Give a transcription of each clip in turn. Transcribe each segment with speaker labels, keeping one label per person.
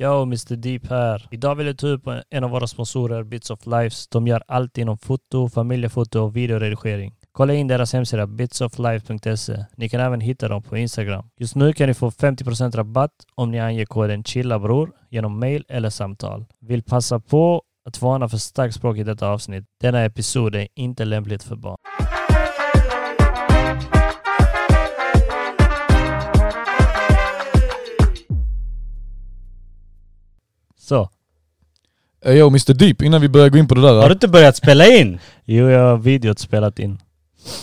Speaker 1: Yo, Mr Deep här. Idag vill jag ta upp en av våra sponsorer, Bits of Lives. De gör allt inom foto, familjefoto och videoredigering. Kolla in deras hemsida bitsoflife.se. Ni kan även hitta dem på Instagram. Just nu kan ni få 50% rabatt om ni anger koden CHILLABROR genom mail eller samtal. Vill passa på att varna för starkt språk i detta avsnitt. Denna episod är inte lämpligt för barn. Så.
Speaker 2: Eh, Yo Mr Deep, innan vi börjar gå in på det där.
Speaker 3: Har du inte börjat spela in?
Speaker 1: Jo, jag har videot spelat in.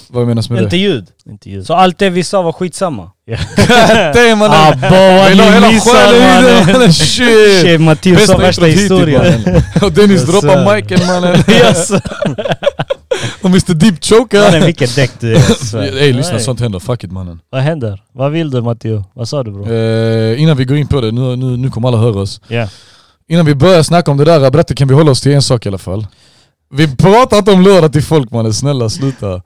Speaker 2: Vad menas med
Speaker 3: inte
Speaker 2: det?
Speaker 3: ljud.
Speaker 1: Inte ljud.
Speaker 3: Så allt det vi sa var skitsamma.
Speaker 2: Damn mannen!
Speaker 3: Abba vad
Speaker 2: Vi la hela själen i det mannen! Shit!
Speaker 3: Shit Mattias
Speaker 2: Bästa
Speaker 3: sa värsta
Speaker 2: introt hittills
Speaker 3: historien.
Speaker 2: mannen. Och Dennis
Speaker 1: Yes,
Speaker 2: droppar
Speaker 1: sir.
Speaker 2: micken mannen.
Speaker 3: Yes.
Speaker 2: Och Mr Deep
Speaker 3: Mannen
Speaker 2: chokar.
Speaker 3: vilket däck du är. så.
Speaker 2: Ey lyssna,
Speaker 1: Nej.
Speaker 2: sånt händer. Fuck it mannen.
Speaker 1: alltså. Vad händer? Vad vill du Matteo? Vad sa du bror?
Speaker 2: Eh, innan vi går in på det, nu, nu, nu kommer alla höra oss.
Speaker 1: Ja.
Speaker 2: Innan vi börjar snacka om det där, berätta kan vi hålla oss till en sak i alla fall? Vi pratar inte om lördag till folk mannen, snälla sluta.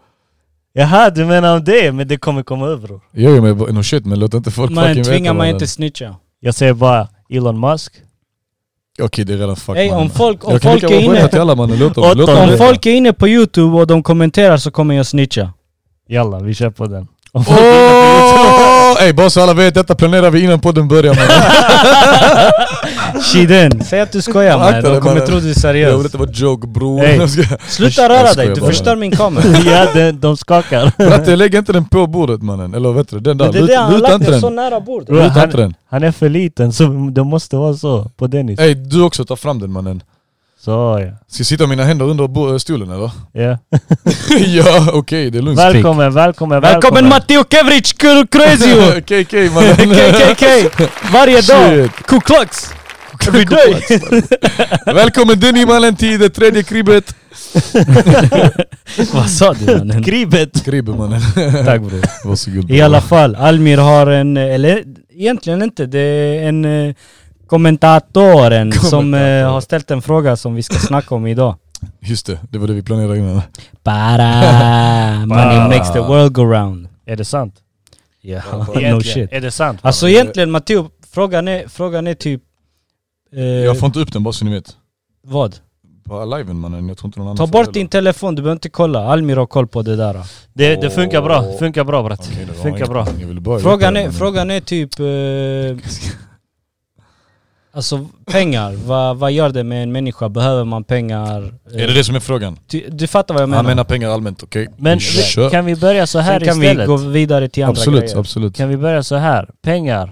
Speaker 1: Jaha, du menar om det? Men det kommer komma över bror.
Speaker 2: Jag gör mig bara- no shit men låt inte folk
Speaker 3: Man
Speaker 2: fucking
Speaker 3: tvingar
Speaker 2: veta
Speaker 3: man
Speaker 2: mannen.
Speaker 3: inte snitcha.
Speaker 1: Jag säger bara Elon Musk.
Speaker 2: Okej det är redan fuck
Speaker 3: Ey, om
Speaker 2: mannen.
Speaker 3: folk- om
Speaker 2: Jag kan lika
Speaker 3: folk är
Speaker 2: gärna berätta
Speaker 3: inne-
Speaker 2: till alla mannen, låt dem,
Speaker 1: Åt
Speaker 2: låt
Speaker 1: dem.
Speaker 2: dem
Speaker 3: Om
Speaker 2: veta.
Speaker 3: folk är inne på youtube och de kommenterar så kommer jag snitcha.
Speaker 1: Jalla, vi kör på den.
Speaker 2: Åh! Ey bara så alla vet, detta planerar vi innan podden börjar mannen.
Speaker 3: Shiden, säg att du skojar
Speaker 2: Akta
Speaker 3: man.
Speaker 2: dig,
Speaker 3: De kommer
Speaker 2: mannen.
Speaker 3: tro du
Speaker 2: Jag
Speaker 3: är
Speaker 2: vill
Speaker 3: seriös.
Speaker 2: inte vara joke bror.
Speaker 1: Ey.
Speaker 2: Jag ska-
Speaker 3: Sluta
Speaker 2: Jag
Speaker 3: röra
Speaker 2: skojar
Speaker 3: dig, du
Speaker 2: bara.
Speaker 3: förstör min kamera.
Speaker 1: ja, den, de skakar.
Speaker 2: Bratte lägg inte den på bordet mannen, eller vet du den där,
Speaker 3: Men det är det,
Speaker 2: Lut-
Speaker 3: han har
Speaker 2: luta
Speaker 3: lagt
Speaker 2: inte
Speaker 3: den så
Speaker 2: den.
Speaker 3: nära bordet.
Speaker 1: Bro,
Speaker 2: Luta
Speaker 1: han,
Speaker 2: inte den.
Speaker 1: han är för liten så det måste vara så på Dennis.
Speaker 2: Ey du också, ta fram den mannen.
Speaker 1: Så ja.
Speaker 2: Ska jag sitta med mina händer under bo- eh, stolen eller?
Speaker 1: ja.
Speaker 2: ja okej, det är lugnt.
Speaker 1: Välkommen, välkommen,
Speaker 3: Välkommen Matteo Kevric, Crazy!
Speaker 2: KK mannen.
Speaker 3: KKK! Varje dag!
Speaker 2: Shit.
Speaker 3: Ku Klux! Every day!
Speaker 2: Välkommen Denny mannen till det tredje kribbet.
Speaker 3: Vad sa du mannen?
Speaker 1: Kribet!
Speaker 2: Kribbe mannen.
Speaker 3: Tack bror.
Speaker 2: Varsågod.
Speaker 3: I alla fall, Almir har en, eh, eller egentligen inte, det är en eh, kommentatoren som eh,
Speaker 2: Kommentator.
Speaker 3: har ställt en fråga som vi ska snacka om idag.
Speaker 2: Just det, det var det vi planerade innan.
Speaker 3: Bara,
Speaker 1: Bara.
Speaker 3: money makes the world go round.
Speaker 1: Är det sant?
Speaker 3: Ja,
Speaker 1: Egentligen.
Speaker 3: no shit.
Speaker 1: Är det sant?
Speaker 3: Alltså egentligen Matteo, frågan är, frågan är typ... Eh,
Speaker 2: Jag får inte upp den bara så ni vet.
Speaker 3: Vad?
Speaker 2: På liven mannen, jag tror inte någon annan
Speaker 3: Ta
Speaker 2: får
Speaker 3: bort
Speaker 2: det.
Speaker 3: din telefon, du behöver inte kolla. Almir har koll på det där.
Speaker 1: Det, det funkar bra, funkar bra brat.
Speaker 2: Okej, det var
Speaker 1: funkar
Speaker 2: inget.
Speaker 1: bra.
Speaker 2: Jag ville bara
Speaker 3: Frågan
Speaker 2: veta det,
Speaker 3: är,
Speaker 2: men-
Speaker 3: frågan är typ... Eh, alltså pengar, vad, vad gör det med en människa? Behöver man pengar? Eh,
Speaker 2: Är det det som är frågan?
Speaker 3: Du, du fattar vad jag menar?
Speaker 2: Han menar pengar allmänt, okej?
Speaker 1: Men
Speaker 2: Vi
Speaker 1: vi-
Speaker 2: kör.
Speaker 1: kan vi börja så här
Speaker 3: Sen kan
Speaker 1: istället?
Speaker 3: vi gå vidare till andra
Speaker 2: Absolut,
Speaker 3: grejer.
Speaker 2: absolut.
Speaker 1: Kan vi börja så här? Pengar,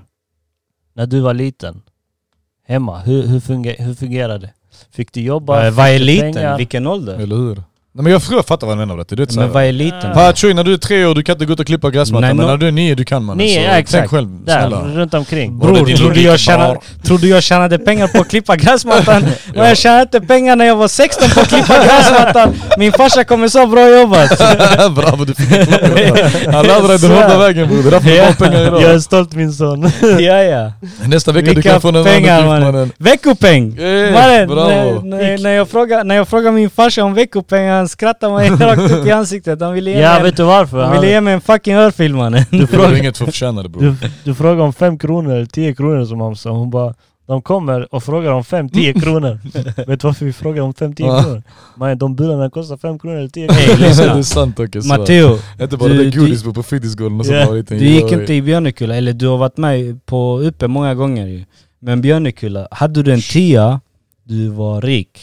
Speaker 1: när du var liten, hemma, hur, hur, funge- hur fungerade det? Fick du jobba?
Speaker 3: Eh, vad är
Speaker 1: Fick du
Speaker 3: liten?
Speaker 1: pengar?
Speaker 3: Vilken ålder?
Speaker 2: Eller hur? Nej men jag tror jag fattar vad han menar Bratte, du vet
Speaker 3: Men
Speaker 2: såhär.
Speaker 3: vad är liten?
Speaker 1: Ah.
Speaker 2: Patchoy, när du är tre år du kan inte gå ut och klippa
Speaker 3: Nej,
Speaker 2: gräsmattan men
Speaker 3: no-
Speaker 2: när du är nio du kan mannen.
Speaker 1: Nio,
Speaker 2: så
Speaker 1: ja,
Speaker 2: tänk
Speaker 1: exakt.
Speaker 2: själv,
Speaker 1: Där,
Speaker 2: snälla.
Speaker 1: runt omkring.
Speaker 2: Var det
Speaker 3: Bror,
Speaker 2: din
Speaker 3: tror du,
Speaker 2: logik
Speaker 3: jag tjänar,
Speaker 2: bara?
Speaker 3: tror du jag tjänade pengar på att klippa gräsmattan? Och jag tjänade inte pengar när jag var 16 på att klippa gräsmattan! Min farsa kommer så bra jobbat!
Speaker 2: Bravo du fick klockan där. Han laddade dig den hårda vägen bror, det är därför du har pengar
Speaker 1: Jag är
Speaker 2: idag.
Speaker 1: stolt min son.
Speaker 3: ja, ja.
Speaker 2: Nästa vecka du
Speaker 3: Vilka
Speaker 2: kan få en annan uppgift
Speaker 3: pengar, mannen.
Speaker 2: mannen.
Speaker 3: Veckopeng!
Speaker 2: Eh,
Speaker 3: Mannen,
Speaker 2: bravo.
Speaker 3: när, när, när, jag frågar, när jag frågar min farsa om veckopeng, han skrattar mig rakt upp i ansiktet. Han ville ge,
Speaker 1: Ja,
Speaker 3: mig,
Speaker 1: vet du varför?
Speaker 3: han ville
Speaker 1: Han,
Speaker 3: ge mig en fucking örfil mannen.
Speaker 1: du,
Speaker 2: Du har
Speaker 1: frågar,
Speaker 2: inget för att förtjäna det bror.
Speaker 1: du, du frågar om fem kronor eller tio kronor som han sa. Hon bara, de kommer och frågar om fem, tio
Speaker 2: Mm.
Speaker 1: kronor. vet du varför vi frågar om fem, tio
Speaker 2: Ja.
Speaker 1: kronor? Man, de bilarna kostar fem kronor eller tio
Speaker 3: Hey,
Speaker 1: kronor.
Speaker 2: Det
Speaker 3: lyssna.
Speaker 2: är sant Åke, så.
Speaker 3: Matteo,
Speaker 2: Inte bara
Speaker 3: Du-
Speaker 2: det
Speaker 3: du-
Speaker 2: godis bror på fritidsgården och så
Speaker 1: Ja.
Speaker 2: bara lite
Speaker 3: du gick inte i Björnekulla, eller du har varit med på uppe många gånger ju. Men Björnekulla, hade du en tia, du var rik.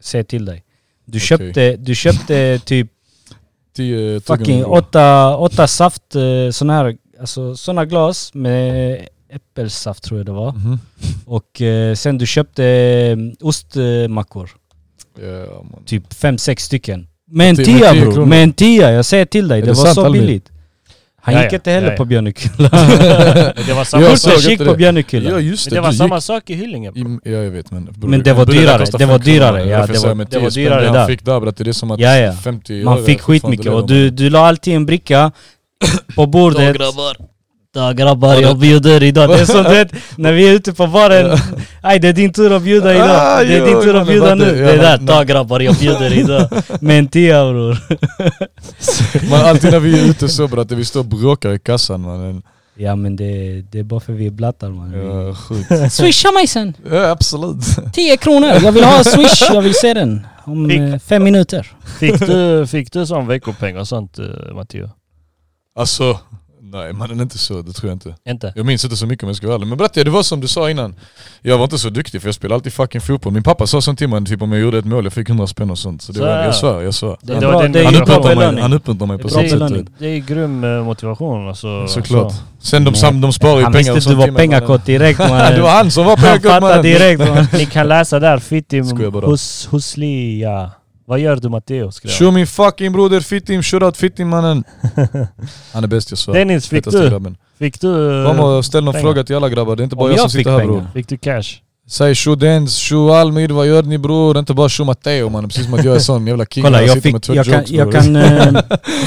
Speaker 3: Säg till dig. Du köpte, du köpte typ
Speaker 2: Tio tuggummi,
Speaker 3: fucking
Speaker 2: bror.
Speaker 3: åtta, åtta saft, eh, såna här, alltså såna glas med äppelsaft tror jag det var.
Speaker 2: Mhm.
Speaker 3: Och eh, sen du köpte eh, ostmackor,
Speaker 2: Ja, man.
Speaker 3: typ fem sex stycken. Med en
Speaker 2: Med
Speaker 3: tia
Speaker 2: tio
Speaker 3: bror,
Speaker 2: kronor.
Speaker 3: med en tia, jag säger till dig,
Speaker 2: Är
Speaker 3: det,
Speaker 2: det
Speaker 3: var
Speaker 2: sant,
Speaker 3: så
Speaker 2: Albin?
Speaker 3: billigt. Han
Speaker 1: Ja,
Speaker 3: gick
Speaker 1: ja,
Speaker 3: inte heller
Speaker 1: ja, ja.
Speaker 3: på Björnekulla.
Speaker 1: Det var samma,
Speaker 2: Jag
Speaker 3: Jag
Speaker 2: såg
Speaker 3: gick
Speaker 2: inte
Speaker 3: på
Speaker 2: det.
Speaker 3: Björnekulla.
Speaker 2: Ja just
Speaker 1: men
Speaker 2: det,
Speaker 1: det var
Speaker 2: du
Speaker 1: samma
Speaker 2: gick
Speaker 1: sak i Hyllinge. bro.
Speaker 2: i- Ja jag vet men... bror,
Speaker 3: Men det var
Speaker 2: bror,
Speaker 3: dyrare,
Speaker 2: kostar
Speaker 3: det
Speaker 2: fem
Speaker 3: var
Speaker 2: kronor,
Speaker 3: dyrare,
Speaker 2: mannen.
Speaker 3: ja,
Speaker 2: Därför
Speaker 3: det
Speaker 2: säger
Speaker 3: var-
Speaker 2: jag med
Speaker 3: det var
Speaker 2: 10 spänn,
Speaker 3: dyrare
Speaker 2: han
Speaker 3: där.
Speaker 2: fick där bror, det är som att
Speaker 3: Ja, ja.
Speaker 2: 50
Speaker 3: Man
Speaker 2: öre,
Speaker 3: fick
Speaker 2: för fan,
Speaker 3: skitmycket
Speaker 2: det
Speaker 3: och
Speaker 2: leder
Speaker 3: du, du la alltid en bricka på bordet. Ja grabbar, jag bjuder idag. Det är som du vet, när vi är ute på baren. Nej det är din tur att bjuda
Speaker 2: Ah,
Speaker 3: idag. Det är
Speaker 2: jo,
Speaker 3: din tur
Speaker 2: mannen,
Speaker 3: att bjuda
Speaker 2: vad
Speaker 3: nu.
Speaker 2: det- ja,
Speaker 3: Det är där,
Speaker 2: men-
Speaker 3: ta grabbar, jag bjuder idag. Med en tia bror.
Speaker 2: Man, alltid när vi är ute så bror, att vi står och bråkar i kassan mannen
Speaker 3: Ja men det, det är bara för vi är blattar man. Vi-
Speaker 2: Ja, sjukt.
Speaker 3: Swisha mig sen!
Speaker 2: Ja, absolut.
Speaker 3: 10 kronor! Jag vill ha swish, jag vill se den. Om
Speaker 1: Fick-
Speaker 3: eh, fem minuter.
Speaker 1: Fick du, fick du sån veckopeng och sånt eh, Matteo?
Speaker 2: Alltså, nej mannen inte så, det tror jag inte.
Speaker 1: Inte?
Speaker 2: Jag minns inte så mycket om jag ska vara ärlig. Men berätta, det var som du sa innan. Jag var inte så duktig för jag spelade alltid fucking fotboll. Min pappa sa sånt till mig, typ om jag gjorde ett mål, jag fick 100 spänn och sånt. Så det
Speaker 1: Så
Speaker 2: var,
Speaker 1: här.
Speaker 2: jag svär, jag svär.
Speaker 1: Det-
Speaker 2: Han-
Speaker 1: det var din
Speaker 3: det är
Speaker 2: Han
Speaker 3: ju bra
Speaker 2: uppmuntrar mig,
Speaker 3: belöning.
Speaker 2: han uppmuntrar mig
Speaker 1: Det
Speaker 2: på
Speaker 1: är
Speaker 2: sånt
Speaker 1: bra
Speaker 2: sätt. typ.
Speaker 3: belöning.
Speaker 1: Det är grym eh, motivation alltså.
Speaker 2: Såklart.
Speaker 1: Så.
Speaker 2: Sen de, sam, de sparar ju
Speaker 3: Han
Speaker 2: pengar
Speaker 3: visste
Speaker 2: och
Speaker 3: att du
Speaker 2: sånt
Speaker 3: var
Speaker 2: till mig, mannen.
Speaker 3: pengakåt direkt
Speaker 2: Ja, Det var
Speaker 3: man.
Speaker 2: han som var
Speaker 3: Han
Speaker 2: pengakåt
Speaker 3: fattade
Speaker 2: mannen.
Speaker 3: direkt man.
Speaker 1: Ni kan läsa där, Fittim
Speaker 2: Skojar bara.
Speaker 1: hus, Huslia. Vad gör du Matteo? skrev han.
Speaker 2: Tjo min fucking broder Fittim, shoutout Fittim mannen. Han är bäst jag svär.
Speaker 1: Dennis, fick
Speaker 2: Fetaste
Speaker 1: du,
Speaker 2: grabben.
Speaker 1: fick du...
Speaker 2: Kom och ställ någon
Speaker 1: pengar.
Speaker 2: fråga till alla grabbar, det är inte bara
Speaker 3: Om
Speaker 2: jag som
Speaker 3: jag fick
Speaker 2: sitter här
Speaker 3: pengar.
Speaker 2: bror.
Speaker 1: Fick du cash?
Speaker 2: Säg tjo Dens, tjo Almir, vad gör ni bror? Inte bara tjo Matteo mannen, precis som att jag är sån jävla king.
Speaker 3: Kolla jag
Speaker 2: sitter
Speaker 3: fick,
Speaker 2: med två
Speaker 3: jag kan,
Speaker 2: jokes,
Speaker 3: jag
Speaker 2: bror.
Speaker 3: kan, eh,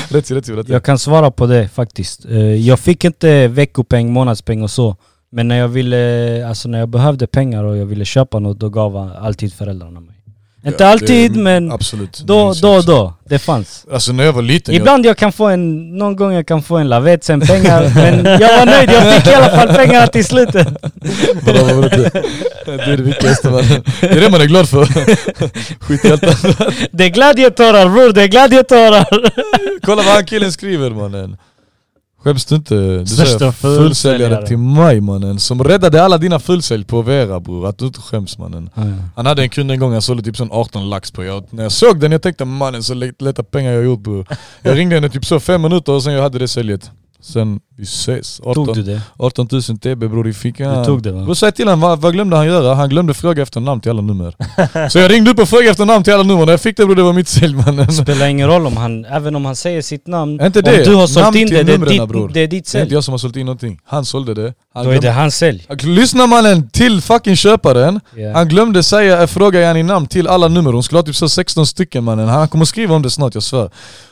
Speaker 2: Rätt till, rätt till, rätt till.
Speaker 3: jag kan svara på det faktiskt. Eh, Jag fick inte veckopeng, månadspeng och så. Men när jag ville, alltså när jag behövde pengar och jag ville köpa något, då gav alltid föräldrarna mig.
Speaker 2: Ja,
Speaker 3: Inte
Speaker 2: det-
Speaker 3: alltid men
Speaker 2: Absolut.
Speaker 3: då,
Speaker 2: Minns jag
Speaker 3: då,
Speaker 2: också.
Speaker 3: då. Det fanns.
Speaker 2: Alltså när jag var liten, jag,
Speaker 3: Ibland jag kan få en, någon gång jag kan få en lavett sen pengar men jag var nöjd, jag fick i alla fall pengarna till slutet.
Speaker 2: Vadå, vad var det? Det är det viktigaste mannen. Det är det man e är glad för. Skithjältar.
Speaker 3: Det är gladiatorer bror, det är gladiatorer!
Speaker 2: Kolla vad han killen skriver mannen. Skäms du inte? Du
Speaker 1: Största
Speaker 2: säger
Speaker 1: fulsäljare.
Speaker 2: fulsäljare till mig mannen. Som räddade alla dina fulsälj på Vera bror. Att du inte skäms mannen. Han hade en kund en gång han sålde typ sån 18 lax på. Jag, när jag såg den jag tänkte mannen så lätt- lätta pengar jag gjort bror. Jag ringde henne typ så fem minuter och sen jag hade det säljet. Sen vi ses. 18,
Speaker 3: Tog du det?
Speaker 2: 18 000 TB bror i fickan.
Speaker 3: Du tog det va?
Speaker 2: Bror säg till honom, vad, vad glömde han göra? Han glömde fråga efter namn till alla nummer. så jag ringde upp och frågade efter namn till alla nummer. När jag fick det bror, det var mitt sälj mannen.
Speaker 3: Spelar ingen roll om han, även om han säger sitt namn.
Speaker 2: Inte
Speaker 3: om
Speaker 2: det.
Speaker 3: du har sålt
Speaker 2: Namn
Speaker 3: in
Speaker 2: till
Speaker 3: det, det är
Speaker 2: numren, bror.
Speaker 3: ditt, det är ditt
Speaker 2: Det är inte
Speaker 3: sälj.
Speaker 2: jag som har sålt in någonting. Han sålde det. Han
Speaker 3: Då är det
Speaker 2: glömde-
Speaker 3: hans sälj.
Speaker 2: Lyssna mannen till fucking köparen.
Speaker 3: Ja.
Speaker 2: Han glömde säga, eh, fråga Janni namn till alla nummer. Hon skulle ha typ så 16 stycken mannen. Han kommer skriva om det snart, jag svär.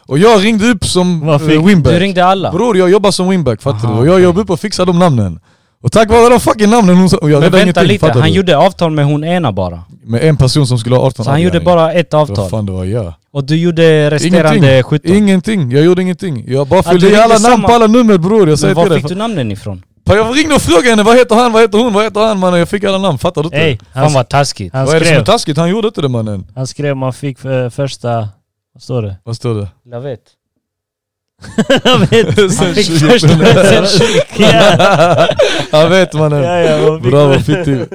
Speaker 2: Och jag ringde upp som
Speaker 1: Vad
Speaker 2: eh,
Speaker 1: fick-
Speaker 3: Du
Speaker 2: winback.
Speaker 3: ringde alla.
Speaker 2: Bror jag jobbar som winback, fattar
Speaker 3: Aha,
Speaker 2: du? Och jag
Speaker 3: okej.
Speaker 2: jobbar upp och fixar de namnen. Och tack vare de fucking namnen hon sa... Och jag
Speaker 3: Men
Speaker 2: räddade
Speaker 3: vänta
Speaker 2: ingenting,
Speaker 3: lite,
Speaker 2: fattar
Speaker 3: han
Speaker 2: du?
Speaker 3: gjorde avtal med hon ena bara.
Speaker 2: Med en person som skulle ha 18
Speaker 3: Så han
Speaker 2: namn,
Speaker 3: gjorde
Speaker 2: yani.
Speaker 3: bara ett
Speaker 2: Vad
Speaker 3: avtal.
Speaker 2: fan det var jag?
Speaker 3: Och du gjorde resterande 17.
Speaker 2: Ingenting, jag gjorde ingenting. Jag bara
Speaker 3: Ah, du
Speaker 2: fyllde i
Speaker 3: ringde
Speaker 2: alla namn
Speaker 3: samma-
Speaker 2: på alla nummer bror, jag
Speaker 3: Men
Speaker 2: säger till
Speaker 3: var
Speaker 2: dig.
Speaker 3: fick du namnen ifrån?
Speaker 2: Fan, Jag ringde och frågade henne, vad heter han, vad heter hon, vad heter han mannen? Jag fick alla namn, fattar du inte?
Speaker 1: Ey, han,
Speaker 3: Fan vad taskigt.
Speaker 1: han,
Speaker 2: vad är det som är
Speaker 1: skrev,
Speaker 2: taskigt? Han gjorde inte det mannen.
Speaker 1: han skrev man fick eh, första... Vad står det?
Speaker 2: Vad står det?
Speaker 3: Jag vet.
Speaker 1: jag vet inte.
Speaker 3: Han fick
Speaker 2: 20
Speaker 3: första
Speaker 2: kronor.
Speaker 1: Ja,
Speaker 2: Jag vet
Speaker 1: ja,
Speaker 2: mannen.
Speaker 1: ja, man fick-
Speaker 2: Bravo Fitti.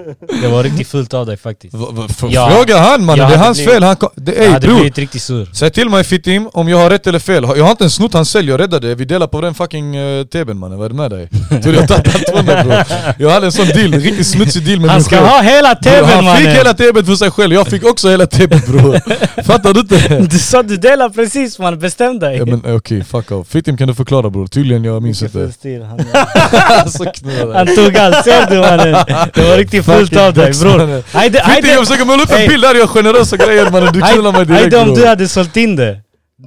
Speaker 3: Det var riktigt fult av dig faktiskt.
Speaker 2: Va- va- f-
Speaker 3: Ja.
Speaker 2: Fråga han mannen,
Speaker 3: Jag
Speaker 2: det är
Speaker 3: hade
Speaker 2: hans
Speaker 3: blivit-
Speaker 2: fel. Han kom... det,
Speaker 3: jag
Speaker 2: ey
Speaker 3: hade
Speaker 2: bror,
Speaker 3: blivit riktigt sur.
Speaker 2: säg till mig Fittim om jag har rätt eller fel. Jag har inte ens snott hans sälj, jag räddade det. Vi delar på den fucking uh, TB'n mannen, vad är det med dig? Tror du jag har tagit allt från dig bror? Jag hade en sån deal, en riktigt smutsig deal med
Speaker 3: Han
Speaker 2: min
Speaker 3: ska
Speaker 2: chef.
Speaker 3: ha hela
Speaker 2: Bror,
Speaker 3: tvn
Speaker 2: Han fick hela
Speaker 3: mannen!
Speaker 2: TB'n för sig själv, jag fick också hela TB'n bror. Fattar du inte?
Speaker 3: Du sa du delar precis mannen, bestäm dig!
Speaker 2: Ja, men eh, okej, fuck off. Fittim kan du förklara bror? Tydligen jag minns inte.
Speaker 3: Alltså,
Speaker 2: så knullar
Speaker 3: Han tog allt, ser du mannen? Det var riktigt fult av dig bror. Hejde,
Speaker 2: Fittim jag
Speaker 3: hejde,
Speaker 2: försöker måla upp
Speaker 3: Ey.
Speaker 2: en bild här, jag har generösa grejer mannen. Du knullar mig direkt
Speaker 3: hejde om du
Speaker 2: bror.
Speaker 3: hade sålt in det.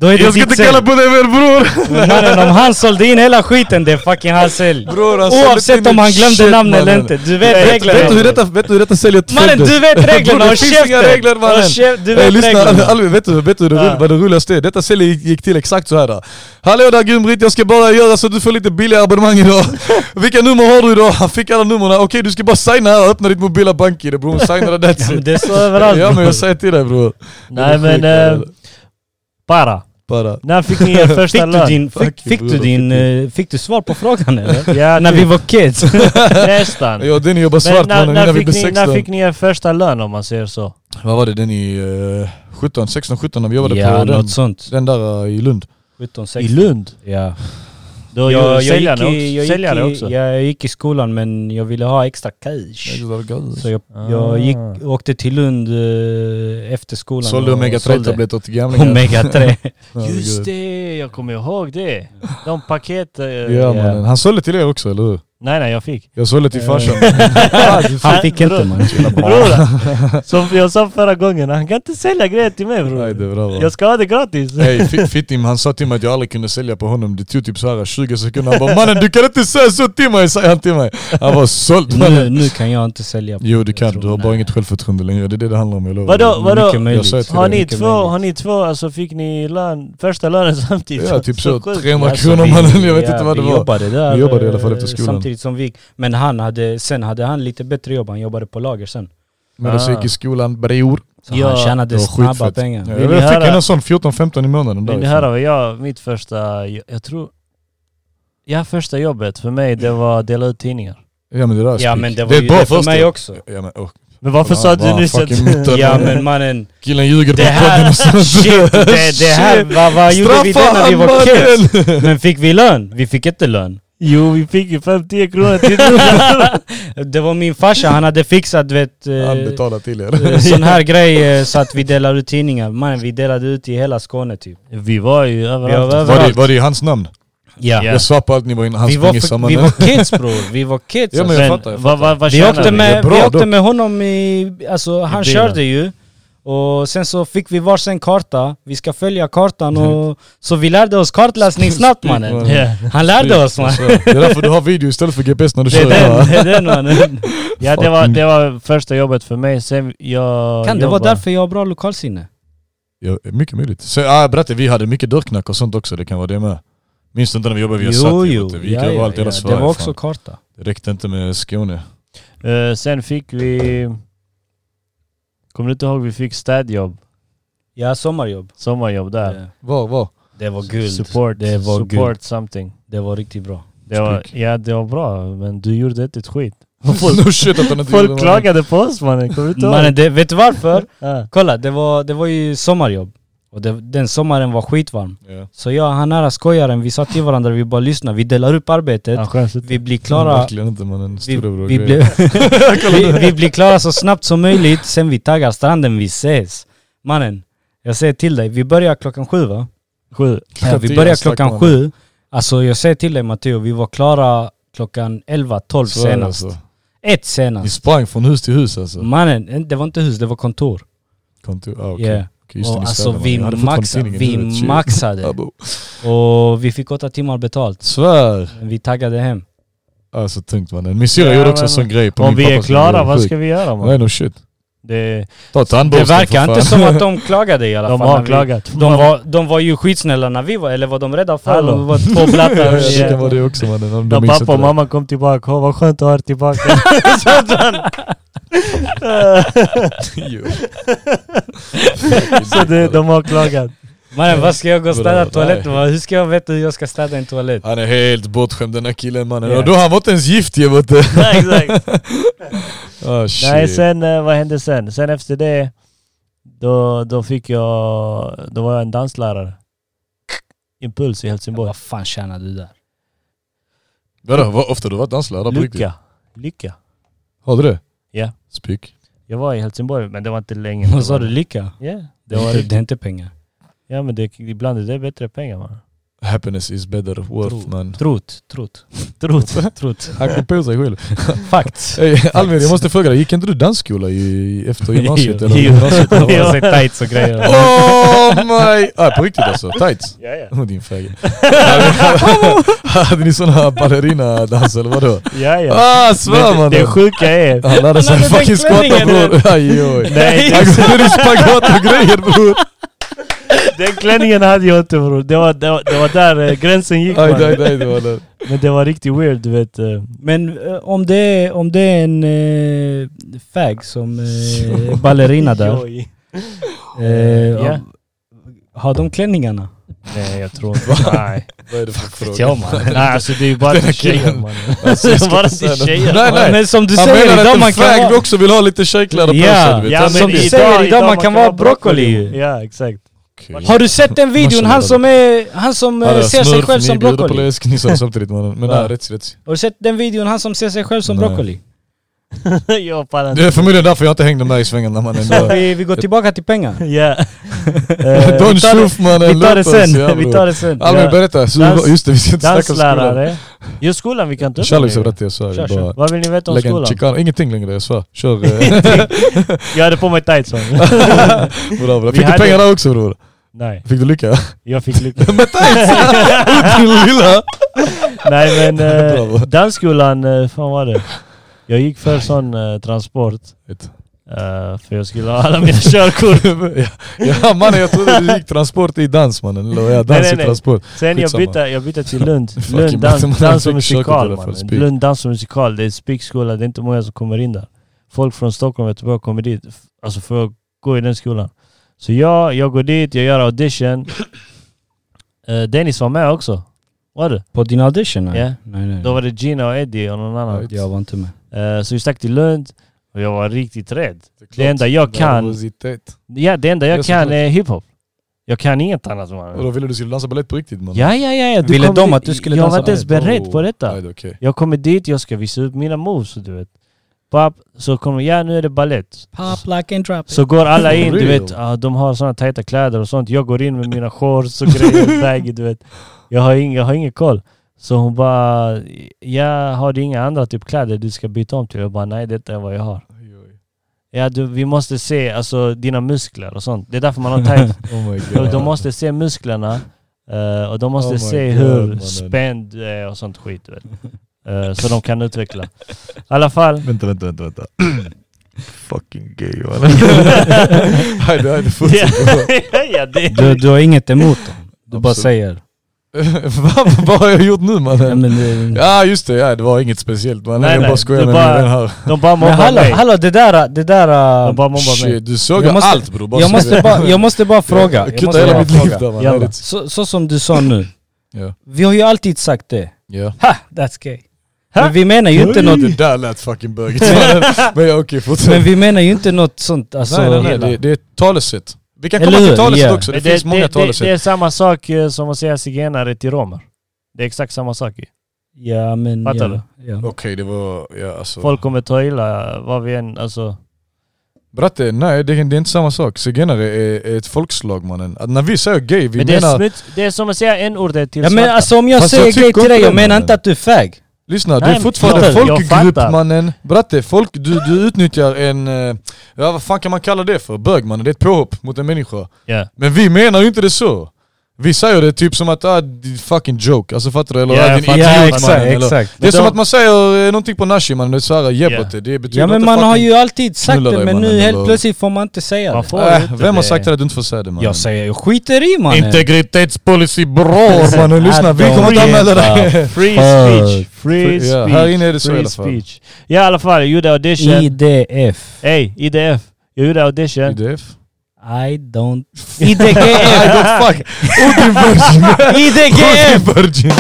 Speaker 3: Då är det
Speaker 2: Jag ska
Speaker 3: ditt
Speaker 2: inte
Speaker 3: sälj.
Speaker 2: kalla på dig mer bror!
Speaker 3: Men mannen om han sålde in hela skiten, det är fucking hans sälj.
Speaker 2: bror han sålde
Speaker 3: Oavsett
Speaker 2: till
Speaker 3: om
Speaker 2: mig.
Speaker 3: han glömde
Speaker 2: Shit,
Speaker 3: namn eller
Speaker 2: mannen.
Speaker 3: inte. Du
Speaker 2: Vet-
Speaker 3: vet
Speaker 2: Vet du hur
Speaker 3: reglerna.
Speaker 2: detta, vet du hur detta säljet
Speaker 3: Mannen
Speaker 2: följdes?
Speaker 3: du vet reglerna,
Speaker 2: Bror,
Speaker 3: håll
Speaker 2: det finns inga
Speaker 3: käften!
Speaker 2: regler mannen!
Speaker 3: Håll käf- Du
Speaker 2: Ey,
Speaker 3: vet
Speaker 2: lyssna,
Speaker 3: reglerna.
Speaker 2: Alve, Alve, vet du, vet du hur det,
Speaker 3: Ja.
Speaker 2: vad det roligaste är? Detta säljet gick, gick till exakt så här. Då. Hallå där Gumrit, jag ska bara göra så att du får lite billigare abonnemang idag. Vilka nummer har du idag? Han fick alla numren. Okej du ska bara signa här och öppna ditt mobila bank-id bror. Signa det,
Speaker 3: Ja,
Speaker 2: that's
Speaker 3: men
Speaker 2: it.
Speaker 3: Det är så
Speaker 2: Ja
Speaker 3: överallt
Speaker 2: men
Speaker 3: bror.
Speaker 2: jag säger till dig bror.
Speaker 1: Nej
Speaker 2: Det är
Speaker 1: men...
Speaker 2: sjukt,
Speaker 1: eh,
Speaker 2: bror.
Speaker 1: Para.
Speaker 2: Bara.
Speaker 1: När fick ni er första
Speaker 3: Fick du,
Speaker 1: lön?
Speaker 3: din, fick,
Speaker 2: Fuck you,
Speaker 3: fick, du
Speaker 2: bror.
Speaker 3: din, eh, fick du svar på frågan eller?
Speaker 1: Ja,
Speaker 3: När
Speaker 1: typ.
Speaker 3: vi var kids.
Speaker 1: Nästan.
Speaker 2: Ja Denny jobbar
Speaker 1: Men
Speaker 2: svart
Speaker 1: när,
Speaker 2: mannen
Speaker 1: när,
Speaker 2: innan vi
Speaker 1: fick
Speaker 2: blev
Speaker 1: ni, när
Speaker 2: 16.
Speaker 1: fick ni er första lön om man säger så?
Speaker 2: Vad var det Denny? eh, 17, 16, 17 när vi jobbade
Speaker 3: ja,
Speaker 2: på den,
Speaker 3: något sånt.
Speaker 2: den där eh, i Lund.
Speaker 3: 17, 16.
Speaker 1: I Lund?
Speaker 3: Ja.
Speaker 1: Då
Speaker 3: jag,
Speaker 1: gjorde
Speaker 3: jag, gick
Speaker 1: säljaren
Speaker 3: i, jag,
Speaker 1: också. Säljare
Speaker 3: gick
Speaker 1: också.
Speaker 3: i, jag gick i skolan men jag ville ha extra cash. Så jag,
Speaker 1: Ah.
Speaker 3: jag gick, åkte till Lund eh, efter skolan.
Speaker 2: Sålde
Speaker 3: och
Speaker 2: Omega
Speaker 3: sålde
Speaker 2: 3-tabletter till gamlingar.
Speaker 3: Omega 3.
Speaker 2: Herregud.
Speaker 1: Just det, jag kommer ihåg det. De paket... eh,
Speaker 2: Ja mannen, han sålde till er också eller hur?
Speaker 1: Nej nej jag fick.
Speaker 2: Jag sålde till farsan.
Speaker 3: Han fick inte
Speaker 1: Bror.
Speaker 3: man.
Speaker 1: Bror, som jag sa förra gången, han kan inte sälja grejer till mig
Speaker 2: Nej,
Speaker 1: bror.
Speaker 2: det är bra, va?
Speaker 1: Jag ska ha det gratis.
Speaker 2: Hey, Fi- Fittim han sa till mig att jag aldrig kunde sälja på honom, det tog typ så här 20 sekunder, han bara 'mannen du kan inte säga så till mig' säger han till mig. Han var såld
Speaker 3: Nu,
Speaker 2: mannen.
Speaker 3: nu kan jag inte sälja. på-
Speaker 2: Jo du kan,
Speaker 3: jag tror-
Speaker 2: du har bara
Speaker 3: nej.
Speaker 2: inget självförtroende längre, det är det det handlar om jag lovar.
Speaker 1: Vadå,
Speaker 3: Mycket
Speaker 1: vadå?
Speaker 3: möjligt.
Speaker 2: Jag sa till
Speaker 1: Har
Speaker 2: dig,
Speaker 1: ni
Speaker 3: mycket
Speaker 1: två,
Speaker 3: möjligt.
Speaker 1: har ni två, alltså fick ni lön, första lönen samtidigt?
Speaker 2: Ja typ så,
Speaker 1: sjukt.
Speaker 2: 300
Speaker 3: Alltså,
Speaker 2: kronor
Speaker 3: vi-
Speaker 2: mannen, jag vet
Speaker 3: ja,
Speaker 2: inte vad det
Speaker 3: vi
Speaker 2: var.
Speaker 3: Jobbade där,
Speaker 2: Vi jobbade i alla fall efter
Speaker 3: eh,
Speaker 2: skolan.
Speaker 3: Samtidigt som vi gick. Men han hade, sen hade han lite bättre jobb, han jobbade på lager sen.
Speaker 2: Medan jag gick i skolan, bror.
Speaker 3: Så
Speaker 1: Ja.
Speaker 3: han
Speaker 2: Det
Speaker 3: tjänade
Speaker 2: var
Speaker 3: Ah. snabba
Speaker 2: skitfett.
Speaker 3: pengar.
Speaker 2: Ja,
Speaker 1: Vill
Speaker 2: Jag
Speaker 1: ni
Speaker 2: fick
Speaker 1: höra-
Speaker 2: en sån 14-15 i månaden liksom.
Speaker 1: Vill ni
Speaker 2: därifrån.
Speaker 1: höra vad jag, mitt första, jag, jag tror... Ja, första jobbet för mig det var att dela ut tidningar.
Speaker 2: Ja men det där är
Speaker 3: Ja
Speaker 2: spik.
Speaker 3: men det var
Speaker 2: är
Speaker 3: ju
Speaker 2: bra
Speaker 3: det för
Speaker 2: första.
Speaker 3: mig också.
Speaker 2: Ja men och,
Speaker 1: Men varför
Speaker 2: Ja,
Speaker 1: sa du
Speaker 2: bara
Speaker 1: nyss att...
Speaker 2: fucking muta.
Speaker 3: Ja men mannen,
Speaker 2: killen ljuger
Speaker 3: det
Speaker 2: på podden
Speaker 3: här,
Speaker 2: och sånt.
Speaker 3: shit, det, det här, vad, vad gjorde vi det när vi var kids? Men fick vi lön? Vi fick inte lön.
Speaker 1: Jo, vi fick ju 5-10 kronor till nudlar.
Speaker 3: Det var min farsa, han hade fixat du vet, eh,
Speaker 2: Han betalar till er.
Speaker 3: eh, sån här grej eh, så att vi delade ut tidningar. Mannen vi delade ut i hela Skåne typ.
Speaker 1: Vi var ju
Speaker 3: Vi var
Speaker 1: överallt.
Speaker 2: Var det,
Speaker 3: överallt.
Speaker 2: var det i hans namn?
Speaker 3: Ja.
Speaker 1: Ja.
Speaker 2: Jag svär på allt ni var inne, han
Speaker 3: Vi, var
Speaker 2: sprang i
Speaker 3: för,
Speaker 2: samma
Speaker 3: vi
Speaker 2: nät.
Speaker 3: var kids bror, vi var kids.
Speaker 2: Ja, men
Speaker 3: alltså.
Speaker 2: jag fattar, jag
Speaker 1: vad, vad, vad
Speaker 3: Vi åkte,
Speaker 1: tjänade
Speaker 2: Det
Speaker 3: med,
Speaker 2: är bra
Speaker 3: vi åkte
Speaker 2: dock.
Speaker 3: med honom i, alltså han
Speaker 1: bilen.
Speaker 3: körde ju. Och sen så fick vi varsin karta, vi ska följa kartan och... Så vi lärde oss kartläsning snabbt mannen.
Speaker 1: Ja.
Speaker 3: Han lärde oss mannen.
Speaker 2: Det är därför du har video istället för GPS när du
Speaker 3: Det är
Speaker 2: kör.
Speaker 3: den, det är den mannen.
Speaker 1: Ja, det var, det var första jobbet för mig. Sen jag
Speaker 3: Kan det vara
Speaker 1: jobbade-
Speaker 3: därför jag har bra lokalsinne?
Speaker 2: Ja, mycket möjligt. Så, ah, berätta, vi hade mycket dörrknack och sånt också, det kan vara det med. Minns du inte när vi jobbade via Satya? vet du? Vi gick överallt i hela Sverige.
Speaker 3: Det var också
Speaker 2: fan.
Speaker 3: karta.
Speaker 2: Det räckte inte med Skåne.
Speaker 1: Eh, sen fick vi... Kommer du inte ihåg? Vi fick städjobb.
Speaker 3: Ja, sommarjobb.
Speaker 1: Sommarjobb där.
Speaker 3: Det-
Speaker 2: Var, var?
Speaker 3: Det var guld.
Speaker 1: Support,
Speaker 3: Det var
Speaker 1: support
Speaker 3: guld.
Speaker 1: something.
Speaker 3: Det var riktigt bra.
Speaker 1: Det var,
Speaker 2: Spik.
Speaker 1: ja, det var bra, men du gjorde inte ett skit.
Speaker 2: no shit att han inte gjorde
Speaker 1: Folk
Speaker 2: något.
Speaker 1: klagade på oss mannen, kommer du inte
Speaker 3: Mannen,
Speaker 1: ihåg?
Speaker 3: det, vet du varför?
Speaker 1: Ja.
Speaker 3: Kolla, det var, det var ju sommarjobb. Och det, den sommaren var skitvarm.
Speaker 2: Ja.
Speaker 3: Så jag och han nära skojaren, vi sa till varandra, vi bara lyssna, vi delar upp arbetet.
Speaker 1: Han skäms inte.
Speaker 3: Vi blir
Speaker 2: Mm,
Speaker 3: klara...
Speaker 2: Verkligen inte mannen,
Speaker 3: Vi,
Speaker 2: storebror
Speaker 3: vi, blir, vi, vi blir klara så snabbt som möjligt, sen vi taggar stranden, vi ses. Mannen, jag säger till dig, vi börjar klockan sju va?
Speaker 1: Sju.
Speaker 3: Ja, vi börjar klockan sju. Alltså jag säger till dig Matteo, vi var klara klockan 11, 12 senast.
Speaker 2: Alltså.
Speaker 3: Ett
Speaker 2: Ni
Speaker 3: senast.
Speaker 2: sprang från hus till hus
Speaker 1: Mm.
Speaker 2: alltså?
Speaker 3: Mannen, det var inte hus, det var kontor.
Speaker 2: Kontor, ah, okej.
Speaker 3: Yeah.
Speaker 2: Okej, just det,
Speaker 3: Och
Speaker 2: ni
Speaker 3: alltså
Speaker 2: städade,
Speaker 3: vi
Speaker 2: mannen. Jag hade fortfarande
Speaker 3: maxade,
Speaker 2: tidningen i
Speaker 3: vi
Speaker 2: huvudet, shit.
Speaker 3: maxade.
Speaker 2: Abo.
Speaker 3: Och vi fick åtta timmar betalt.
Speaker 2: Svär!
Speaker 3: Men Vi taggade hem.
Speaker 2: Alltså tungt mannen. Min syrra
Speaker 1: Ja,
Speaker 2: gjorde också
Speaker 1: men-
Speaker 2: en sån grej på
Speaker 1: Om
Speaker 2: min
Speaker 1: vi är
Speaker 2: pappas
Speaker 1: klara,
Speaker 2: grej.
Speaker 1: vad
Speaker 2: Sjukt.
Speaker 1: ska vi göra
Speaker 2: Nej
Speaker 1: man?
Speaker 2: no shit.
Speaker 1: Det,
Speaker 2: Ta
Speaker 3: Det
Speaker 2: tandborsten
Speaker 3: verkar
Speaker 2: för
Speaker 3: inte
Speaker 2: fan.
Speaker 3: som att de klagade i alla
Speaker 1: de
Speaker 3: fall. när
Speaker 1: har
Speaker 3: vi-
Speaker 1: klagat.
Speaker 3: De var, de var ju skitsnälla när vi var, eller var de rädda för?
Speaker 1: Hallå.
Speaker 3: De var två blattar.
Speaker 1: Ja,
Speaker 2: Det
Speaker 1: ja.
Speaker 2: kan vara det också mannen. Om
Speaker 1: När
Speaker 2: de minns
Speaker 1: pappa
Speaker 2: inte
Speaker 1: och
Speaker 2: det.
Speaker 1: mamma kom tillbaka, åh vad skönt att ha er tillbaka.
Speaker 2: Jo.
Speaker 1: Så det, de har klagat.
Speaker 3: Mannen vad ska jag gå och städa
Speaker 2: Bra,
Speaker 3: toaletten? va? Hur ska jag veta hur jag ska städa en toalett?
Speaker 2: Han är helt bortskämd den här killen mannen.
Speaker 3: Ja.
Speaker 2: Och då han var inte ens gift ju vet du.
Speaker 1: Nej, exakt.
Speaker 2: Ah, shit.
Speaker 1: Nej, sen eh, vad hände sen? Sen efter det, då, då fick jag, då var jag en danslärare. Impuls i Helsingborg.
Speaker 3: Vad fan tjänar du där?
Speaker 2: Vadå, vad ofta du varit danslärare på riktigt?
Speaker 1: Lycka. Lycka.
Speaker 2: Har du det?
Speaker 1: Ja.
Speaker 2: Spik.
Speaker 1: Jag var i Helsingborg, men det var inte länge.
Speaker 3: Vad sa du? Lycka?
Speaker 1: Ja,
Speaker 3: Det, var, det är inte pengar.
Speaker 1: ja men det, ibland är det bättre pengar man.
Speaker 2: Happiness is better worth
Speaker 3: Tro.
Speaker 2: man.
Speaker 3: Trot, trot,
Speaker 1: Trot.
Speaker 3: trot.
Speaker 2: Han kom på sig själv.
Speaker 3: Fakt.
Speaker 2: Hey, Almir jag måste fråga dig, gick inte du dansskola i, efter gymnasiet?
Speaker 3: Jo.
Speaker 2: eller
Speaker 1: Jo.
Speaker 2: gymnasiet?
Speaker 1: Jo.
Speaker 2: eller vad?
Speaker 3: sig tights och grejer.
Speaker 2: Oh my... Ah, på riktigt alltså, tights.
Speaker 1: Ja, ja.
Speaker 2: Åh din fägel. Hade ni såna ballerina-dans eller vadå?
Speaker 1: ja, ja.
Speaker 2: Ah svär
Speaker 1: Men
Speaker 2: mannen!
Speaker 1: det, det sjuka är...
Speaker 2: Han lärde sig
Speaker 3: hade den
Speaker 2: fucking squatta
Speaker 3: klänningen,
Speaker 2: bror. Aj, oj.
Speaker 1: Nej,
Speaker 2: Han går ner i spagat och grejer bror.
Speaker 1: den klänningen hade jag inte bror. Det var, det var, det var där eh, gränsen gick
Speaker 2: Aj,
Speaker 1: man.
Speaker 2: aj, aj, det var det.
Speaker 1: Men det var riktigt weird du vet. eh.
Speaker 3: Men eh, om, det är, om det är en eh, fag som eh, ballerina där.
Speaker 1: Oj.
Speaker 3: Eh,
Speaker 1: Ja.
Speaker 3: Har de klänningarna?
Speaker 1: Nej jag tror inte... Nej.
Speaker 2: Vad är det för
Speaker 3: Vet jag, man.
Speaker 1: Nej alltså det är ju bara
Speaker 2: Den här
Speaker 1: till tjejer
Speaker 2: killen.
Speaker 1: mannen.
Speaker 2: Alltså, jag ska
Speaker 1: Bara
Speaker 2: inte säga
Speaker 1: till
Speaker 2: det.
Speaker 1: tjejer.
Speaker 2: Nej nej!
Speaker 3: Men som du
Speaker 2: Han
Speaker 3: säger
Speaker 2: menar
Speaker 3: idag man
Speaker 2: att en
Speaker 3: kan
Speaker 2: fag
Speaker 3: vara...
Speaker 2: också vill ha lite tjejkläder på
Speaker 3: Ja.
Speaker 2: sig du vet.
Speaker 3: Ja,
Speaker 2: Han
Speaker 3: men
Speaker 2: som-
Speaker 3: du i- säger, idag man kan vara broccoli ju.
Speaker 1: Ja exakt.
Speaker 2: Okej.
Speaker 3: Har du sett den videon?
Speaker 2: Marshall
Speaker 3: Han
Speaker 2: gillar
Speaker 3: som, är, han som eh,
Speaker 2: Ja, det är
Speaker 3: ser sig
Speaker 2: smurf,
Speaker 3: själv
Speaker 2: ni
Speaker 3: som
Speaker 2: bjuder på
Speaker 3: broccoli.
Speaker 2: läsk, ni sa samtidigt mannen. Men
Speaker 3: Va?
Speaker 2: nej, rätt rätt.
Speaker 3: Har du sett den videon? Han som ser sig själv som
Speaker 2: Nej.
Speaker 3: broccoli.
Speaker 1: jag pallar
Speaker 2: Det är förmodligen därför jag inte hängde med i svängarna mannen.
Speaker 3: Så vi, vi går tillbaka till pengar.
Speaker 1: Ja. Eh,
Speaker 2: Don
Speaker 1: vi tar det-
Speaker 2: Schuf mannen,
Speaker 1: Vi tar det
Speaker 2: låt oss, ja,
Speaker 1: sen, vi
Speaker 2: bror.
Speaker 1: tar det sen.
Speaker 2: Albin
Speaker 1: Ja.
Speaker 2: berätta, så,
Speaker 1: Dans-
Speaker 2: just det vi ska inte snacka om skolan.
Speaker 1: Danslärare. Just skolan vi kan inte
Speaker 2: Shallow
Speaker 1: längre.
Speaker 2: berättade jag så här,
Speaker 3: Kör,
Speaker 2: jag
Speaker 3: kör.
Speaker 2: bara
Speaker 1: Vad vill ni veta om
Speaker 2: lägga en
Speaker 1: skolan?
Speaker 2: chicano, ingenting längre jag svär. Kör. eh,
Speaker 1: Jag hade på mig tights man.
Speaker 2: bra, bra.
Speaker 1: Vi
Speaker 2: Fick du
Speaker 1: hade-
Speaker 2: pengar där också bror?
Speaker 1: Nej,
Speaker 2: Fick du lycka?
Speaker 1: jag fick lycka.
Speaker 2: Din lilla!
Speaker 1: Nej men
Speaker 2: Bravo.
Speaker 1: eh, dansskolan, eh, fan var det? Jag gick för sån eh, transport.
Speaker 2: Ett.
Speaker 1: Eh, för jag skulle ha alla mina körkort.
Speaker 2: ja, ja mannen jag trodde du gick transport i dans mannen, eller ja, dans
Speaker 1: Nej, nej,
Speaker 2: i
Speaker 1: nej.
Speaker 2: transport.
Speaker 1: Sen jag
Speaker 2: Skitsamma.
Speaker 1: bytte, jag bytte till Lund.
Speaker 2: Fucking
Speaker 1: Lund dans,
Speaker 2: matematikkörkort
Speaker 1: dans och
Speaker 2: i
Speaker 1: musikal
Speaker 2: alla fall,
Speaker 1: man.
Speaker 2: spik.
Speaker 1: Lund dans och musikal, det är spikskola, det är inte många som kommer in där. Folk från Stockholm och Göteborg kommer dit, f- alltså för att gå i den skolan. Så jag, jag går dit, jag gör audition. Eh, Dennis var med också. Var
Speaker 2: Mm.
Speaker 1: du?
Speaker 3: På din audition? Nej,
Speaker 1: Ja.
Speaker 3: nej. nej.
Speaker 1: Då var det Gina och Eddie och någon annan.
Speaker 3: Jag var inte med.
Speaker 1: Eh, så vi stack till Lund och jag var riktigt rädd. Det enda jag kan,
Speaker 2: Nervositet.
Speaker 1: ja, det enda jag
Speaker 2: Det är så
Speaker 1: kan
Speaker 2: klart.
Speaker 1: är hiphop. Jag kan inget annat
Speaker 2: Och
Speaker 1: man.
Speaker 2: då ville du skulle dansa balett på riktigt mannen?
Speaker 1: Ja, ja, ja. ja.
Speaker 3: Ville
Speaker 1: kom
Speaker 3: de
Speaker 1: dit.
Speaker 3: att du skulle
Speaker 1: Jag
Speaker 3: dansa
Speaker 1: var inte ens
Speaker 2: Nej,
Speaker 1: beredd
Speaker 2: då-
Speaker 1: på detta.
Speaker 2: Nej, det är okej.
Speaker 1: Jag kommer dit, jag ska visa upp mina moves, du vet. Papp, så kommer ja nu är det ballett.
Speaker 3: Pop like and drop
Speaker 1: Så går alla in, du
Speaker 2: Real.
Speaker 1: vet, ah, de har såna tajta kläder och sånt. Jag går in med mina shorts och grejer, baggy, du vet. Jag har, ing, jag har ingen koll. Så hon bara, ja har du inga andra typ kläder du ska byta om till? Jag bara, nej detta är vad jag har.
Speaker 2: Oj, oj.
Speaker 1: Ja du, vi måste se alltså dina muskler och sånt. Det är därför man har tight.
Speaker 2: Oh my
Speaker 1: För
Speaker 2: god.
Speaker 1: de måste se musklerna eh, och de måste
Speaker 2: Oh my
Speaker 1: se
Speaker 2: God,
Speaker 1: hur
Speaker 2: mannen.
Speaker 1: spänd du är och sånt skit. du Vet. Eh, så de kan utveckla. I alla fall.
Speaker 2: Vänta, vänta, vänta. vänta. Fucking gay mannen. Hajde, hajde,
Speaker 1: ja,
Speaker 2: fortsätt.
Speaker 1: ja, det
Speaker 3: Du, du har inget emot dem? Du bara
Speaker 2: Absolut.
Speaker 3: säger?
Speaker 2: Va, Vad har jag gjort nu
Speaker 3: Nej,
Speaker 2: mannen?
Speaker 3: men, eh, det-
Speaker 2: Ja just det, ja, det var inget speciellt mannen.
Speaker 1: Nej,
Speaker 2: jag
Speaker 1: nej,
Speaker 2: bara skojar
Speaker 1: det
Speaker 2: med
Speaker 1: bara-
Speaker 2: den här.
Speaker 1: de bara
Speaker 3: men
Speaker 1: mobbar
Speaker 3: hallå,
Speaker 1: mig.
Speaker 3: hallå det där... Det där
Speaker 1: De bara mobbar mig.
Speaker 2: Shit, du såg
Speaker 3: Jag måste-
Speaker 2: allt bror. Bara
Speaker 3: jag, måste
Speaker 2: såg-
Speaker 3: bara, jag måste bara fråga.
Speaker 2: Jag
Speaker 3: Jag
Speaker 2: kuttade
Speaker 3: måste
Speaker 2: hela
Speaker 3: bara
Speaker 2: mitt liv
Speaker 3: fråga.
Speaker 2: där mannen.
Speaker 1: Jalla.
Speaker 2: Det är ett-
Speaker 3: Så, så som du sa nu.
Speaker 2: Ja.
Speaker 3: Vi har ju alltid sagt det.
Speaker 2: Ja.
Speaker 3: Ha! That's gay.
Speaker 1: Ha?
Speaker 3: Men vi menar ju inte
Speaker 2: Oj,
Speaker 3: något...
Speaker 2: Det där lät fucking bögigt mannen. Men ja, okej, fortsätt.
Speaker 3: Men vi menar ju inte något sånt alltså...
Speaker 2: nej, nej, nej, det, det är ett talesätt. Vi kan
Speaker 3: Eller
Speaker 2: komma
Speaker 3: hur?
Speaker 2: till talesätt
Speaker 3: Ja.
Speaker 2: också, det,
Speaker 1: Men
Speaker 2: finns många
Speaker 1: det, det,
Speaker 2: talesätt.
Speaker 1: det är samma sak eh, som att säga zigenare till romer. Det är exakt samma sak ju.
Speaker 3: Ja men...
Speaker 1: Fattar
Speaker 3: ja, Ja.
Speaker 2: Okej, det var... Ja, alltså.
Speaker 1: Folk kommer ta illa vad vi än, alltså.
Speaker 2: Bratte, nej det, det är inte samma sak. Zigenare är, är ett folkslag mannen. Att när vi säger gay, vi
Speaker 1: Men det är,
Speaker 2: menar...
Speaker 1: smuts, det är som att säga en ordet till
Speaker 3: ja men
Speaker 1: svarta.
Speaker 3: alltså om jag
Speaker 2: Fast jag
Speaker 3: säger
Speaker 2: tycker
Speaker 3: gay till
Speaker 2: inte
Speaker 3: dig, jag
Speaker 2: det,
Speaker 3: menar
Speaker 2: mannen.
Speaker 3: inte att du är fag.
Speaker 2: lyssna,
Speaker 1: Nej,
Speaker 2: det är
Speaker 1: men-
Speaker 2: fortfarande
Speaker 1: jag
Speaker 2: folkgrupp
Speaker 1: fattar.
Speaker 2: mannen. Bratte, folk, du, du utnyttjar en... eh, Ja vad fan kan man kalla det för? Bög mannen, det är ett påhopp mot en människa.
Speaker 1: Ja.
Speaker 2: Men vi menar ju inte det så. Vi säger det typ som att ah, din fucking joke, alltså fattar du? Eller
Speaker 1: Ja,
Speaker 2: ah,
Speaker 1: jag
Speaker 2: din
Speaker 1: fattar.
Speaker 2: idiot
Speaker 1: Ja,
Speaker 2: mannen. Eller, det är
Speaker 1: Men
Speaker 2: som
Speaker 1: då-
Speaker 2: att man säger eh, någonting på nashi mannen, det är såhär
Speaker 1: Ja.
Speaker 2: jebbet det. Det betyder
Speaker 3: Ja men
Speaker 2: inte
Speaker 3: man har
Speaker 2: fucking-
Speaker 3: ju alltid sagt
Speaker 2: knulla
Speaker 3: det
Speaker 2: dig,
Speaker 3: men nu
Speaker 2: mannen,
Speaker 3: helt
Speaker 2: eller-
Speaker 3: plötsligt får man inte säga
Speaker 1: Man
Speaker 3: det.
Speaker 1: får
Speaker 2: Äh,
Speaker 1: inte
Speaker 2: vem har
Speaker 1: det.
Speaker 2: sagt till dig att du inte får säga det mannen?
Speaker 3: Jag säger jag skiter i Alltså, mannen.
Speaker 2: Integritetspolicy bror mannen, lyssna vi kommer inte
Speaker 3: Free-
Speaker 2: anmäla dig!
Speaker 1: Free
Speaker 3: Fuck.
Speaker 1: speech. Free
Speaker 2: Free- ja,
Speaker 1: speech.
Speaker 2: här inne är det så i
Speaker 1: free
Speaker 2: alla fall.
Speaker 1: speech. Ja i alla fall, jag gjorde audition.
Speaker 3: IDF.
Speaker 1: Ey, IDF. Jag gjorde audition.
Speaker 2: IDF?
Speaker 3: I don't... IDGF!
Speaker 2: Fuck! Odin virgin!
Speaker 3: IDGF!
Speaker 2: Odin virgin!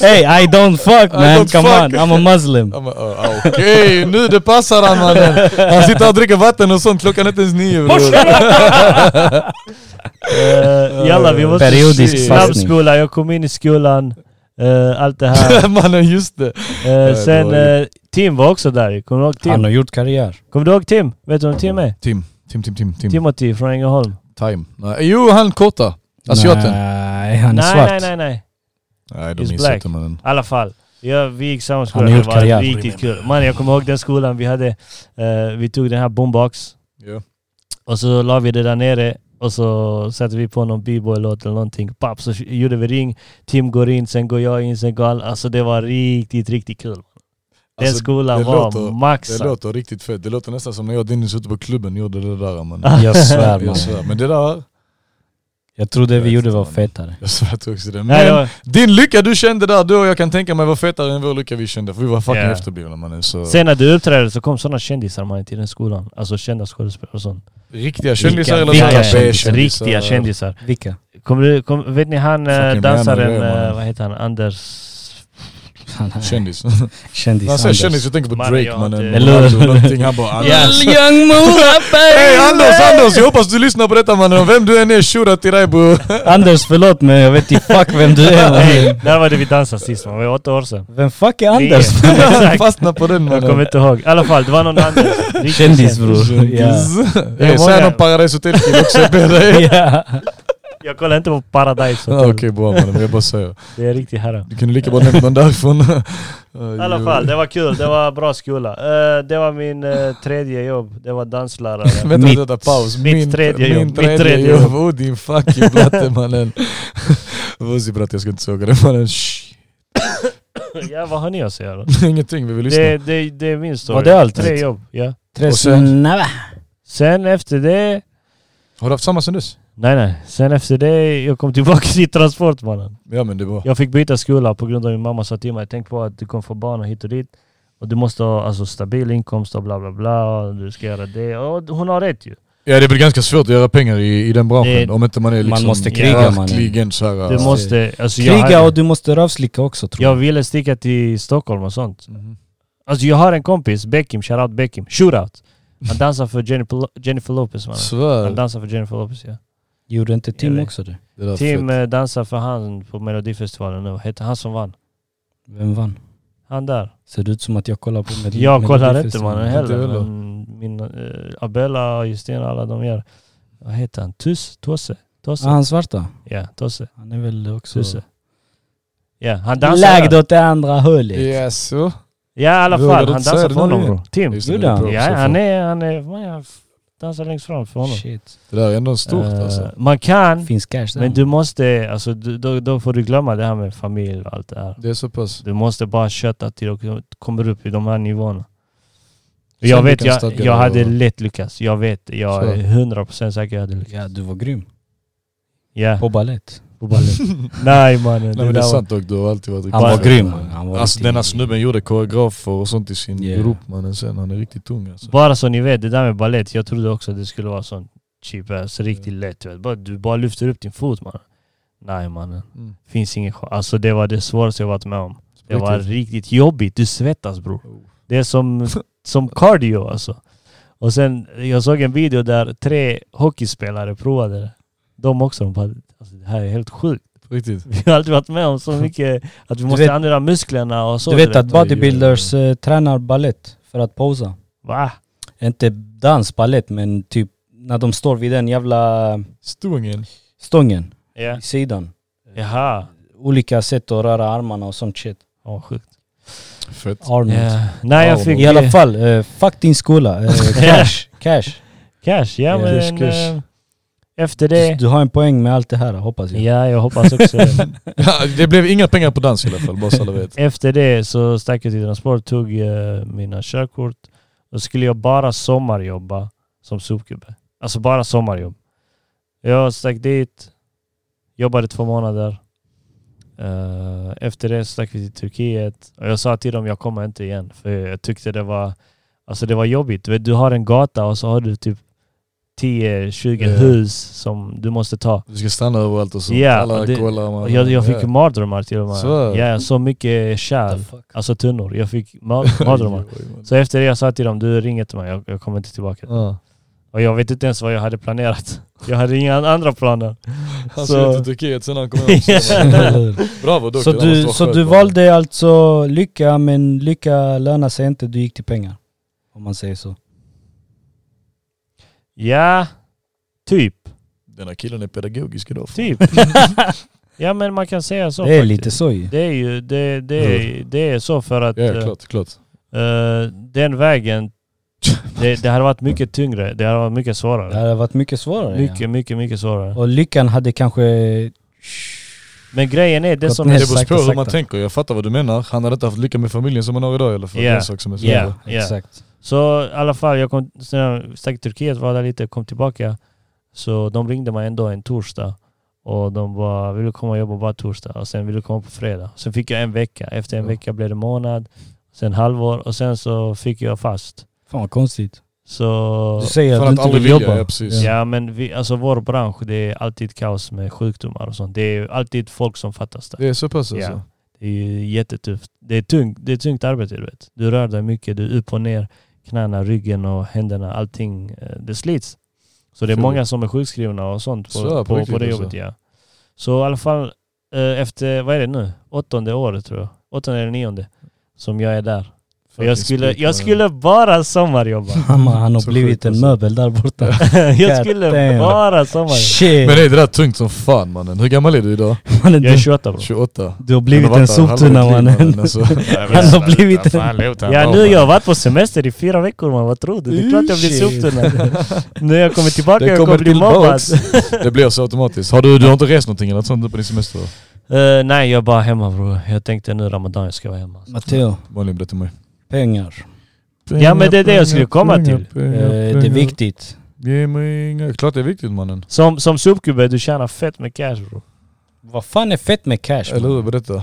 Speaker 3: Hey, I don't fuck
Speaker 2: I
Speaker 3: man,
Speaker 2: don't
Speaker 3: come
Speaker 2: fuck.
Speaker 3: on, I'm a muslim.
Speaker 2: Ja, men, ö, ö, Okej, nu det passar han mannen! Han sitter och dricker vatten och sånt, klockan är inte ens nio bror.
Speaker 1: Eh, Jalla vi måste...
Speaker 3: Periodisk
Speaker 2: shit.
Speaker 3: fastning.
Speaker 1: Snabbskola, jag kom in i skolan. eh, allt det här.
Speaker 2: mannen just det!
Speaker 1: Eh, sen
Speaker 2: det var ju-
Speaker 1: eh, Tim var också där Kommer du ihåg Tim?
Speaker 3: Han har gjort karriär.
Speaker 1: Kommer du ihåg Tim? Vet du vem Tim är?
Speaker 2: Tim, Tim, Tim, Tim, Tim.
Speaker 1: Timothy från Ängelholm.
Speaker 2: Time. Nej, Jo han korta, asiaten.
Speaker 3: Nej, han är
Speaker 1: nej,
Speaker 3: svart.
Speaker 1: nej, nej, nej.
Speaker 2: Nej de
Speaker 1: He's
Speaker 2: missade
Speaker 1: black.
Speaker 2: inte mannen.
Speaker 1: I alla fall. Ja, vi gick samma skola.
Speaker 3: har
Speaker 1: Det
Speaker 3: gjort
Speaker 1: var
Speaker 3: karriär.
Speaker 1: riktigt kul. Man, jag kommer ihåg den skolan vi hade. eh, vi tog den här boombox
Speaker 2: Ja.
Speaker 1: och så la vi det där nere och så satte vi på någon b-boy-låt eller någonting. Papp, så gjorde vi ring. Tim går in, sen går jag in, sen går alla. Alltså det var riktigt, riktigt kul. Den
Speaker 2: Alltså,
Speaker 1: skolan
Speaker 2: det
Speaker 1: var
Speaker 2: låter- Det
Speaker 1: maxad.
Speaker 2: låter riktigt fett, det låter nästan som när jag och Dennis ute på klubben gjorde det där mannen.
Speaker 3: Jag svär
Speaker 2: Jag
Speaker 3: man.
Speaker 2: svär, men det där,
Speaker 3: Jag trodde vi
Speaker 2: Jag
Speaker 3: gjorde
Speaker 2: vet
Speaker 3: var
Speaker 2: inte,
Speaker 3: fetare.
Speaker 2: jag svär att du också det. Men
Speaker 1: Ja, det var-
Speaker 2: din lycka du kände där då, jag kan tänka mig var fetare än vår lycka vi kände för vi var fucking
Speaker 1: Ja.
Speaker 2: efterblivna mannen. Så
Speaker 1: Sen när du uppträdde så kom sådana kändisar man till den skolan. Alltså kända skådespelare och sånt.
Speaker 2: riktiga kändisar eller
Speaker 3: vilka
Speaker 2: sådana
Speaker 3: kändisar?
Speaker 2: B-kändisar?
Speaker 1: Riktiga kändisar.
Speaker 3: Vilka?
Speaker 1: Kommer du, kom, vet ni han eh,
Speaker 2: Fucking
Speaker 1: dansaren,
Speaker 2: random grej,
Speaker 1: eh,
Speaker 2: mannen.
Speaker 1: vad heter han, Anders...
Speaker 2: Kändis. När jag
Speaker 3: Kändis
Speaker 2: säger
Speaker 3: Anders.
Speaker 2: kändis, jag tänker på
Speaker 1: Mannen,
Speaker 2: Drake
Speaker 1: jag
Speaker 2: mannen.
Speaker 1: har
Speaker 3: inte-
Speaker 2: Eller hur? Någonting. Han bara Anders.
Speaker 3: Young, young Murabai!
Speaker 2: Hey Anders, Anders! Jag hoppas du lyssnar på detta mannen. Vem du än är, shura till dig bror.
Speaker 3: Anders förlåt men jag vet inte fuck vem du är mannen.
Speaker 1: Hey, där var det vi dansade sist man, det var åtta år sedan.
Speaker 3: Vem fuck är Anders?
Speaker 1: Det är- Exakt.
Speaker 2: Fastna på den
Speaker 1: Jag kommer
Speaker 2: mannen.
Speaker 1: inte ihåg. I alla fall, det var någon annan. Riktigt
Speaker 3: Kändis
Speaker 1: känd.
Speaker 3: bror. Ja.
Speaker 2: Kändis.
Speaker 1: Det är
Speaker 2: Hey, säg
Speaker 1: många.
Speaker 2: någon Paradise Hotel-kille också, jag ber dig.
Speaker 3: Ja.
Speaker 1: Jag kollar inte på Paradise
Speaker 2: Ah, Okej
Speaker 1: Hotel.
Speaker 2: bra mannen, men jag bara säger.
Speaker 1: Det är riktigt haram.
Speaker 2: Du kunde lika bra nämnt någon därifrån.
Speaker 1: I alla fall, det var kul. Det var bra skola. Eh, det var min eh, tredje jobb. Det var danslärare.
Speaker 2: Vänta,
Speaker 3: Mitt-
Speaker 2: vänta, paus.
Speaker 1: mitt tredje jobb,
Speaker 2: Min
Speaker 1: mitt
Speaker 2: tredje,
Speaker 1: tredje
Speaker 2: jobb.
Speaker 1: jobb.
Speaker 2: Oh din fucking blatte mannen. Vussi bratte, jag ska inte såga det mannen. Shh.
Speaker 1: ja, vad har ni att säga då?
Speaker 2: Ingenting, vi vill lyssna.
Speaker 1: Det, det, det är min story.
Speaker 3: Var det allt?
Speaker 1: Tre jobb, ja.
Speaker 3: Tre
Speaker 2: Och sen-
Speaker 3: snabba.
Speaker 1: Sen efter det...
Speaker 2: Har du haft samma sen dess?
Speaker 1: Nej nej, sen efter det jag kom tillbaka till Transportmannen.
Speaker 2: Ja men det var...
Speaker 1: Jag fick byta skola på grund av min mamma sa till mig, tänk på att du kommer få barn och hit och dit. Och du måste ha alltså, stabil inkomst och bla bla bla. Och du ska göra det. Och hon har rätt ju.
Speaker 2: Ja det är väl ganska svårt att göra pengar i, i den branschen
Speaker 1: Det-
Speaker 2: om inte man är
Speaker 3: Man
Speaker 2: liksom
Speaker 3: måste kriga, mannen.
Speaker 2: verkligen så här,
Speaker 1: Du
Speaker 2: äh,
Speaker 1: måste... Alltså, jag
Speaker 3: Kriga
Speaker 1: hade-
Speaker 3: och du måste rövslicka också tror
Speaker 1: Jag
Speaker 3: jag.
Speaker 1: ville sticka till Stockholm och sånt.
Speaker 2: mm.
Speaker 1: Alltså jag har en kompis, Beckham, shoutout Beckham, shootout. Han dansar för Jennifer, Lo- Jennifer Lopez mannen. Han
Speaker 2: Svär.
Speaker 1: dansar för Jennifer Lopez ja.
Speaker 3: Gjorde inte
Speaker 1: Jag
Speaker 3: Tim
Speaker 1: vet.
Speaker 3: också det?
Speaker 2: Det där är
Speaker 1: Tim
Speaker 2: fett.
Speaker 1: eh, dansar för han på melodifestivalen nu. Vad Heter han som vann?
Speaker 3: Vem vann?
Speaker 1: Han där.
Speaker 3: Ser det ut som att jag kollar på med
Speaker 1: Jag kollar inte mannen
Speaker 2: Inte
Speaker 1: heller.
Speaker 2: heller.
Speaker 1: Men min eh, Abella och Justina alla de gör. Vad heter han? Tuss? Tosse? Tosse?
Speaker 3: Ah, han svarta?
Speaker 1: Ja, Tosse.
Speaker 3: Han är väl också...
Speaker 1: Tusse. Ja, han dansar.
Speaker 3: Lagd
Speaker 1: där.
Speaker 3: åt det andra hållet.
Speaker 2: Ja så.
Speaker 1: Ja i alla
Speaker 2: Vågar
Speaker 1: fall.
Speaker 2: du
Speaker 1: Han
Speaker 2: inte säga
Speaker 1: dansar
Speaker 2: det
Speaker 1: för honom
Speaker 2: nu?
Speaker 1: bro. Tim.
Speaker 2: Just det,
Speaker 3: Gjorde han?
Speaker 2: det är bra
Speaker 1: Ja,
Speaker 2: också
Speaker 1: han
Speaker 2: för-
Speaker 1: är... Han är... man, jag Dansar längst fram för honom.
Speaker 3: Shit.
Speaker 2: Det där är ändå stort alltså.
Speaker 1: Eh, Man kan,
Speaker 3: Finns cash där.
Speaker 1: men du måste, alltså, du, då, då får du glömma det här med familj och allt det här.
Speaker 2: Det är så pass.
Speaker 1: Du måste bara köta till och kommer upp i de här nivåerna.
Speaker 2: Sen
Speaker 1: jag
Speaker 2: du
Speaker 1: vet,
Speaker 2: kan
Speaker 1: jag,
Speaker 2: stadga
Speaker 1: jag
Speaker 2: dig
Speaker 1: hade
Speaker 2: och-
Speaker 1: lätt lyckats. Jag vet, jag
Speaker 2: Så.
Speaker 1: är 100% säker jag hade lyckats.
Speaker 3: Ja, du var grym.
Speaker 1: Ja,
Speaker 3: På ballett.
Speaker 1: på ballen. Nej mannen,
Speaker 2: Nej
Speaker 1: det,
Speaker 2: men det är
Speaker 1: där var...
Speaker 2: sant dock, du har alltid varit
Speaker 3: Han
Speaker 1: var
Speaker 2: bra.
Speaker 3: grym, mannen. Han var
Speaker 2: Alltså
Speaker 3: riktigt-
Speaker 2: denna snubben gjorde koreografer och sånt i sin
Speaker 3: Yeah.
Speaker 2: grupp mannen sen. Han är riktigt tung alltså.
Speaker 1: Bara så ni vet, det där med ballett, jag trodde också att det skulle vara sån cheap ass, riktigt
Speaker 2: Mm.
Speaker 1: lätt. Du, vet. Bara, du bara lyfter upp din fot mannen. Nej mannen,
Speaker 2: Mm.
Speaker 1: finns ingen chans. Alltså det var det svåraste jag varit med om. Det var
Speaker 2: Riktigt.
Speaker 1: riktigt jobbigt, du svettas bror.
Speaker 2: Oh.
Speaker 1: Det är som, som cardio alltså. Och sen, jag såg en video där tre hockeyspelare provade det. De också, de bara, alltså, det här är helt sjukt.
Speaker 2: Riktigt.
Speaker 1: Vi har aldrig varit med om så mycket, att vi måste
Speaker 3: vet-
Speaker 1: använda musklerna och så.
Speaker 3: Du vet att
Speaker 1: direkt.
Speaker 3: bodybuilders eh, tränar ballett för att posa.
Speaker 1: Va?
Speaker 3: Inte dansballett men typ när de står vid den jävla
Speaker 2: Stången.
Speaker 3: stången
Speaker 1: Ja.
Speaker 3: i sidan.
Speaker 1: Jaha.
Speaker 3: Olika sätt att röra armarna och sånt shit.
Speaker 1: Åh, sjukt.
Speaker 2: Fett.
Speaker 3: Armor.
Speaker 1: Ja. Nej, jag
Speaker 2: Wow.
Speaker 1: fick
Speaker 3: I alla fall, eh, fuck din skola. Eh, cash, cash.
Speaker 1: cash. Ja,
Speaker 3: Ja.
Speaker 1: men,
Speaker 2: Kush, kush.
Speaker 1: eh, efter
Speaker 3: Du,
Speaker 1: det...
Speaker 3: du har en poäng med allt det här hoppas jag.
Speaker 1: Ja, jag hoppas också det.
Speaker 2: Ja, det blev inga pengar på dans i alla fall, bara så alla vet.
Speaker 1: Efter det så stack jag till Transport, tog eh, mina körkort. Då skulle jag bara sommarjobba som sopgubbe. Alltså bara sommarjobb. Jag stack dit, jobbade två månader. Eh, efter det så stack vi till Turkiet. Och jag sa till dem, jag kommer inte igen. För jag tyckte det var, alltså det var jobbigt. Du, vet, du har en gata och så har du typ 10-20
Speaker 2: Ja.
Speaker 1: hus som du måste ta.
Speaker 2: Du ska stanna överallt och så.
Speaker 1: Ja,
Speaker 2: alla
Speaker 1: och det-
Speaker 2: kollar. Man,
Speaker 1: Och jag, jag fick mardrömmar till och
Speaker 2: Så.
Speaker 1: med. Ja, så mycket
Speaker 3: What
Speaker 1: kärl.
Speaker 3: the fuck?
Speaker 1: Alltså tunnor. Jag fick mar- mardrömmar. Så efter det jag sa till dem, du ring inte mig, jag, jag kommer inte tillbaka.
Speaker 2: Ja.
Speaker 1: Och jag vet inte ens vad jag hade planerat. Jag hade inga andra planer.
Speaker 2: Han
Speaker 1: Så-
Speaker 2: ska till Turkiet sen när han kom hem. Så- Bravo dock.
Speaker 3: så
Speaker 2: det där måste
Speaker 3: du,
Speaker 2: vara
Speaker 3: så
Speaker 2: skönt,
Speaker 3: du
Speaker 2: man.
Speaker 3: valde alltså lycka men lycka lönar sig inte, du gick till pengar. Om man säger så.
Speaker 1: Ja, typ.
Speaker 2: Den här killen är pedagogisk idag.
Speaker 1: Typ. ja men man kan säga så.
Speaker 3: det är
Speaker 1: faktiskt.
Speaker 3: lite så ju.
Speaker 1: Det är ju det, det, är, det är så för att
Speaker 2: Ja,
Speaker 1: eh,
Speaker 2: klart, klart.
Speaker 1: eh, den vägen, det, det hade varit mycket tyngre. Det hade varit mycket
Speaker 3: Det
Speaker 1: svårare.
Speaker 3: hade varit mycket svårare.
Speaker 1: Mycket, mycket, mycket svårare.
Speaker 3: Ja. Och lyckan hade kanske...
Speaker 1: Men grejen är det
Speaker 3: Gått
Speaker 1: som...
Speaker 3: ner.
Speaker 1: är-
Speaker 2: Det beror
Speaker 3: sakta,
Speaker 2: på hur man
Speaker 3: sakta.
Speaker 2: tänker, jag fattar vad du menar. Han hade inte haft lycka med familjen som han har idag i alla fall.
Speaker 1: Ja.
Speaker 2: Det är en sak som är så.
Speaker 1: Ja.
Speaker 3: Ja, exakt.
Speaker 1: Så i alla fall, jag kom, sen jag stack till Turkiet, var där lite, kom tillbaka. Så de ringde mig en dag, en torsdag. Och de bara, vill du komma och jobba bara torsdag? Och sen vill du komma på fredag? Sen fick jag en vecka. Efter en
Speaker 2: Ja.
Speaker 1: vecka blev det månad. Sen halvår och sen så fick jag fast.
Speaker 3: Fan vad konstigt.
Speaker 1: Så...
Speaker 3: Du säger
Speaker 2: För
Speaker 3: att du
Speaker 2: att
Speaker 3: inte
Speaker 2: aldrig
Speaker 3: vill
Speaker 2: vilja,
Speaker 3: jobba.
Speaker 2: ja, precis.
Speaker 1: Ja men vi, alltså vår bransch, det är alltid kaos med sjukdomar och sånt. Det är alltid folk som fattas där.
Speaker 2: Det är så pass
Speaker 1: Ja.
Speaker 2: alltså.
Speaker 1: Det är ju jättetufft. Det är tungt, det är tungt arbete du vet. Du rör dig mycket, du är upp och ner, knäna, ryggen och händerna, allting. eh, Det slits. Så det är
Speaker 2: Så.
Speaker 1: många som är sjukskrivna och sånt på,
Speaker 2: Så,
Speaker 1: på,
Speaker 2: på
Speaker 1: på,
Speaker 2: riktigt
Speaker 1: det
Speaker 2: alltså.
Speaker 1: jobbet. Ja. Så i alla fall eh, efter, vad är det nu? Åttonde året tror jag. Åttonde eller nionde som jag är där. Och jag,
Speaker 2: Fucking alltså.
Speaker 1: skulle,
Speaker 2: sprit, mannen.
Speaker 1: jag skulle bara sommarjobba.
Speaker 3: Han, han har
Speaker 2: Så
Speaker 3: blivit
Speaker 2: sjukt
Speaker 3: en
Speaker 2: alltså.
Speaker 3: möbel där borta.
Speaker 1: jag skulle
Speaker 3: Goddamn.
Speaker 1: bara sommarjobba.
Speaker 3: Shit!
Speaker 2: Men nej, det där är tungt som fan mannen. Hur gammal är du idag?
Speaker 3: mannen,
Speaker 1: Jag är
Speaker 3: du,
Speaker 1: 28 bro.
Speaker 2: 28?
Speaker 3: du har
Speaker 2: Men
Speaker 3: blivit
Speaker 2: vad
Speaker 3: en
Speaker 2: fan,
Speaker 3: soptunna
Speaker 2: halva ditt liv,
Speaker 3: mannen.
Speaker 2: alltså.
Speaker 3: Han har blivit en...
Speaker 1: Ja nu jag har varit på semester i fyra veckor man, vad tror du? Det är klart jag blir
Speaker 3: Shit.
Speaker 1: soptunnad. När jag kommer tillbaka
Speaker 2: Den
Speaker 1: jag kommer
Speaker 2: kommer
Speaker 1: bli mobbad.
Speaker 2: tillbaks. Det blir så automatiskt. Har du, du har inte rest någonting eller något sånt nu på din semester? va?
Speaker 1: Eh, nej jag är bara hemma bror. Jag tänkte nu ramadan jag ska vara hemma.
Speaker 3: Matteo,
Speaker 2: Vanligen det till mig.
Speaker 3: pengar.
Speaker 1: Ja, men det är det jag skulle komma till.
Speaker 2: Pengar,
Speaker 3: Eh,
Speaker 2: pengar,
Speaker 3: det är
Speaker 2: pengar.
Speaker 3: viktigt.
Speaker 2: Ge mig inga... Klart det är viktigt mannen.
Speaker 1: Som, som sopgubbe du tjänar fett med cash bror.
Speaker 3: Vad fan är fett med cash?
Speaker 2: Eller
Speaker 3: man?
Speaker 2: hur? Berätta.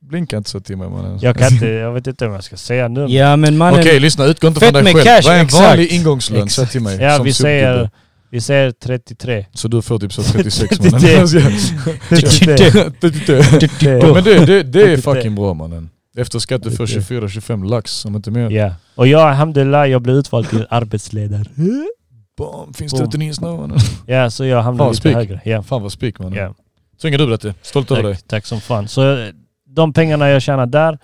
Speaker 2: Blinka inte så till mig mannen.
Speaker 1: Jag kan inte, jag vet inte om jag ska säga nu.
Speaker 3: Ja men mannen,
Speaker 2: Okej lyssna, utgå inte
Speaker 3: Fett
Speaker 2: från dig
Speaker 3: med
Speaker 2: själv.
Speaker 3: cash,
Speaker 2: Vad är en
Speaker 3: exakt.
Speaker 2: vanlig ingångslön? Säg till mig.
Speaker 1: Ja
Speaker 2: som
Speaker 1: vi
Speaker 2: sopgubbe.
Speaker 1: säger, vi säger 33.
Speaker 2: Så du får typ så 36 mannen.
Speaker 1: 33.
Speaker 2: Ja, men det, det, det är
Speaker 1: 33.
Speaker 2: fucking bra mannen. Efter skatt du får 24-25 lax om inte mer.
Speaker 1: Ja. Och jag, alhamdulillah, jag blev utvald till arbetsledare.
Speaker 2: Bam, finns
Speaker 1: Boom.
Speaker 2: det inte nio mannen?
Speaker 1: Ja, så jag hamnade
Speaker 2: Fan,
Speaker 1: lite
Speaker 2: spik. Mm.
Speaker 1: högre. Ja.
Speaker 2: Fan vad spik mannen.
Speaker 1: Ja.
Speaker 2: Så inga du berättar. Stolt över dig.
Speaker 1: Tack, tack som fan. Så eh, de pengarna jag tjänar där,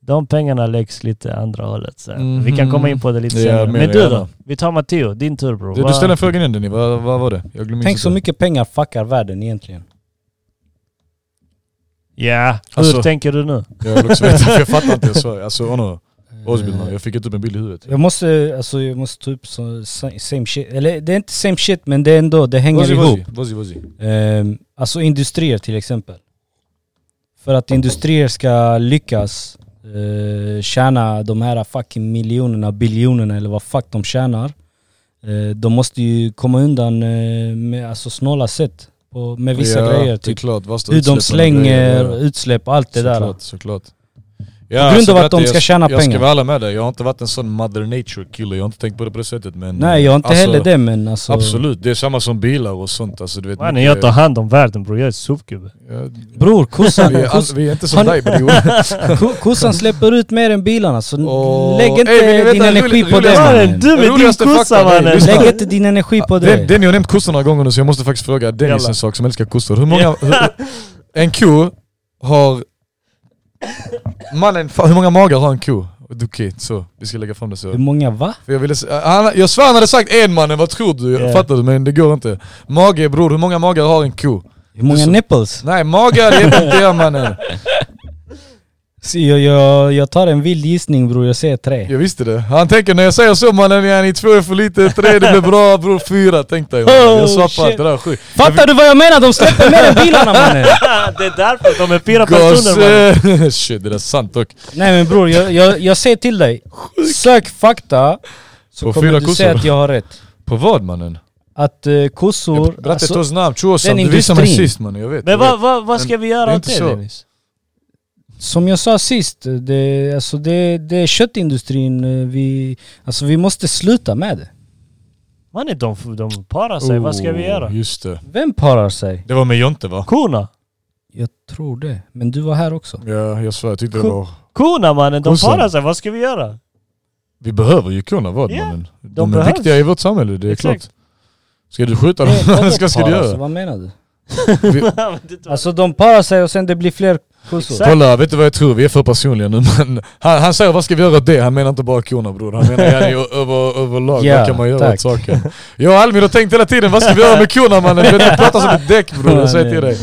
Speaker 1: de pengarna läggs lite andra hållet. Så.
Speaker 2: Mhm.
Speaker 1: Vi kan komma in på det lite
Speaker 2: Ja,
Speaker 1: senare.
Speaker 2: mer
Speaker 1: Men du
Speaker 2: gärna.
Speaker 1: då? Vi tar Matteo, din tur bror.
Speaker 2: Du, du ställde en fråga innan Denny, vad, vad var det? Jag glömde
Speaker 3: tänk
Speaker 2: inte
Speaker 3: så
Speaker 2: det.
Speaker 3: mycket pengar fuckar världen egentligen.
Speaker 1: Ja, hur
Speaker 2: Alltså-
Speaker 1: tänker du nu?
Speaker 2: Jag vill också veta, för jag fattar inte. Så, alltså honor, Osbilderna. Jag fick inte upp en bild i huvudet.
Speaker 3: Eh, Jag måste, alltså jag måste ta upp så, same shit, eller det är inte same shit men det är ändå, det hänger
Speaker 2: Vazi,
Speaker 3: ihop.
Speaker 2: vazi, vazi, vazi.
Speaker 3: Ehm, alltså industrier till exempel. För att industrier ska lyckas eh, tjäna de här fucking miljonerna, biljonerna eller vad fuck de tjänar. Eh, de måste ju komma undan eh, med alltså, snåla sätt på, med vissa
Speaker 2: ja,
Speaker 3: grejer.
Speaker 2: Det är
Speaker 3: Typ.
Speaker 2: klart, värsta
Speaker 3: Hur de
Speaker 2: utsläppen
Speaker 3: slänger
Speaker 2: och grejer, ja.
Speaker 3: utsläpp, allt det där.
Speaker 2: Såklart, såklart. Ja,
Speaker 3: grund
Speaker 2: alltså,
Speaker 3: av att de
Speaker 2: berätta,
Speaker 3: ska
Speaker 2: jag-
Speaker 3: tjäna
Speaker 2: Jag
Speaker 3: pengar.
Speaker 2: ska vara ärlig med dig, jag har inte varit en sån mother nature kille, jag har inte tänkt på det på det sättet men...
Speaker 3: Nej jag har inte
Speaker 2: alltså,
Speaker 3: heller det men alltså...
Speaker 2: Absolut, det är samma som bilar och sånt alltså du vet...
Speaker 1: Mannen,
Speaker 2: mycket-
Speaker 1: jag tar hand om världen bror. Jag är sopgubbe.
Speaker 2: Ja,
Speaker 3: Bror, kossan,
Speaker 2: vi, är, all-
Speaker 3: kos,
Speaker 2: vi är inte
Speaker 3: Har
Speaker 2: som
Speaker 3: ni-
Speaker 2: dig bror.
Speaker 3: ko- kossan släpper ut mer än bilarna så
Speaker 2: Åh,
Speaker 3: lägg inte
Speaker 2: ey, vill ni veta
Speaker 3: din
Speaker 2: en
Speaker 3: energi
Speaker 2: rolig-
Speaker 3: på
Speaker 2: rolig
Speaker 3: det
Speaker 2: sak?
Speaker 3: mannen.
Speaker 1: Mannen, du med din
Speaker 2: Roligaste
Speaker 1: kossa
Speaker 2: fakta, nej,
Speaker 1: mannen!
Speaker 2: lyssna.
Speaker 3: Lägg inte din energi på det.
Speaker 2: Den, den jag har nämnt kossor några gånger nu så jag måste faktiskt fråga Dennis
Speaker 1: Jalla.
Speaker 2: en sak som älskar kossor. Hur många... Hur, en ko har... Mannen, fa- hur många magar har en ko? Okej, så. Vi ska lägga fram det så.
Speaker 3: Hur många va?
Speaker 2: För jag, ville, se- han, jag svär han hade sagt en mannen, vad tror du?
Speaker 1: Ja.
Speaker 2: Fattar du? Men det går inte. Mage bror, hur många magar har en ko?
Speaker 3: Hur många
Speaker 2: Så-
Speaker 3: nipples?
Speaker 2: Nej magar det är inte det mannen.
Speaker 3: Så jag, jag, jag tar en vild gissning bror, jag säger tre.
Speaker 2: Jag visste det. Han tänker när jag säger så mannen, ja, ni två är för lite, tre det blir bra, bror fyra tänkte jag. mannen.
Speaker 3: Oh,
Speaker 2: Jag svär
Speaker 3: shit.
Speaker 2: på allt det där är sjukt.
Speaker 3: Fattar du vad jag menar? De släpper mer än bilarna mannen!
Speaker 1: det är därför de är fyra personer mannen.
Speaker 2: Gosse! Shit det där är sant dock.
Speaker 3: Nej men bror, jag, jag, jag säger till dig. Sök fakta, så
Speaker 2: På
Speaker 3: kommer
Speaker 2: fyra
Speaker 3: du
Speaker 2: kossor.
Speaker 3: säga att jag har rätt.
Speaker 2: På vad mannen?
Speaker 3: Att eh,
Speaker 2: Jag
Speaker 3: kossor...
Speaker 2: Berätta alltså,
Speaker 3: alltså,
Speaker 2: ett namn, Chosan,
Speaker 3: den
Speaker 2: du visade mig
Speaker 3: industrin.
Speaker 2: sist mannen, jag vet.
Speaker 1: Men
Speaker 2: jag
Speaker 1: vad,
Speaker 2: vet.
Speaker 1: vad, vad ska vi göra
Speaker 2: det
Speaker 1: åt
Speaker 2: är inte
Speaker 1: det
Speaker 2: så.
Speaker 1: Dennis?
Speaker 3: som jag sa sist, det, alltså, det, det är köttindustrin eh, vi... Alltså vi måste sluta med det.
Speaker 1: Mannen de, de parar sig, vad ska vi
Speaker 2: Oh,
Speaker 1: göra?
Speaker 2: Just det.
Speaker 3: Vem parar sig?
Speaker 2: Det var med Jonte va?
Speaker 1: Korna!
Speaker 3: Jag tror det. Men du var här också.
Speaker 2: Ja jag svär, jag tyckte det var...
Speaker 1: Korna mannen, de
Speaker 2: Kossan.
Speaker 1: parar sig, vad ska vi göra?
Speaker 2: Vi behöver ju kunna vad
Speaker 1: Ja,
Speaker 2: mannen. De, är
Speaker 1: behövs.
Speaker 2: viktiga i vårt samhälle, det är
Speaker 1: Exakt.
Speaker 2: klart. Ska du skjuta dem?
Speaker 3: Vadå
Speaker 2: ska, ska du
Speaker 3: parar sig?
Speaker 2: göra?
Speaker 3: Vad menar du?
Speaker 2: Vi,
Speaker 3: Alltså de parar sig och sen det blir fler kossor.
Speaker 1: Exakt.
Speaker 2: kolla, vet du vad jag tror? Vi är för personliga nu men han, han säger vad ska vi göra åt det? Han menar inte bara korna bror, han menar yani ö- över, överlag,
Speaker 3: Ja,
Speaker 2: vad kan man göra
Speaker 3: tack.
Speaker 2: åt saken? Jag och Almir har tänkt hela tiden, vad ska vi göra med korna mannen? Du vet, du pratar som ett däck bror, jag säger till dig.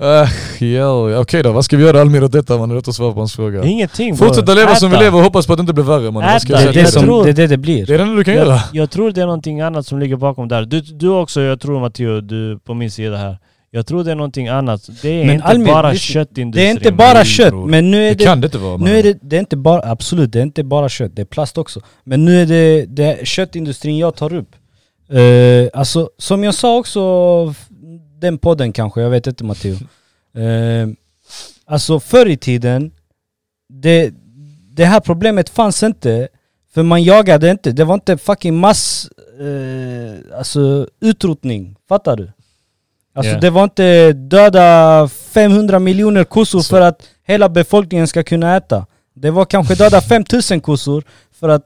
Speaker 2: Uh, ja, Okej då, vad ska vi göra Almir åt detta mannen? Låt oss svara på hans fråga.
Speaker 1: Ingenting bror.
Speaker 2: Fortsätta leva som vi
Speaker 1: Äta.
Speaker 2: lever och hoppas på att det inte blir värre mannen. Vad ska jag
Speaker 3: Det
Speaker 1: Äta.
Speaker 2: säga
Speaker 3: är
Speaker 1: Jag
Speaker 2: till dig?
Speaker 3: det, som,
Speaker 1: tror-
Speaker 3: det, är det det blir.
Speaker 2: det är det enda du kan göra.
Speaker 1: Jag, jag tror det är någonting annat som ligger bakom där. Du, du också, jag tror Matteo, du på min sida här. Jag tror det är någonting annat. Det är
Speaker 3: Men
Speaker 1: inte
Speaker 3: Almir,
Speaker 1: bara
Speaker 3: lyssna.
Speaker 1: köttindustrin.
Speaker 3: Det är inte bara
Speaker 2: Nej,
Speaker 3: kött,
Speaker 2: bror.
Speaker 3: men nu är
Speaker 2: Det
Speaker 3: det...
Speaker 2: kan det inte vara
Speaker 3: Nu
Speaker 2: mannen.
Speaker 3: är det, det är inte bara, absolut det är inte bara kött, det är plast också. Men nu är det, det är köttindustrin jag tar upp. Uh, alltså som jag sa också, f- den podden kanske, jag vet inte Matteo. Eh, alltså förr i tiden, det, det här problemet fanns inte. För man jagade inte, det var inte fucking mass... eh, alltså utrotning, fattar du? Alltså
Speaker 1: Ja.
Speaker 3: det var inte döda 500 miljoner kossor
Speaker 2: Så.
Speaker 3: för att hela befolkningen ska kunna äta. Det var kanske döda 5000 kossor för att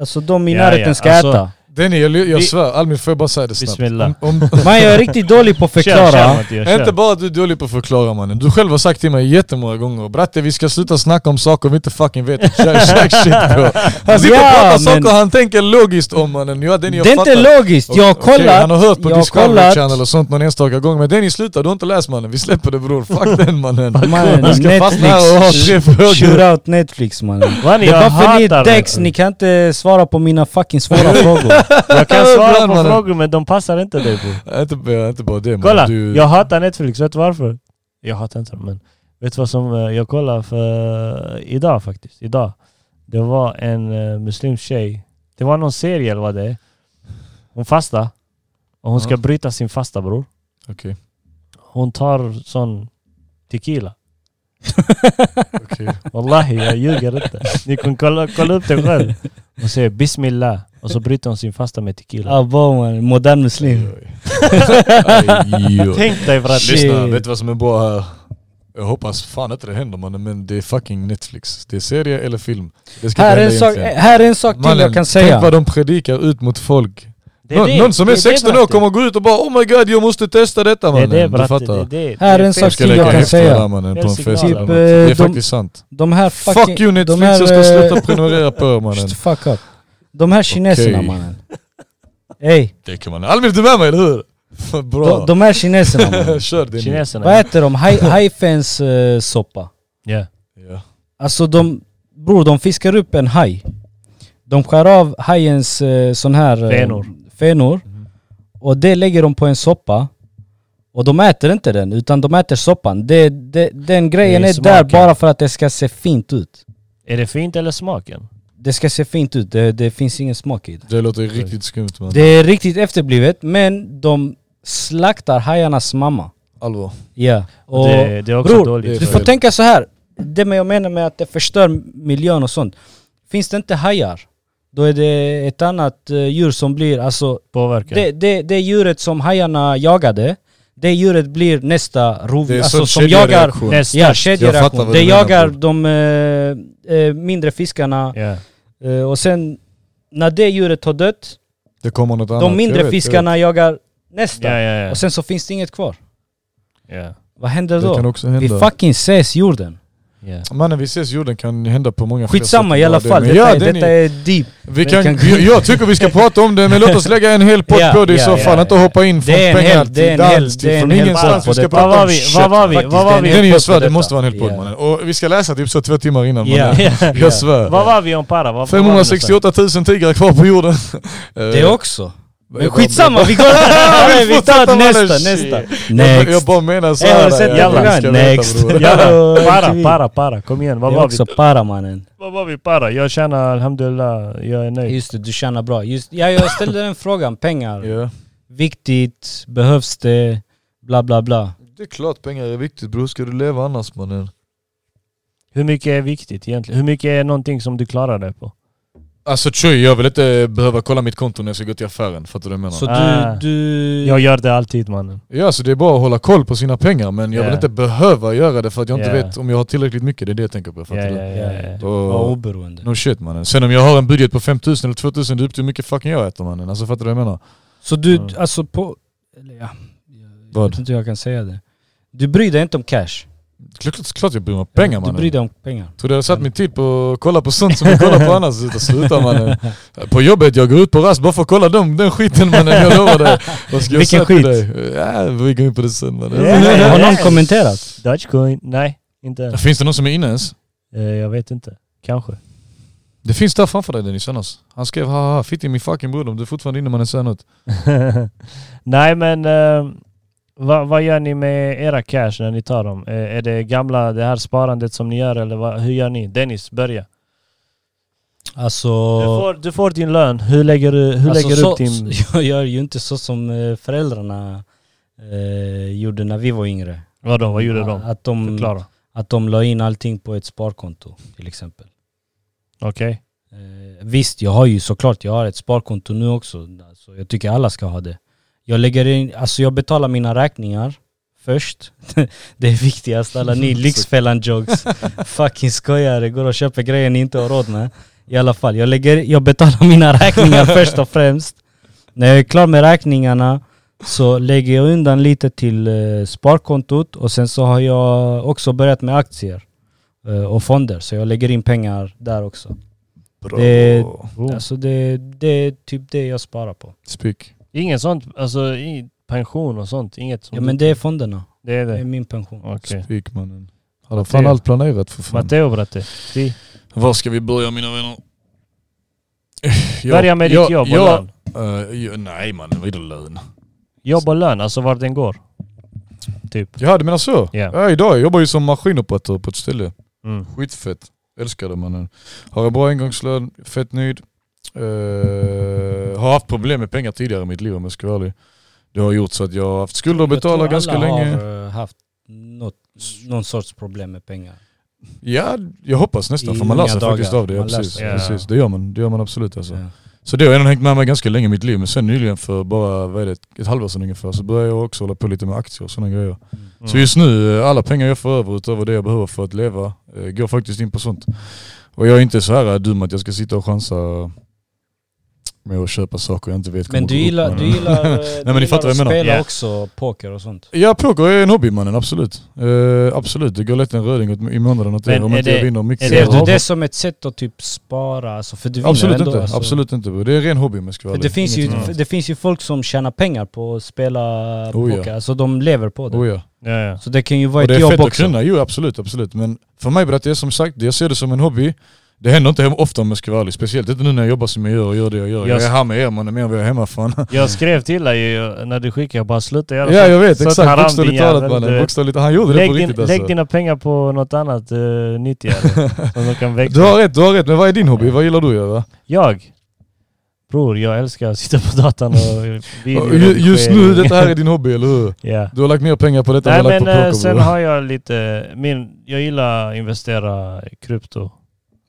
Speaker 3: alltså de i
Speaker 1: Ja,
Speaker 3: närheten
Speaker 1: ja,
Speaker 3: ska
Speaker 1: alltså-
Speaker 3: äta.
Speaker 2: Denny, jag, jag
Speaker 1: Vi-
Speaker 2: svär. Almin, får jag bara säga det snabbt?
Speaker 1: Bismillah.
Speaker 2: Om, om,
Speaker 3: Man jag är riktigt dålig på att förklara.
Speaker 1: Kör, kör, Mattias, kör.
Speaker 2: inte bara att du är dålig på att förklara mannen. Du själv har sagt till mig jättemånga gånger Bratte vi ska sluta snacka om saker vi inte fucking vet. Kör kör shit bro. Han sitter
Speaker 3: Ja,
Speaker 2: och pratar
Speaker 3: men-
Speaker 2: saker han tänker logiskt om mannen. Ja, Denny, jag
Speaker 3: det är
Speaker 2: fattar.
Speaker 3: inte logiskt, jag har
Speaker 2: Okej,
Speaker 3: kollat.
Speaker 2: han har hört på
Speaker 3: jag har
Speaker 2: Discovery
Speaker 3: kollat.
Speaker 2: Channel och sånt någon enstaka gång men Denny sluta, du har inte läst mannen. Vi släpper det bror. Fuck den mannen.
Speaker 3: Mannen,
Speaker 2: Du ska fastna här och ha tre
Speaker 3: Netflix,
Speaker 2: frågor.
Speaker 3: shootout Netflix mannen.
Speaker 1: Mannen,
Speaker 3: Det är
Speaker 1: jag
Speaker 3: bara för ni är
Speaker 1: hatar
Speaker 3: däcks,
Speaker 1: det.
Speaker 3: ni kan inte svara på mina fucking svåra frågor.
Speaker 1: Jag kan svara
Speaker 2: Ibland,
Speaker 1: på
Speaker 2: mannen.
Speaker 1: frågor men de passar inte dig bror.
Speaker 2: Inte, bara- inte bara det
Speaker 1: Kolla,
Speaker 2: mannen. Du,
Speaker 1: jag hatar Netflix, vet du varför? Jag hatar inte dem, men vet du vad som eh, jag kollade för eh, idag faktiskt? Idag. Det var en eh, muslimsk tjej. Det var någon serie eller vad det är. Hon fastar. Och hon ska
Speaker 2: Ja.
Speaker 1: bryta sin fasta bror.
Speaker 2: Okej.
Speaker 1: Hon tar sån tequila.
Speaker 2: okej.
Speaker 1: Wallahi, jag ljuger inte. Ni kan kolla, kolla upp det själv. Hon säger bismillah och så bryter hon sin fasta med tequila.
Speaker 3: Abba mannen, modern muslim.
Speaker 2: Aj, jo.
Speaker 1: Tänk dig för att...
Speaker 3: Shit.
Speaker 2: Lyssna, vet du vad som är bra här? Jag hoppas fan inte det händer mannen, men det är fucking Netflix. Det är serie eller film. Det ska
Speaker 3: Här
Speaker 2: inte
Speaker 3: är, en
Speaker 2: hända
Speaker 3: sak,
Speaker 2: egentligen.
Speaker 3: här är en sak till jag kan säga.
Speaker 2: tänk vad de predikar ut mot folk.
Speaker 1: Det
Speaker 2: någon,
Speaker 1: det,
Speaker 2: någon som
Speaker 1: det
Speaker 2: är
Speaker 1: det
Speaker 2: 16 år
Speaker 1: Bratte.
Speaker 2: kommer gå ut och bara oh my god jag måste testa detta
Speaker 1: Det är
Speaker 2: mannen.
Speaker 1: det
Speaker 2: du
Speaker 1: Bratte, det
Speaker 2: fattar.
Speaker 1: är det.
Speaker 3: Här är en
Speaker 1: Det
Speaker 3: sak
Speaker 2: Ska
Speaker 3: till
Speaker 2: lägga
Speaker 3: jag kan
Speaker 2: efter
Speaker 3: säga.
Speaker 2: där, mannen, på en
Speaker 1: Fel
Speaker 2: fest.
Speaker 1: signal. Typ,
Speaker 2: eller något. det är
Speaker 3: eh, de-
Speaker 2: faktiskt sant.
Speaker 3: De här fucking...
Speaker 2: Fuck you Netflix,
Speaker 3: de här,
Speaker 2: jag ska
Speaker 3: eh,
Speaker 2: sluta prenumerera på er mannen.
Speaker 3: Shh, fuck up. De här kineserna
Speaker 2: Okej.
Speaker 3: mannen. Ey,
Speaker 2: Det kan man. Albin du är med mig eller hur?
Speaker 3: de,
Speaker 2: bra.
Speaker 3: de här kineserna mannen.
Speaker 2: Kör din.
Speaker 1: Kineserna.
Speaker 3: vad äter de? Hai- Haifens eh, soppa.
Speaker 1: Ja.
Speaker 2: Ja.
Speaker 3: Alltså de, bror de fiskar upp en haj. De skär av hajens eh, sån här... eh,
Speaker 1: Fenor.
Speaker 3: Fenor. Och det lägger de på en soppa. Och de äter inte den, utan de äter soppan. Det, det, den grejen
Speaker 1: Det är
Speaker 3: är där
Speaker 1: smaken.
Speaker 3: bara för att det ska se fint ut.
Speaker 1: Är det fint eller smaken?
Speaker 3: Det ska se fint ut, det, det finns ingen smak i det.
Speaker 2: Det låter riktigt skumt mannen.
Speaker 3: Det är riktigt efterblivet, men de slaktar hajarnas mamma.
Speaker 2: Allvar.
Speaker 3: Ja. Och
Speaker 1: det, det är också
Speaker 3: bror,
Speaker 1: dåligt.
Speaker 2: det
Speaker 3: du
Speaker 2: är
Speaker 3: får
Speaker 2: fel.
Speaker 3: tänka så här. det med- jag menar med att det förstör miljön och sånt. Finns det inte hajar, då är det ett annat eh, djur som blir, alltså
Speaker 1: Påverkar.
Speaker 3: det, det, det djuret som hajarna jagade, det djuret blir nästa
Speaker 2: Det
Speaker 3: rovdjur,
Speaker 2: är
Speaker 3: alltså
Speaker 2: sån
Speaker 3: som jagar
Speaker 2: kedjereaktion.
Speaker 1: Nästa.
Speaker 3: Ja,
Speaker 2: Jag fattar
Speaker 3: kedjereaktion.
Speaker 2: vad
Speaker 3: Det
Speaker 2: du menar,
Speaker 3: jagar de eh, eh, mindre fiskarna
Speaker 1: Ja.
Speaker 3: eh, och sen när det djuret har dött,
Speaker 2: Det kommer något annat.
Speaker 3: de mindre
Speaker 2: Jag vet,
Speaker 3: fiskarna jagar nästa.
Speaker 1: Ja, ja, ja.
Speaker 3: Och sen så finns det inget kvar.
Speaker 1: ja.
Speaker 3: Vad händer
Speaker 2: jag vet.
Speaker 3: då?
Speaker 2: Det kan också hända.
Speaker 3: Vi fucking ses jorden.
Speaker 1: ja.
Speaker 2: Mannen vi ses jorden kan hända på många fler
Speaker 3: Skitsamma
Speaker 2: sätt.
Speaker 3: i alla
Speaker 2: Ja, det-
Speaker 3: fall,
Speaker 2: men
Speaker 3: detta,
Speaker 2: ja,
Speaker 3: är,
Speaker 2: den
Speaker 3: detta
Speaker 2: är-
Speaker 3: är deep.
Speaker 2: vi
Speaker 3: den
Speaker 2: kan,
Speaker 3: kan-
Speaker 2: jag, jag tycker vi ska prata om det men låt oss lägga en hel pott
Speaker 3: Ja,
Speaker 2: på det i
Speaker 3: ja,
Speaker 2: så
Speaker 3: ja,
Speaker 2: fall.
Speaker 3: ja.
Speaker 2: Inte hoppa in från
Speaker 3: Det är en
Speaker 2: pengar
Speaker 3: hel- det är
Speaker 2: till
Speaker 3: en hel-
Speaker 2: dans
Speaker 3: det
Speaker 2: till
Speaker 3: är en
Speaker 2: från
Speaker 3: hel
Speaker 2: ingenstans.
Speaker 3: pott
Speaker 2: Vi
Speaker 3: på
Speaker 2: ska
Speaker 3: detta.
Speaker 1: Vad
Speaker 2: prata
Speaker 1: var
Speaker 2: om
Speaker 1: vi?
Speaker 2: shit.
Speaker 1: Vad var vi?
Speaker 3: Faktiskt,
Speaker 1: Vad
Speaker 3: det är
Speaker 1: var
Speaker 3: en
Speaker 1: vi?
Speaker 2: Den är
Speaker 3: Pott
Speaker 2: ju
Speaker 3: på
Speaker 2: svär, det
Speaker 3: detta.
Speaker 2: måste vara en hel podd
Speaker 3: Ja.
Speaker 2: mannen. Och vi ska läsa typ så två timmar innan
Speaker 3: Ja.
Speaker 2: mannen.
Speaker 3: Ja.
Speaker 2: Jag svär.
Speaker 1: Vad var vi om para? Vad-
Speaker 2: 568 000 tigrar kvar på jorden. Eh,
Speaker 3: Det också. Men
Speaker 2: jag bara-
Speaker 3: skitsamma, vi går
Speaker 2: Vi
Speaker 3: Nej, vi
Speaker 2: fortsätter
Speaker 3: tar
Speaker 2: med
Speaker 3: nästa,
Speaker 2: det.
Speaker 3: nästa.
Speaker 2: Jag, jag
Speaker 3: Next.
Speaker 2: bara menar
Speaker 3: Eh, har
Speaker 2: såhär.
Speaker 3: du sett jävla Next.
Speaker 1: Jalla, para, para, para. Kom igen.
Speaker 3: Det
Speaker 1: Vad
Speaker 3: är
Speaker 1: var vi?
Speaker 3: också para mannen.
Speaker 1: Vad var vi para? Jag tjänar alhamdulillah, jag är nöjd.
Speaker 3: Just det, du tjänar bra. Just, ja, jag ställde den frågan, pengar.
Speaker 2: Ja.
Speaker 3: Viktigt, behövs det, bla bla bla.
Speaker 2: Det är klart pengar är viktigt bror. Ska du leva annars mannen?
Speaker 1: Hur mycket är viktigt egentligen? Hur mycket är någonting som du klarar dig på?
Speaker 2: Alltså tjoj, jag vill inte behöva kolla mitt konto när jag ska gå till affären. Fattar du vad jag menar?
Speaker 3: Så
Speaker 1: Ah.
Speaker 3: du, du...
Speaker 1: Jag gör det alltid mannen.
Speaker 2: Ja, så det är bara att hålla koll på sina pengar men jag
Speaker 1: Ja.
Speaker 2: vill inte behöva göra det för att jag inte
Speaker 1: Ja.
Speaker 2: vet om jag har tillräckligt mycket. Det är det jag tänker på.
Speaker 1: Ja,
Speaker 2: Fattar
Speaker 1: ja,
Speaker 2: du?
Speaker 1: ja, ja.
Speaker 3: Var
Speaker 2: Och,
Speaker 3: oberoende.
Speaker 2: no shit mannen. Sen om jag har en budget på 5000 eller 2000, det är upp till hur mycket fucking jag äter mannen. Alltså fattar du vad jag menar?
Speaker 3: Så du,
Speaker 1: Mm.
Speaker 3: alltså på... Eller ja, jag
Speaker 2: Vad?
Speaker 3: vet inte hur jag kan säga det. Du bryr dig inte om cash.
Speaker 2: Klart, klart jag bryr mig om pengar
Speaker 3: Du
Speaker 2: mannen.
Speaker 3: bryr dig om pengar.
Speaker 2: Tror du jag har satt min tid på att kolla på sånt som jag kollar på annars? Sluta, Sluta mannen. På jobbet, jag går ut på rast bara för att kolla dem, den skiten mannen, jag lovar dig. Vad ska jag
Speaker 3: Vilken
Speaker 2: säga till
Speaker 3: skit?
Speaker 2: dig? Ja, vi går in på det sen mannen.
Speaker 1: Ja.
Speaker 3: Har någon kommenterat?
Speaker 1: Dogecoin? Nej, inte än.
Speaker 2: Finns det någon som är inne ens?
Speaker 1: Eh, Jag vet inte. Kanske.
Speaker 2: Det finns där framför dig Dennis annars. Han skrev haha, fitt i min fucking bror om du är fortfarande inne mannen säger något.
Speaker 1: Nej men eh, vad, vad gör ni med era cash när ni tar dem? Eh, är det gamla, det här sparandet som ni gör eller vad, hur gör ni? Dennis, börja.
Speaker 3: Alltså...
Speaker 1: Du får, du får din lön, hur lägger du, hur
Speaker 3: Alltså,
Speaker 1: lägger du
Speaker 3: så,
Speaker 1: upp din...
Speaker 3: så- Jag gör ju inte så som eh, föräldrarna eh, gjorde när vi var yngre.
Speaker 1: Vadå, vad gjorde de?
Speaker 3: Att de,
Speaker 1: Förklara.
Speaker 3: att de la in allting på ett sparkonto till exempel.
Speaker 1: Okej.
Speaker 3: Eh, visst, jag har ju såklart, jag har ett sparkonto nu också. Alltså, jag tycker alla ska ha det. Jag lägger in, alltså jag betalar mina räkningar först. det är viktigast, alla ni Lyxfällan-jokes. Fucking skojare, går och köper grejer ni inte har råd med. I alla fall, jag, lägger, jag betalar mina räkningar först och främst. När jag är klar med räkningarna så lägger jag undan lite till eh, sparkontot och sen så har jag också börjat med aktier eh, och fonder. Så jag lägger in pengar där också.
Speaker 2: Bra.
Speaker 3: Det- Alltså det, det är typ det jag sparar på.
Speaker 2: Spik.
Speaker 1: Ingen sånt, alltså i pension och sånt, inget sånt.
Speaker 3: Ja men det Mm. är fonderna.
Speaker 1: det är
Speaker 3: Det är
Speaker 1: det.
Speaker 3: min pension.
Speaker 1: Okej.
Speaker 2: Spik mannen. Han har fan allt planerat för fan.
Speaker 1: Matteo bratte. Vi
Speaker 2: Var ska vi börja mina vänner? Jag-
Speaker 1: börjar med ditt
Speaker 2: jag-
Speaker 1: jobb och
Speaker 2: jag-
Speaker 1: lön.
Speaker 2: eh, jag- nej mannen, vadå lön?
Speaker 1: Jobb och lön, alltså vart den går. Typ.
Speaker 2: Ja du menar så?
Speaker 1: Ja.
Speaker 2: Ja, idag, jag jobbar ju som maskinoperatör på ett ställe.
Speaker 1: Mm.
Speaker 2: Skitfett. Älskar det mannen. Har en bra engångslön, fett nöjd. Eh, har haft problem med pengar tidigare i mitt liv om jag ska vara ärlig. Det har gjort så att jag har haft skulder att betala ganska
Speaker 3: alla
Speaker 2: länge.
Speaker 3: har eh, haft något, någon sorts problem med pengar.
Speaker 2: Ja, jag hoppas nästan
Speaker 3: I
Speaker 2: för man lär
Speaker 3: unga
Speaker 2: sig faktiskt
Speaker 3: dagar.
Speaker 2: av det. Ja,
Speaker 3: Man lär
Speaker 2: precis,
Speaker 1: sig. Ja.
Speaker 2: precis. Det, gör man, det gör man absolut alltså.
Speaker 3: Ja.
Speaker 2: Så det har ändå hängt med mig ganska länge i mitt liv. Men sen nyligen för bara, vad är det, ett halvår sedan ungefär så började jag också hålla på lite med aktier och sådana grejer.
Speaker 3: Mm.
Speaker 2: Så just nu, eh, alla pengar jag får över utöver det jag behöver för att leva eh, går faktiskt in på sånt. Och jag är inte så här eh, dum att jag ska sitta och chansa med att köpa saker jag inte vet kommer
Speaker 3: Men du
Speaker 2: gå upp,
Speaker 3: gillar,
Speaker 2: mannen.
Speaker 3: du gillar, eh,
Speaker 2: men
Speaker 3: du
Speaker 2: ni
Speaker 3: gillar
Speaker 2: fattar vad jag
Speaker 3: att
Speaker 2: menar.
Speaker 3: spela
Speaker 1: Ja.
Speaker 3: också poker och sånt.
Speaker 2: Ja, poker är en hobby mannen, absolut. Eh, absolut, det går lätt en röding åt- i månaden åt
Speaker 1: Men
Speaker 2: det om
Speaker 1: är
Speaker 2: inte jag
Speaker 1: det-
Speaker 2: vinner mycket.
Speaker 1: är det
Speaker 3: Ser du
Speaker 1: hobby?
Speaker 3: det som ett sätt att typ spara? Alltså för du vinner
Speaker 2: absolut
Speaker 3: ändå.
Speaker 2: inte,
Speaker 3: alltså.
Speaker 2: absolut inte. bro. Det är en ren hobby om jag ska vara
Speaker 3: För det,
Speaker 2: ärlig.
Speaker 3: finns ju,
Speaker 2: Ingenting annat.
Speaker 3: för det finns ju folk som tjänar pengar på att spela
Speaker 2: Oh ja.
Speaker 3: poker, alltså de lever på det.
Speaker 2: Oh, ja.
Speaker 1: Ja, ja.
Speaker 3: Så det kan ju vara
Speaker 2: Och det
Speaker 3: ett
Speaker 2: är
Speaker 3: jobb
Speaker 2: fett att
Speaker 3: också.
Speaker 2: kunna, jo absolut, absolut. Men för mig bro, att det är som sagt, jag ser det som en hobby. Det händer inte hem- ofta om jag ska vara ärlig. Speciellt inte nu när jag jobbar som jag gör och gör det jag gör.
Speaker 1: Jag
Speaker 2: Jag är
Speaker 1: s-
Speaker 2: här med er mannen, mer än vad jag är hemma fan.
Speaker 1: Jag skrev till dig ju när du skickade, jag bara sluta göra
Speaker 2: Ja
Speaker 1: sånt.
Speaker 2: jag vet,
Speaker 1: Sånt
Speaker 2: exakt.
Speaker 1: haram,
Speaker 2: Bokstavligt
Speaker 1: din
Speaker 2: talat
Speaker 1: jävel,
Speaker 2: mannen.
Speaker 1: du vet.
Speaker 2: Bokstavligt, han gjorde det
Speaker 1: Lägg,
Speaker 2: på
Speaker 1: din,
Speaker 2: riktigt alltså.
Speaker 1: lägg dina pengar på något annat uh, nyttigare. som de kan växa.
Speaker 2: Du har rätt, du har rätt. Men vad är din hobby? Vad gillar du att göra?
Speaker 1: Jag? Bror, jag älskar att sitta på datorn och
Speaker 2: Och ju- Just nu,
Speaker 1: videoredigering.
Speaker 2: detta här är din hobby, eller hur?
Speaker 1: Ja.
Speaker 2: Du har lagt mer pengar på detta än
Speaker 1: Nej
Speaker 2: vad jag
Speaker 1: men
Speaker 2: lagt på
Speaker 1: eh,
Speaker 2: poker
Speaker 1: sen
Speaker 2: bror.
Speaker 1: har jag lite, min, jag gillar att investera i krypto.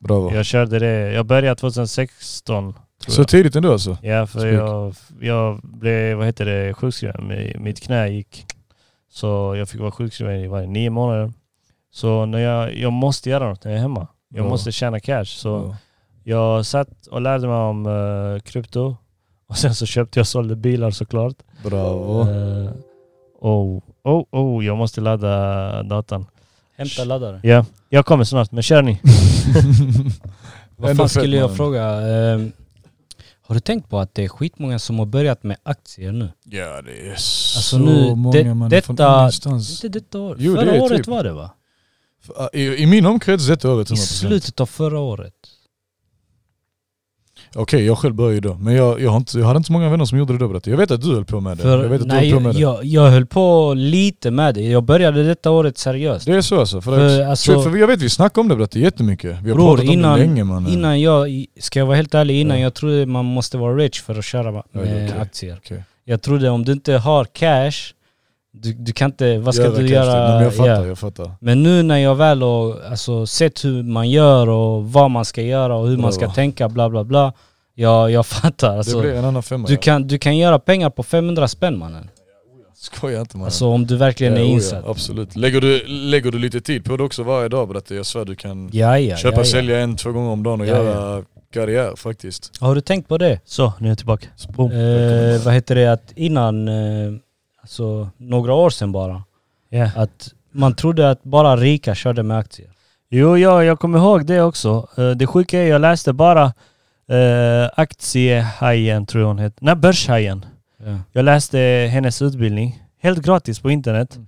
Speaker 2: Bravo.
Speaker 1: Jag körde det, jag började 2016. tror
Speaker 2: Oh. Så
Speaker 1: jag.
Speaker 2: tidigt ändå alltså?
Speaker 1: Ja för
Speaker 2: Snyggt.
Speaker 1: jag, jag blev, vad heter det, sjukskriven. Mi- Mitt knä gick. Så jag fick vara sjukskriven i varje nio månader. Så när jag, jag måste göra något när jag är hemma. Jag
Speaker 2: Ja.
Speaker 1: måste tjäna cash. Så
Speaker 2: Ja.
Speaker 1: jag satt och lärde mig om eh, krypto. Och sen så köpte jag och sålde bilar såklart.
Speaker 2: Bravo.
Speaker 1: Eh, oh, oh, oh, jag måste ladda datan.
Speaker 3: Hämta laddare.
Speaker 1: Ja, jag kommer snart, men kör ni.
Speaker 3: Vad
Speaker 2: Ändå
Speaker 3: fan
Speaker 2: fett,
Speaker 3: skulle jag
Speaker 2: mannen.
Speaker 3: fråga? ehm, har du tänkt på att det är skitmånga som har börjat med aktier nu?
Speaker 2: Ja det är
Speaker 3: Alltså
Speaker 2: så
Speaker 3: nu, det-
Speaker 2: många mannen från
Speaker 3: detta-
Speaker 2: ingenstans.
Speaker 3: Inte detta år.
Speaker 2: Jo, det
Speaker 3: förra
Speaker 2: är
Speaker 3: året
Speaker 2: typ.
Speaker 3: var det va?
Speaker 2: I, I min omkrets detta året
Speaker 3: I
Speaker 2: 100%.
Speaker 3: slutet av förra året.
Speaker 2: Okej, jag själv började ju då. Men jag, jag, har inte, jag hade inte så många vänner som gjorde det då. berättar Jag Jag vet att du höll på med det. jag vet att
Speaker 3: nej,
Speaker 2: du höll på med det.
Speaker 3: jag, jag höll på lite med det. Jag började detta året seriöst.
Speaker 2: Det är så alltså. För,
Speaker 3: För,
Speaker 2: att,
Speaker 3: alltså-
Speaker 2: för, jag vet vi snackade om det berättar jättemycket. Vi har
Speaker 3: Bror,
Speaker 2: pratat om
Speaker 3: innan-
Speaker 2: det länge mannen.
Speaker 3: Innan jag, ska jag vara helt ärlig, innan
Speaker 2: Ja.
Speaker 3: jag trodde man måste vara rich för att köra med
Speaker 2: Ja, det är okej.
Speaker 3: aktier.
Speaker 2: Okej.
Speaker 3: Jag trodde om du inte har cash, du, du kan inte, vad ska
Speaker 2: Jävla
Speaker 3: du
Speaker 2: kast. Nej,
Speaker 3: göra?
Speaker 2: men jag fattar,
Speaker 3: Ja.
Speaker 2: jag fattar.
Speaker 3: Men nu när jag väl har alltså, sett hur man gör och vad man ska göra och hur man ska
Speaker 2: Bra.
Speaker 3: tänka bla bla bla. Jag, jag fattar
Speaker 2: det blir
Speaker 3: alltså.
Speaker 2: en annan femma.
Speaker 3: Du
Speaker 2: ja.
Speaker 3: kan, du kan göra pengar på 500 spänn mannen.
Speaker 2: Skoja inte mannen.
Speaker 3: Alltså om du verkligen
Speaker 2: Ja,
Speaker 3: är
Speaker 2: oh ja,
Speaker 3: insatt.
Speaker 2: absolut. Lägger du, lägger du lite tid på det också varje dag berättar jag svär du kan
Speaker 3: Ja, ja,
Speaker 2: köpa,
Speaker 3: ja, ja.
Speaker 2: sälja en, två gånger om dagen och
Speaker 3: Ja,
Speaker 2: göra karriär faktiskt.
Speaker 3: Har du tänkt på det?
Speaker 1: Så, nu är jag tillbaka. Boom.
Speaker 3: Eh, vad heter det att innan, eh, alltså några år sedan bara,
Speaker 1: Ja.
Speaker 3: att man trodde att bara rika körde med aktier.
Speaker 1: Jo, ja, jag kommer ihåg det också. Eh, Det sjuka är, jag läste bara eh, aktiehajen, tror jag hon heter. Nej, börshajen.
Speaker 3: Ja.
Speaker 1: Jag läste hennes utbildning, helt gratis på internet.
Speaker 2: Mm.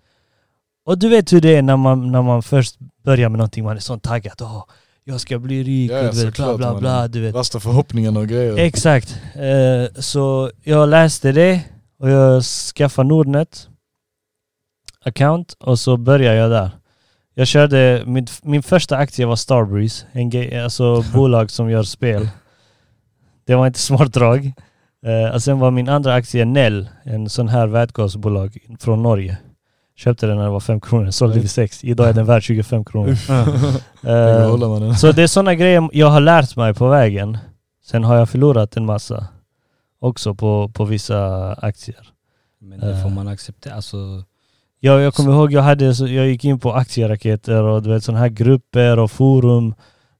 Speaker 1: Och du vet hur det är när man, när man först börjar med någonting, man är så taggad. Åh, jag ska bli rik,
Speaker 2: Ja, ja,
Speaker 1: och du vet, bla
Speaker 2: såklart,
Speaker 1: bla
Speaker 2: man.
Speaker 1: bla, du vet.
Speaker 2: Värsta förhoppningarna och grejer.
Speaker 1: Exakt. Eh, så jag läste det och jag skaffade Nordnet account och så började jag där. Jag körde, min, min första aktie var Starbreeze, en ge- alltså bolag som gör spel. Det var inte smart drag. Eh, och sen var min andra aktie Nell, en sån här vätgasbolag från Norge. Köpte den när den var 5 kronor, sålde vid 6. Idag är den värd 25 kronor.
Speaker 2: Jag vill
Speaker 1: Eh,
Speaker 2: hålla, mannen.
Speaker 1: så det är sådana grejer jag har lärt mig på vägen. Sen har jag förlorat en massa också på, på vissa aktier.
Speaker 3: Men det
Speaker 1: Eh.
Speaker 3: får man acceptera. Alltså,
Speaker 1: Jag, jag kommer ihåg, jag, hade, så- jag gick in på aktieraketer och du vet sådana här grupper och forum.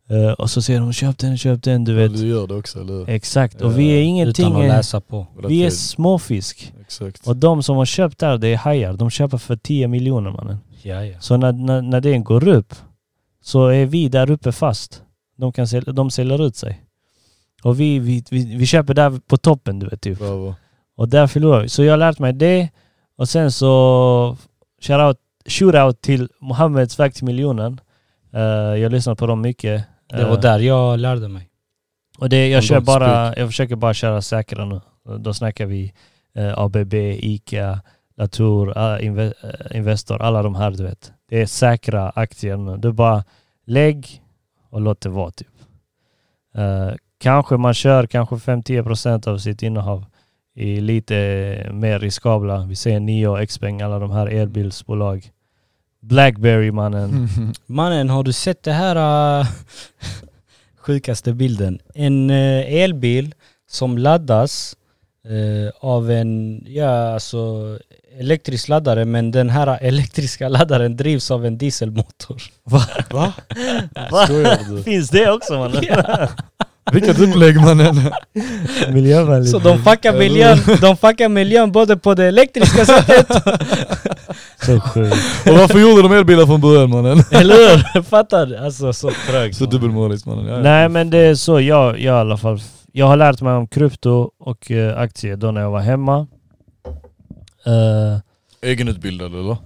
Speaker 1: eh, och så säger de köp den, köp den, du vet.
Speaker 2: Du gör det också, eller
Speaker 3: Eh,
Speaker 2: hur?
Speaker 1: Exakt,
Speaker 2: Ja,
Speaker 1: och vi är
Speaker 3: Utan
Speaker 1: ingenting...
Speaker 3: att läsa på.
Speaker 1: Vi är småfisk.
Speaker 2: Exakt.
Speaker 1: Och de som har köpt där, det är hajar. De köper för 10 miljoner mannen.
Speaker 3: Ja, ja.
Speaker 1: Så när, när, när den går upp så är vi där uppe fast. De, kan sälja, de säljer ut sig. Och vi, vi, vi, vi köper där på toppen du vet typ.
Speaker 2: Bravo.
Speaker 1: Och där förlorar vi. Så jag har lärt mig det. Och sen så shoutout, shoutout till Mohammeds väg till miljonen. Eh, jag har lyssnat på dem mycket.
Speaker 3: Det var
Speaker 1: Eh,
Speaker 3: där jag lärde mig.
Speaker 1: och det,
Speaker 2: Om
Speaker 1: jag, kör
Speaker 2: de
Speaker 1: bara, jag försöker bara köra säkra nu. Då snackar vi eh, ABB, ICA, Latour, alla inve, eh, Investor, alla de här du vet. Det är säkra aktier nu. Du bara lägg och låt det vara typ. Eh, kanske man kör kanske 5-10% av sitt innehav i lite mer riskabla. Vi säger Nio, Xpeng, alla de här elbilsbolag. Blackberry mannen.
Speaker 2: Mm.
Speaker 3: Mannen, har du sett det här äh, sjukaste bilden? En eh, elbil som laddas eh, av en, ja alltså elektrisk laddare men den här elektriska laddaren drivs av en dieselmotor.
Speaker 2: Va?
Speaker 1: Va?
Speaker 2: Skojar du?
Speaker 1: Finns det också mannen?
Speaker 2: Vilket upplägg mannen!
Speaker 1: Miljövänligt.
Speaker 3: Så de fuckar miljön, de fuckar miljön både på det elektriska sättet,
Speaker 1: Så sjukt.
Speaker 2: Och varför gjorde de elbilar från början mannen?
Speaker 3: eller hur? Fattar du? Alltså så trögt.
Speaker 2: Så dubbelmoraliskt mannen. Ja, ja.
Speaker 1: Nej men det är så jag, jag i alla fall. Jag har lärt mig om krypto och eh, aktier då när jag var hemma. Eh,
Speaker 2: Egenutbildad eller?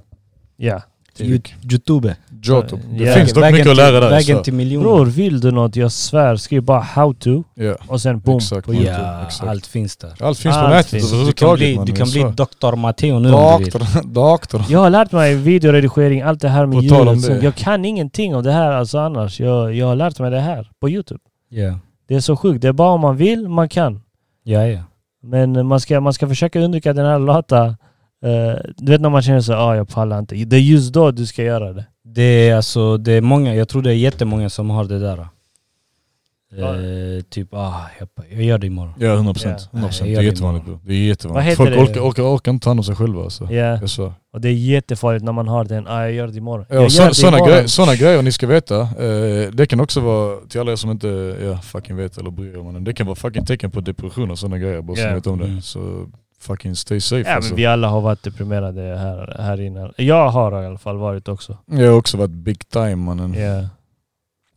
Speaker 1: Ja.
Speaker 3: Youtube.
Speaker 2: Job. Det
Speaker 1: Ja.
Speaker 2: finns dock
Speaker 3: Vägen
Speaker 2: mycket att lära
Speaker 3: till-
Speaker 2: där.
Speaker 3: Vägen
Speaker 2: så.
Speaker 3: till miljoner.
Speaker 1: Bror, vill du något? Jag svär, skriv bara how to
Speaker 2: Ja,
Speaker 1: och sen boom.
Speaker 2: exakt.
Speaker 1: på
Speaker 2: mannen.
Speaker 1: YouTube.
Speaker 3: Ja,
Speaker 2: Exakt.
Speaker 3: allt finns där.
Speaker 2: Allt finns på
Speaker 1: Allt
Speaker 2: nätet
Speaker 1: finns.
Speaker 3: Du kan bli,
Speaker 2: överhuvudtaget
Speaker 3: du
Speaker 2: mannen.
Speaker 3: kan bli
Speaker 2: Så.
Speaker 3: Dr. Matteo nu om du vill.
Speaker 2: Doktor, doktor.
Speaker 1: Jag har lärt mig videoredigering, allt det här med
Speaker 2: På tal om
Speaker 1: ljudet.
Speaker 2: det.
Speaker 1: så Jag kan ingenting av det här alltså annars. Jag, jag har lärt mig det här på YouTube.
Speaker 3: Ja,
Speaker 1: Det är så sjukt. Det är bara om man vill, man kan.
Speaker 3: ja. ja.
Speaker 1: Men man ska, man ska försöka undvika den här lata... eh, du vet när man känner så ah jag pallar inte. Det är just då du ska göra det.
Speaker 3: Det är alltså, det är många, jag tror det är jättemånga som har det där.
Speaker 1: Ja.
Speaker 3: Eh, typ, ah, jag, jag gör det imorgon.
Speaker 2: Ja, 100 procent.
Speaker 3: Ja.
Speaker 2: 100 procent.
Speaker 3: Nej,
Speaker 2: Det
Speaker 3: jag
Speaker 2: är
Speaker 3: gör det
Speaker 2: jättevanligt bror. Det är
Speaker 1: Vad heter
Speaker 2: jättevanligt. Folk
Speaker 1: det?
Speaker 2: orkar, orkar, orkar inte ta hand om sig själva alltså.
Speaker 1: Ja.
Speaker 2: Jag svär.
Speaker 1: Och det är jättefarligt när man har den, ah, jag gör det imorgon.
Speaker 2: Ja,
Speaker 1: Jag
Speaker 2: och
Speaker 1: gör
Speaker 2: så,
Speaker 1: det
Speaker 2: såna,
Speaker 1: imorgon.
Speaker 2: grej, såna grejer ni ska veta, eh, det kan också vara, till alla er som inte ja, fucking vet eller bryr er om det, det kan vara fucking tecken på depression och sådana grejer, bara så
Speaker 1: Ja.
Speaker 2: ni vet om det.
Speaker 3: Mm.
Speaker 2: Så fucking stay safe
Speaker 1: Ja
Speaker 2: alltså.
Speaker 1: men vi alla har varit deprimerade här, här innan. Jag har i alla fall varit också.
Speaker 2: Jag har också varit big time mannen.
Speaker 1: Ja.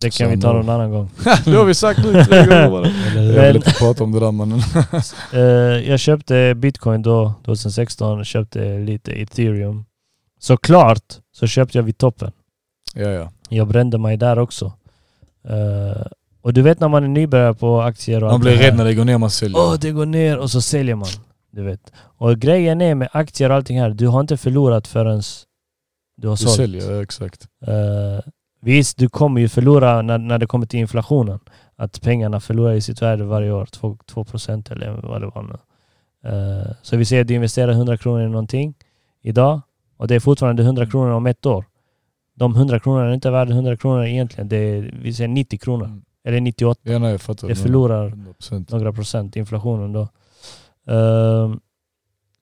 Speaker 1: Det kan
Speaker 2: Så
Speaker 1: vi ta
Speaker 2: nu-
Speaker 1: någon annan gång.
Speaker 2: det har vi sagt nu tre gånger bara.
Speaker 3: Eller hur?
Speaker 2: Jag vill
Speaker 1: Men-
Speaker 2: inte prata om det där mannen.
Speaker 1: Eh, jag köpte bitcoin då, 2016, köpte lite ethereum. Såklart så köpte jag vid toppen.
Speaker 2: Ja ja.
Speaker 1: Jag brände mig där också. Eh, och du vet när man är nybörjare på aktier och
Speaker 2: Man
Speaker 1: allt
Speaker 2: blir
Speaker 1: det här.
Speaker 2: rädd när det går ner, man säljer.
Speaker 1: Åh, det går ner och så säljer man. Du vet. Och grejen är med aktier och allting här, du har inte förlorat förrän du har
Speaker 2: du
Speaker 1: sålt.
Speaker 2: säljer, ja, exakt.
Speaker 1: Eh, visst, du kommer ju förlora när, när det kommer till inflationen. Att pengarna förlorar i sitt värde varje år, 2, 2% eller vad det var nu. Eh, så vi säger att du investerar 100 kronor i någonting idag och det är fortfarande 100
Speaker 2: Mm.
Speaker 1: kronor om ett år. De 100 kronorna är inte värda 100 kronor egentligen. Det är, vi säger 90 kronor,
Speaker 2: Mm.
Speaker 1: eller 98.
Speaker 2: Ja nej jag fattar.
Speaker 1: Det förlorar
Speaker 2: 100%.
Speaker 1: några procent, inflationen då. Ehm,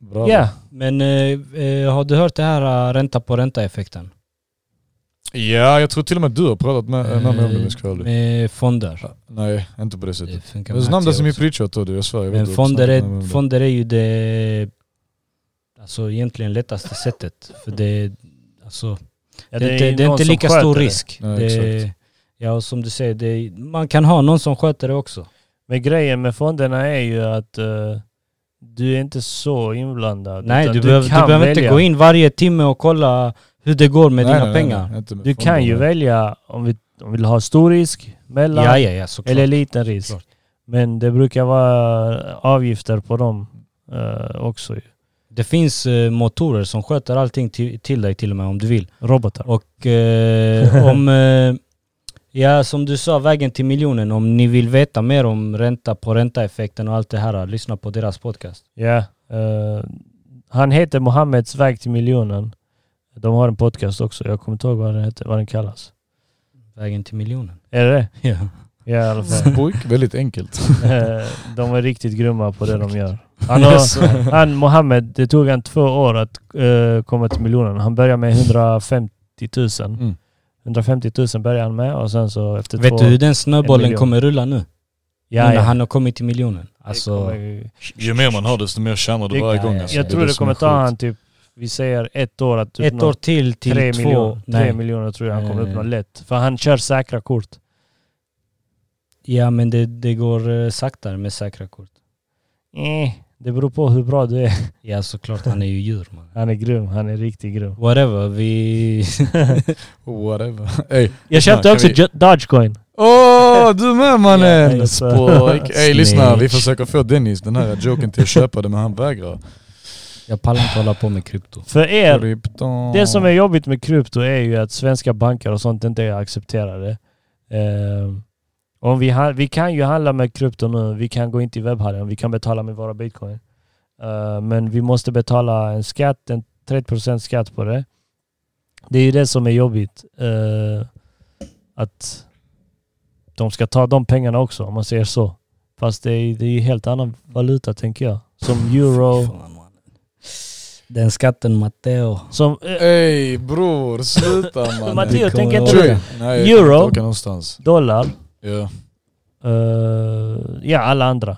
Speaker 1: Ja,
Speaker 2: Bra.
Speaker 3: Men eh, eh, har du hört det här eh, ränta på ränta-effekten?
Speaker 2: Ja, jag tror till och med du har pratat med en annan om det om jag ska vara
Speaker 3: Eh,
Speaker 2: ärlig.
Speaker 3: Med fonder.
Speaker 2: Nej, inte på det sättet.
Speaker 3: Det funkar
Speaker 2: Det
Speaker 3: med
Speaker 2: namn
Speaker 3: aktier
Speaker 2: det som är
Speaker 3: också.
Speaker 2: preacher då du, jag svär. Jag
Speaker 3: Men
Speaker 2: vet
Speaker 3: fonder
Speaker 2: inte vad
Speaker 3: är,
Speaker 2: du snackar om.
Speaker 3: fonder är ju det alltså egentligen lättaste sättet. För det, alltså,
Speaker 1: ja,
Speaker 3: det, är
Speaker 1: ju
Speaker 3: inte, det är
Speaker 1: någon
Speaker 3: inte
Speaker 1: som
Speaker 3: lika
Speaker 1: sköter
Speaker 3: stor
Speaker 1: det.
Speaker 3: risk.
Speaker 2: Nej,
Speaker 3: det,
Speaker 2: exakt.
Speaker 3: ja, och som du säger, det, är- man kan ha någon som sköter det också.
Speaker 1: Men grejen med fonderna är ju att eh, du är inte så inblandad.
Speaker 3: Nej,
Speaker 1: utan
Speaker 3: du, behöver, du
Speaker 1: kan
Speaker 3: behöver
Speaker 1: välja.
Speaker 3: inte gå in varje timme och kolla hur det går med
Speaker 2: Nej,
Speaker 3: dina
Speaker 2: nej, nej,
Speaker 3: pengar.
Speaker 2: nej, inte med
Speaker 1: Du
Speaker 2: fonder,
Speaker 1: kan ju
Speaker 2: nej.
Speaker 1: välja om vi, om vi vill ha stor risk, mellan
Speaker 3: Ja, ja, ja, såklart.
Speaker 1: eller liten risk.
Speaker 3: Klart.
Speaker 1: Men det brukar vara avgifter på dem eh, också. ju.
Speaker 3: Det finns eh, motorer som sköter allting till, till dig till och med om du vill.
Speaker 1: Robotar.
Speaker 3: Och eh, om... Eh, ja, som du sa, vägen till miljonen. Om ni vill veta mer om ränta på ränta-effekten och allt det här, lyssna på deras podcast.
Speaker 1: Ja. eh, han heter Mohammeds väg till miljonen. De har en podcast också. Jag kommer inte ihåg vad den, heter, vad den kallas.
Speaker 3: Vägen till miljonen.
Speaker 1: Är det det?
Speaker 3: Ja.
Speaker 1: Ja, i alla fall.
Speaker 2: Pojk, väldigt enkelt.
Speaker 1: Eh, de är riktigt grymma på det de gör. Han, har, han Mohammed, det tog han två år att eh, komma till miljonen. Han började med 150 000.
Speaker 2: Mm.
Speaker 1: 150 000 började han med och sen så efter två...
Speaker 3: Vet du hur den snöbollen
Speaker 1: miljon.
Speaker 3: kommer rulla nu? nu
Speaker 1: Ja,
Speaker 3: när
Speaker 1: ja.
Speaker 3: han har kommit till miljonen.
Speaker 1: Det
Speaker 3: Alltså,
Speaker 1: kommer-
Speaker 2: Ju mer man har desto mer tjänar du
Speaker 1: Det-
Speaker 2: varje
Speaker 3: ja,
Speaker 2: gång
Speaker 3: ja.
Speaker 2: alltså.
Speaker 1: jag
Speaker 2: är
Speaker 1: tror det
Speaker 2: som
Speaker 1: kommer
Speaker 2: är
Speaker 1: ta
Speaker 2: sjukt.
Speaker 1: han typ, vi säger ett år att
Speaker 3: ett
Speaker 1: uppnå
Speaker 3: år till till
Speaker 1: tre,
Speaker 3: två.
Speaker 1: miljoner, tre
Speaker 3: Nej.
Speaker 1: miljoner tror jag han kommer
Speaker 3: Nej.
Speaker 1: uppnå lätt. För han kör säkra kort.
Speaker 3: Ja men det, det går eh, saktare med säkra kort.
Speaker 1: Eh, det beror på hur bra du är.
Speaker 3: Ja såklart, han är ju djur man.
Speaker 1: Han är grym, han är riktigt grym.
Speaker 3: Whatever, vi...
Speaker 2: Oh, Whatever. Ey.
Speaker 1: Jag köpte
Speaker 2: köpte Ja,
Speaker 1: också
Speaker 2: också kan vi-
Speaker 1: Dogecoin.
Speaker 2: Åh, du med
Speaker 1: Ja, alltså.
Speaker 2: mannen!
Speaker 1: jag sa-
Speaker 2: Spåk. Ey lyssna, vi
Speaker 3: Snitch.
Speaker 2: försöker få Dennis, den här joken till att köpa det men han vägrar.
Speaker 3: Jag pallar inte hålla på med krypto.
Speaker 1: För er,
Speaker 2: Krypton.
Speaker 1: det som är jobbigt med krypto är ju att svenska banker och sånt inte accepterar det. Ehm, om vi, han- vi kan ju handla med krypto nu, vi kan gå in till webbhandeln, vi kan betala med våra bitcoin. Ehm, men vi måste betala en skatt, en 30% skatt på det. Det är ju det som är jobbigt. Ehm, att de ska ta de pengarna också, om man säger så. Fast det är, det är ju helt annan valuta tänker jag. Som euro.
Speaker 3: Fan, mannen. Den skatten Matteo.
Speaker 1: Som, eh,
Speaker 2: Ey bror, sluta mannen.
Speaker 1: Matteo,
Speaker 3: det
Speaker 1: tänk
Speaker 3: kommer
Speaker 1: inte
Speaker 3: vara-
Speaker 1: du.
Speaker 2: Tjur. Nej, jag kan
Speaker 1: Euro.
Speaker 2: inte åka någonstans.
Speaker 1: Dollar.
Speaker 2: Ja.
Speaker 1: eh, ja, alla andra.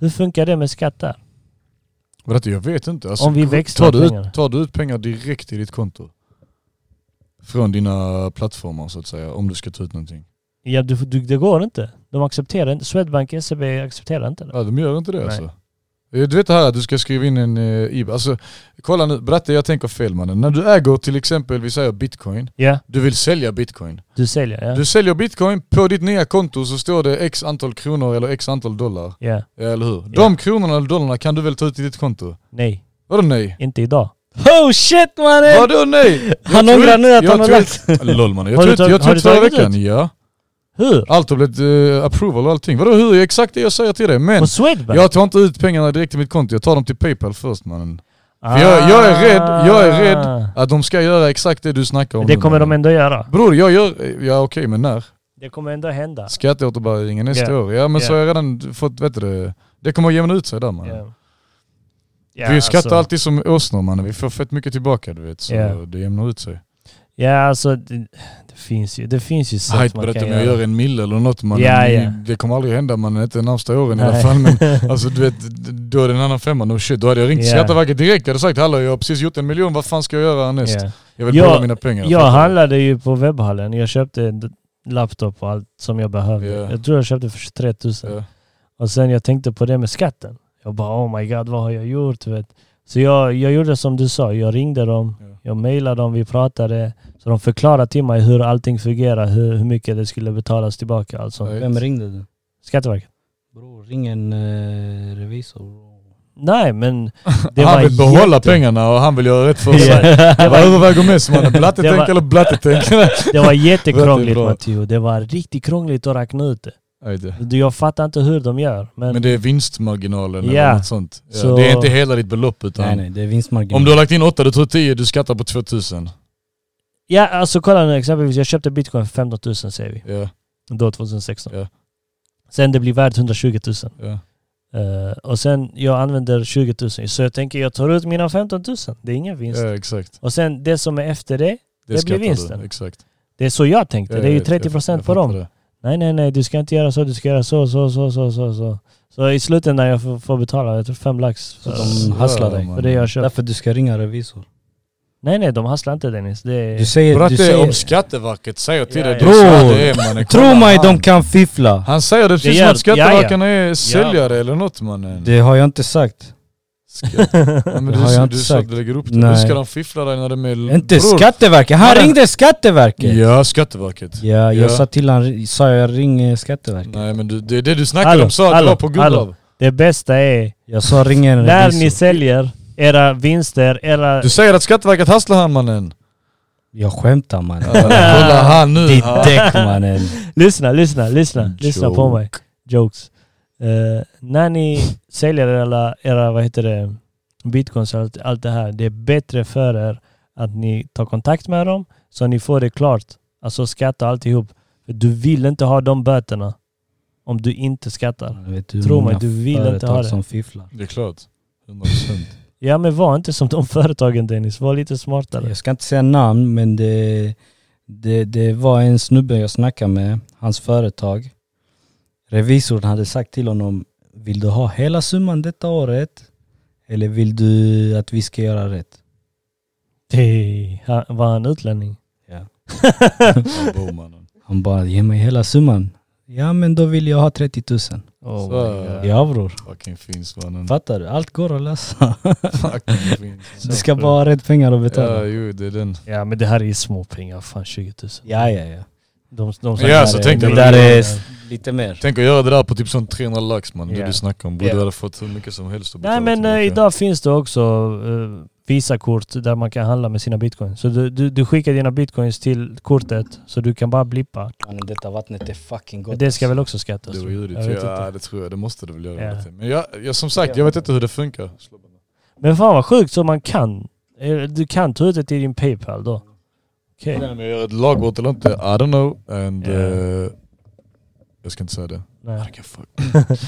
Speaker 1: Hur funkar det med skatt där?
Speaker 2: Berätta, jag vet inte. Alltså,
Speaker 1: Om vi
Speaker 2: ko-
Speaker 1: växlar
Speaker 2: tar du,
Speaker 1: pengarna.
Speaker 2: ut, tar du ut pengar direkt i ditt konto? Från dina plattformar så att säga, om du ska ta ut någonting.
Speaker 1: Ja, du, du, det går inte. De accepterar inte. Swedbank SEB accepterar inte det.
Speaker 2: Ja, de gör inte det
Speaker 1: Nej.
Speaker 2: alltså. Eh, Du vet det här att du ska skriva in en eh, IBAN. Alltså, kolla nu, berätta jag tänker fel mannen. När du äger till exempel, vi säger bitcoin,
Speaker 1: Ja,
Speaker 2: du vill sälja bitcoin.
Speaker 1: du säljer. Ja.
Speaker 2: Du säljer bitcoin, på ditt nya konto så står det x antal kronor eller x antal dollar.
Speaker 1: ja.
Speaker 2: Eller hur?
Speaker 1: Ja.
Speaker 2: De kronorna eller dollarna kan du väl ta ut i ditt konto?
Speaker 1: Nej,
Speaker 2: Vadå nej?
Speaker 1: inte idag.
Speaker 3: Oh shit mannen!
Speaker 2: Vadå nej?
Speaker 3: Han ångrar nu att
Speaker 2: jag
Speaker 3: han har
Speaker 2: tror-
Speaker 3: lagt...
Speaker 2: Lol mannen, jag
Speaker 1: Har du
Speaker 2: tog ut- jag
Speaker 1: tagit-
Speaker 2: tog
Speaker 1: har du
Speaker 2: ut förra
Speaker 1: tagit
Speaker 2: veckan. Ja.
Speaker 1: Hur?
Speaker 2: Allt har blivit eh, approval och allting. Vadå hur? Exakt det jag säger till dig. Men
Speaker 1: På Swedbank?
Speaker 2: jag tar inte ut pengarna direkt till mitt konto, jag tar dem till Paypal först mannen.
Speaker 1: Ah.
Speaker 2: jag- jag är rädd- jag är rädd. Att de ska göra exakt det du snackar om
Speaker 1: Ah. Det
Speaker 2: nu,
Speaker 1: kommer de
Speaker 2: mannen.
Speaker 1: ändå göra.
Speaker 2: Bror jag gör, ja okej men när?
Speaker 1: Det kommer ändå hända.
Speaker 2: Skatteåterbäringen nästa
Speaker 1: Ja.
Speaker 2: år? Ja men
Speaker 1: Ja.
Speaker 2: så har jag redan fått, vet du det, det kommer att jämna ut sig där mannen.
Speaker 1: Ja. Ja,
Speaker 2: vi skattar
Speaker 1: alltså.
Speaker 2: alltid som åsnor mannen, vi får fett mycket tillbaka du vet. Så
Speaker 1: Ja.
Speaker 2: det jämnar ut sig.
Speaker 1: Ja, alltså det, det finns ju, det finns ju
Speaker 2: Hajt
Speaker 1: sätt man
Speaker 2: berätta
Speaker 1: kan
Speaker 2: om jag gör en mille eller något mannen.
Speaker 1: Ja, ja.
Speaker 2: Det kommer aldrig hända mannen, inte de närmsta åren i alla
Speaker 1: Nej.
Speaker 2: fall. Men Alltså du vet, då är det en annan femma. No shit, då hade jag ringt
Speaker 1: Ja.
Speaker 2: Skatteverket direkt. Jag hade sagt hallå jag har precis gjort en miljon, vad fan ska jag göra härnäst?
Speaker 1: Ja.
Speaker 2: Jag vill
Speaker 1: Ja,
Speaker 2: behålla mina pengar.
Speaker 1: Jag
Speaker 2: Fattar du?
Speaker 1: handlade ju på webbhallen. Jag köpte en d- laptop och allt som jag behövde.
Speaker 2: Ja.
Speaker 1: Jag tror jag köpte för 23 000.
Speaker 2: Ja.
Speaker 1: Och sen jag tänkte på det med skatten. Jag bara oh my god, vad har jag gjort? Du Vet. Så jag, jag gjorde som du sa. Jag ringde dem,
Speaker 2: Ja.
Speaker 1: jag mejlade dem, vi pratade. Så de förklarade till mig hur allting fungerar, hur, hur mycket det skulle betalas tillbaka. Alltså.
Speaker 2: Nej.
Speaker 3: Vem ringde du?
Speaker 1: Skatteverket.
Speaker 3: Bror, ring en eh, revisor bro.
Speaker 1: Nej, men det var
Speaker 2: han vill behålla
Speaker 1: jätte-
Speaker 2: pengarna och han vill göra rätt för
Speaker 1: Ja.
Speaker 2: sig. Jag bara överväger mest mannen.
Speaker 1: Det
Speaker 2: Blattetänk
Speaker 1: var-
Speaker 2: eller blattetänk.
Speaker 1: Det var jättekrångligt
Speaker 2: Jättebra.
Speaker 1: Matteo. Det var riktigt krångligt att räkna ut det.
Speaker 2: Jag vet inte.
Speaker 1: Du, Jag fattar inte hur de gör. Men,
Speaker 2: Men det är vinstmarginalen
Speaker 1: Ja.
Speaker 2: eller något sånt. Ja,
Speaker 1: Så-
Speaker 2: Det är inte hela ditt belopp utan
Speaker 3: Nej nej, det är vinstmarginal.
Speaker 2: om du har lagt in 8, du tror 10, du skattar på 2000.
Speaker 1: Ja, alltså kolla nu exempelvis. Jag köpte bitcoin för 15 000 säger vi.
Speaker 2: Ja,
Speaker 1: Då 2016.
Speaker 2: Ja.
Speaker 1: Sen det blir värt 120 000.
Speaker 2: ja.
Speaker 1: Eh, och sen jag använder 20 000. Så jag tänker jag tar ut mina 15 000. Det är ingen vinst.
Speaker 2: ja exakt.
Speaker 1: Och sen det som är efter det.
Speaker 2: Det,
Speaker 1: blir
Speaker 2: skattar du.
Speaker 1: vinsten.
Speaker 2: Exakt.
Speaker 1: Det är så jag tänkte.
Speaker 2: Ja,
Speaker 1: det är ju
Speaker 2: jag vet, jag
Speaker 1: 30% procent på
Speaker 2: fattar
Speaker 1: dem.
Speaker 2: det.
Speaker 1: Nej, nej, nej. Du ska inte göra så. Du ska göra så, så, så, så, så, så. Så i slutändan jag får, får betala, jag tror fem lax
Speaker 3: Så
Speaker 1: för,
Speaker 3: de hasslar
Speaker 2: Ja,
Speaker 3: dig.
Speaker 2: man.
Speaker 1: för det jag köpt.
Speaker 3: Därför du ska ringa revisor.
Speaker 1: Nej, nej. De hasslar inte Dennis. Det är...
Speaker 3: Du säger... Du
Speaker 2: Bratte,
Speaker 3: säger
Speaker 2: om Skatteverket säger till
Speaker 1: Ja,
Speaker 2: dig,
Speaker 1: ja.
Speaker 2: det är så
Speaker 3: Bror,
Speaker 2: det är mannen. Kolla
Speaker 3: Tro mig,
Speaker 2: han.
Speaker 3: de kan fiffla.
Speaker 2: Han säger det
Speaker 1: Det
Speaker 2: precis
Speaker 1: gör-
Speaker 2: som att skatteverkarna är
Speaker 1: Ja.
Speaker 2: säljare eller något mannen.
Speaker 3: Det har jag inte sagt.
Speaker 2: Skatt- Ja, men
Speaker 3: Det
Speaker 2: du,
Speaker 3: har jag inte
Speaker 2: du sa att
Speaker 3: sagt.
Speaker 2: du lägger upp det.
Speaker 3: Nej.
Speaker 2: Hur ska de fiffla dig när de är...
Speaker 3: Inte
Speaker 2: Bror.
Speaker 3: Skatteverket. Han
Speaker 2: Mannen.
Speaker 3: ringde Skatteverket. Ja,
Speaker 2: Ja, Skatteverket.
Speaker 3: jag
Speaker 2: Ja.
Speaker 3: sa till han, sa jag ring eh, Skatteverket.
Speaker 2: Nej men du, det är det du snackade
Speaker 1: Hallå,
Speaker 2: om, sa att du
Speaker 1: hallå,
Speaker 2: var på Gullav.
Speaker 1: hallå. Det bästa är
Speaker 3: Jag sa ring en
Speaker 1: när
Speaker 3: revisor.
Speaker 1: ni säljer era vinster, era...
Speaker 2: Du säger att Skatteverket hasslar han mannen.
Speaker 3: Jag skämtar mannen.
Speaker 2: Ja, Kolla han nu.
Speaker 3: Ditt
Speaker 2: Ja.
Speaker 3: däck mannen.
Speaker 1: Lyssna, lyssna, lyssna. Lyssna på
Speaker 2: Joke.
Speaker 1: mig. Jokes. Eh, när ni säljer era, era vad heter det, bitcoins och allt, allt det här, det är bättre för er att ni tar kontakt med dem så ni får det klart. Alltså skatt och alltihop. För Du vill inte ha de böterna om du inte skattar.
Speaker 3: Jag vet hur
Speaker 1: Tro
Speaker 3: många
Speaker 1: mig, du vill inte
Speaker 3: företag
Speaker 1: ha det.
Speaker 3: som fifflar.
Speaker 2: Det är klart. 100%.
Speaker 1: Ja men var inte som de företagen Dennis, var lite smartare.
Speaker 3: Jag ska inte säga namn men det, det, det var en snubbe jag snackade med, hans företag. Revisorn hade sagt till honom, vill du ha hela summan detta året? Eller vill du att vi ska göra rätt?
Speaker 1: Det, han, var han utlänning? Oh
Speaker 3: Ja.
Speaker 2: Ja, bo, mannen.
Speaker 3: Han bara, ge mig hela summan. Ja men då vill jag ha 30 000.
Speaker 1: Oh
Speaker 2: Så.
Speaker 1: my God.
Speaker 3: Ja bror,
Speaker 2: Fucking finns mannen.
Speaker 3: fattar du? Allt går att lösa.
Speaker 2: Fucking finns.
Speaker 3: Du ska bara ha rätt pengar att
Speaker 2: Ja,
Speaker 3: betala.
Speaker 2: jo det är den.
Speaker 1: Ja men det här är ju småpengar, fan 20 000.
Speaker 3: Ja ja ja.
Speaker 1: De, de
Speaker 2: Ja,
Speaker 1: här
Speaker 2: så
Speaker 1: är-
Speaker 2: tänkte
Speaker 3: det
Speaker 2: jag.
Speaker 3: där är s- lite mer.
Speaker 2: Tänk att göra det där på typ sån 300 lax man,
Speaker 1: Ja.
Speaker 2: det du snackar om. Borde
Speaker 1: Ja.
Speaker 2: du hade fått hur mycket som helst att
Speaker 1: Nej
Speaker 2: betala
Speaker 1: men eh,
Speaker 2: tillbaka.
Speaker 1: idag finns det också eh, Visa-kort där man kan handla med sina bitcoins. Så du, du, du skickar dina bitcoins till kortet så du kan bara blippa.
Speaker 3: Mannen, Detta vattnet är fucking
Speaker 1: Men
Speaker 3: gott.
Speaker 1: det ska
Speaker 3: alltså.
Speaker 1: väl också skattas?
Speaker 2: Det var
Speaker 1: tror jag.
Speaker 2: ljudligt.
Speaker 1: Jag vet
Speaker 2: Ja
Speaker 1: inte.
Speaker 2: det tror jag, det måste det väl göra.
Speaker 1: Ja.
Speaker 2: vet jag. Men jag, jag, som sagt, jag vet inte hur det funkar.
Speaker 1: Men fan vad sjukt så man kan. Eh, Du kan ta ut det till din Paypal då? Okej.
Speaker 2: Frågan är om jag gör ett lagbrott eller inte, I don't know. And,
Speaker 1: Ja.
Speaker 2: eh, jag ska inte säga det. I
Speaker 1: Nej.
Speaker 2: don't give a fuck.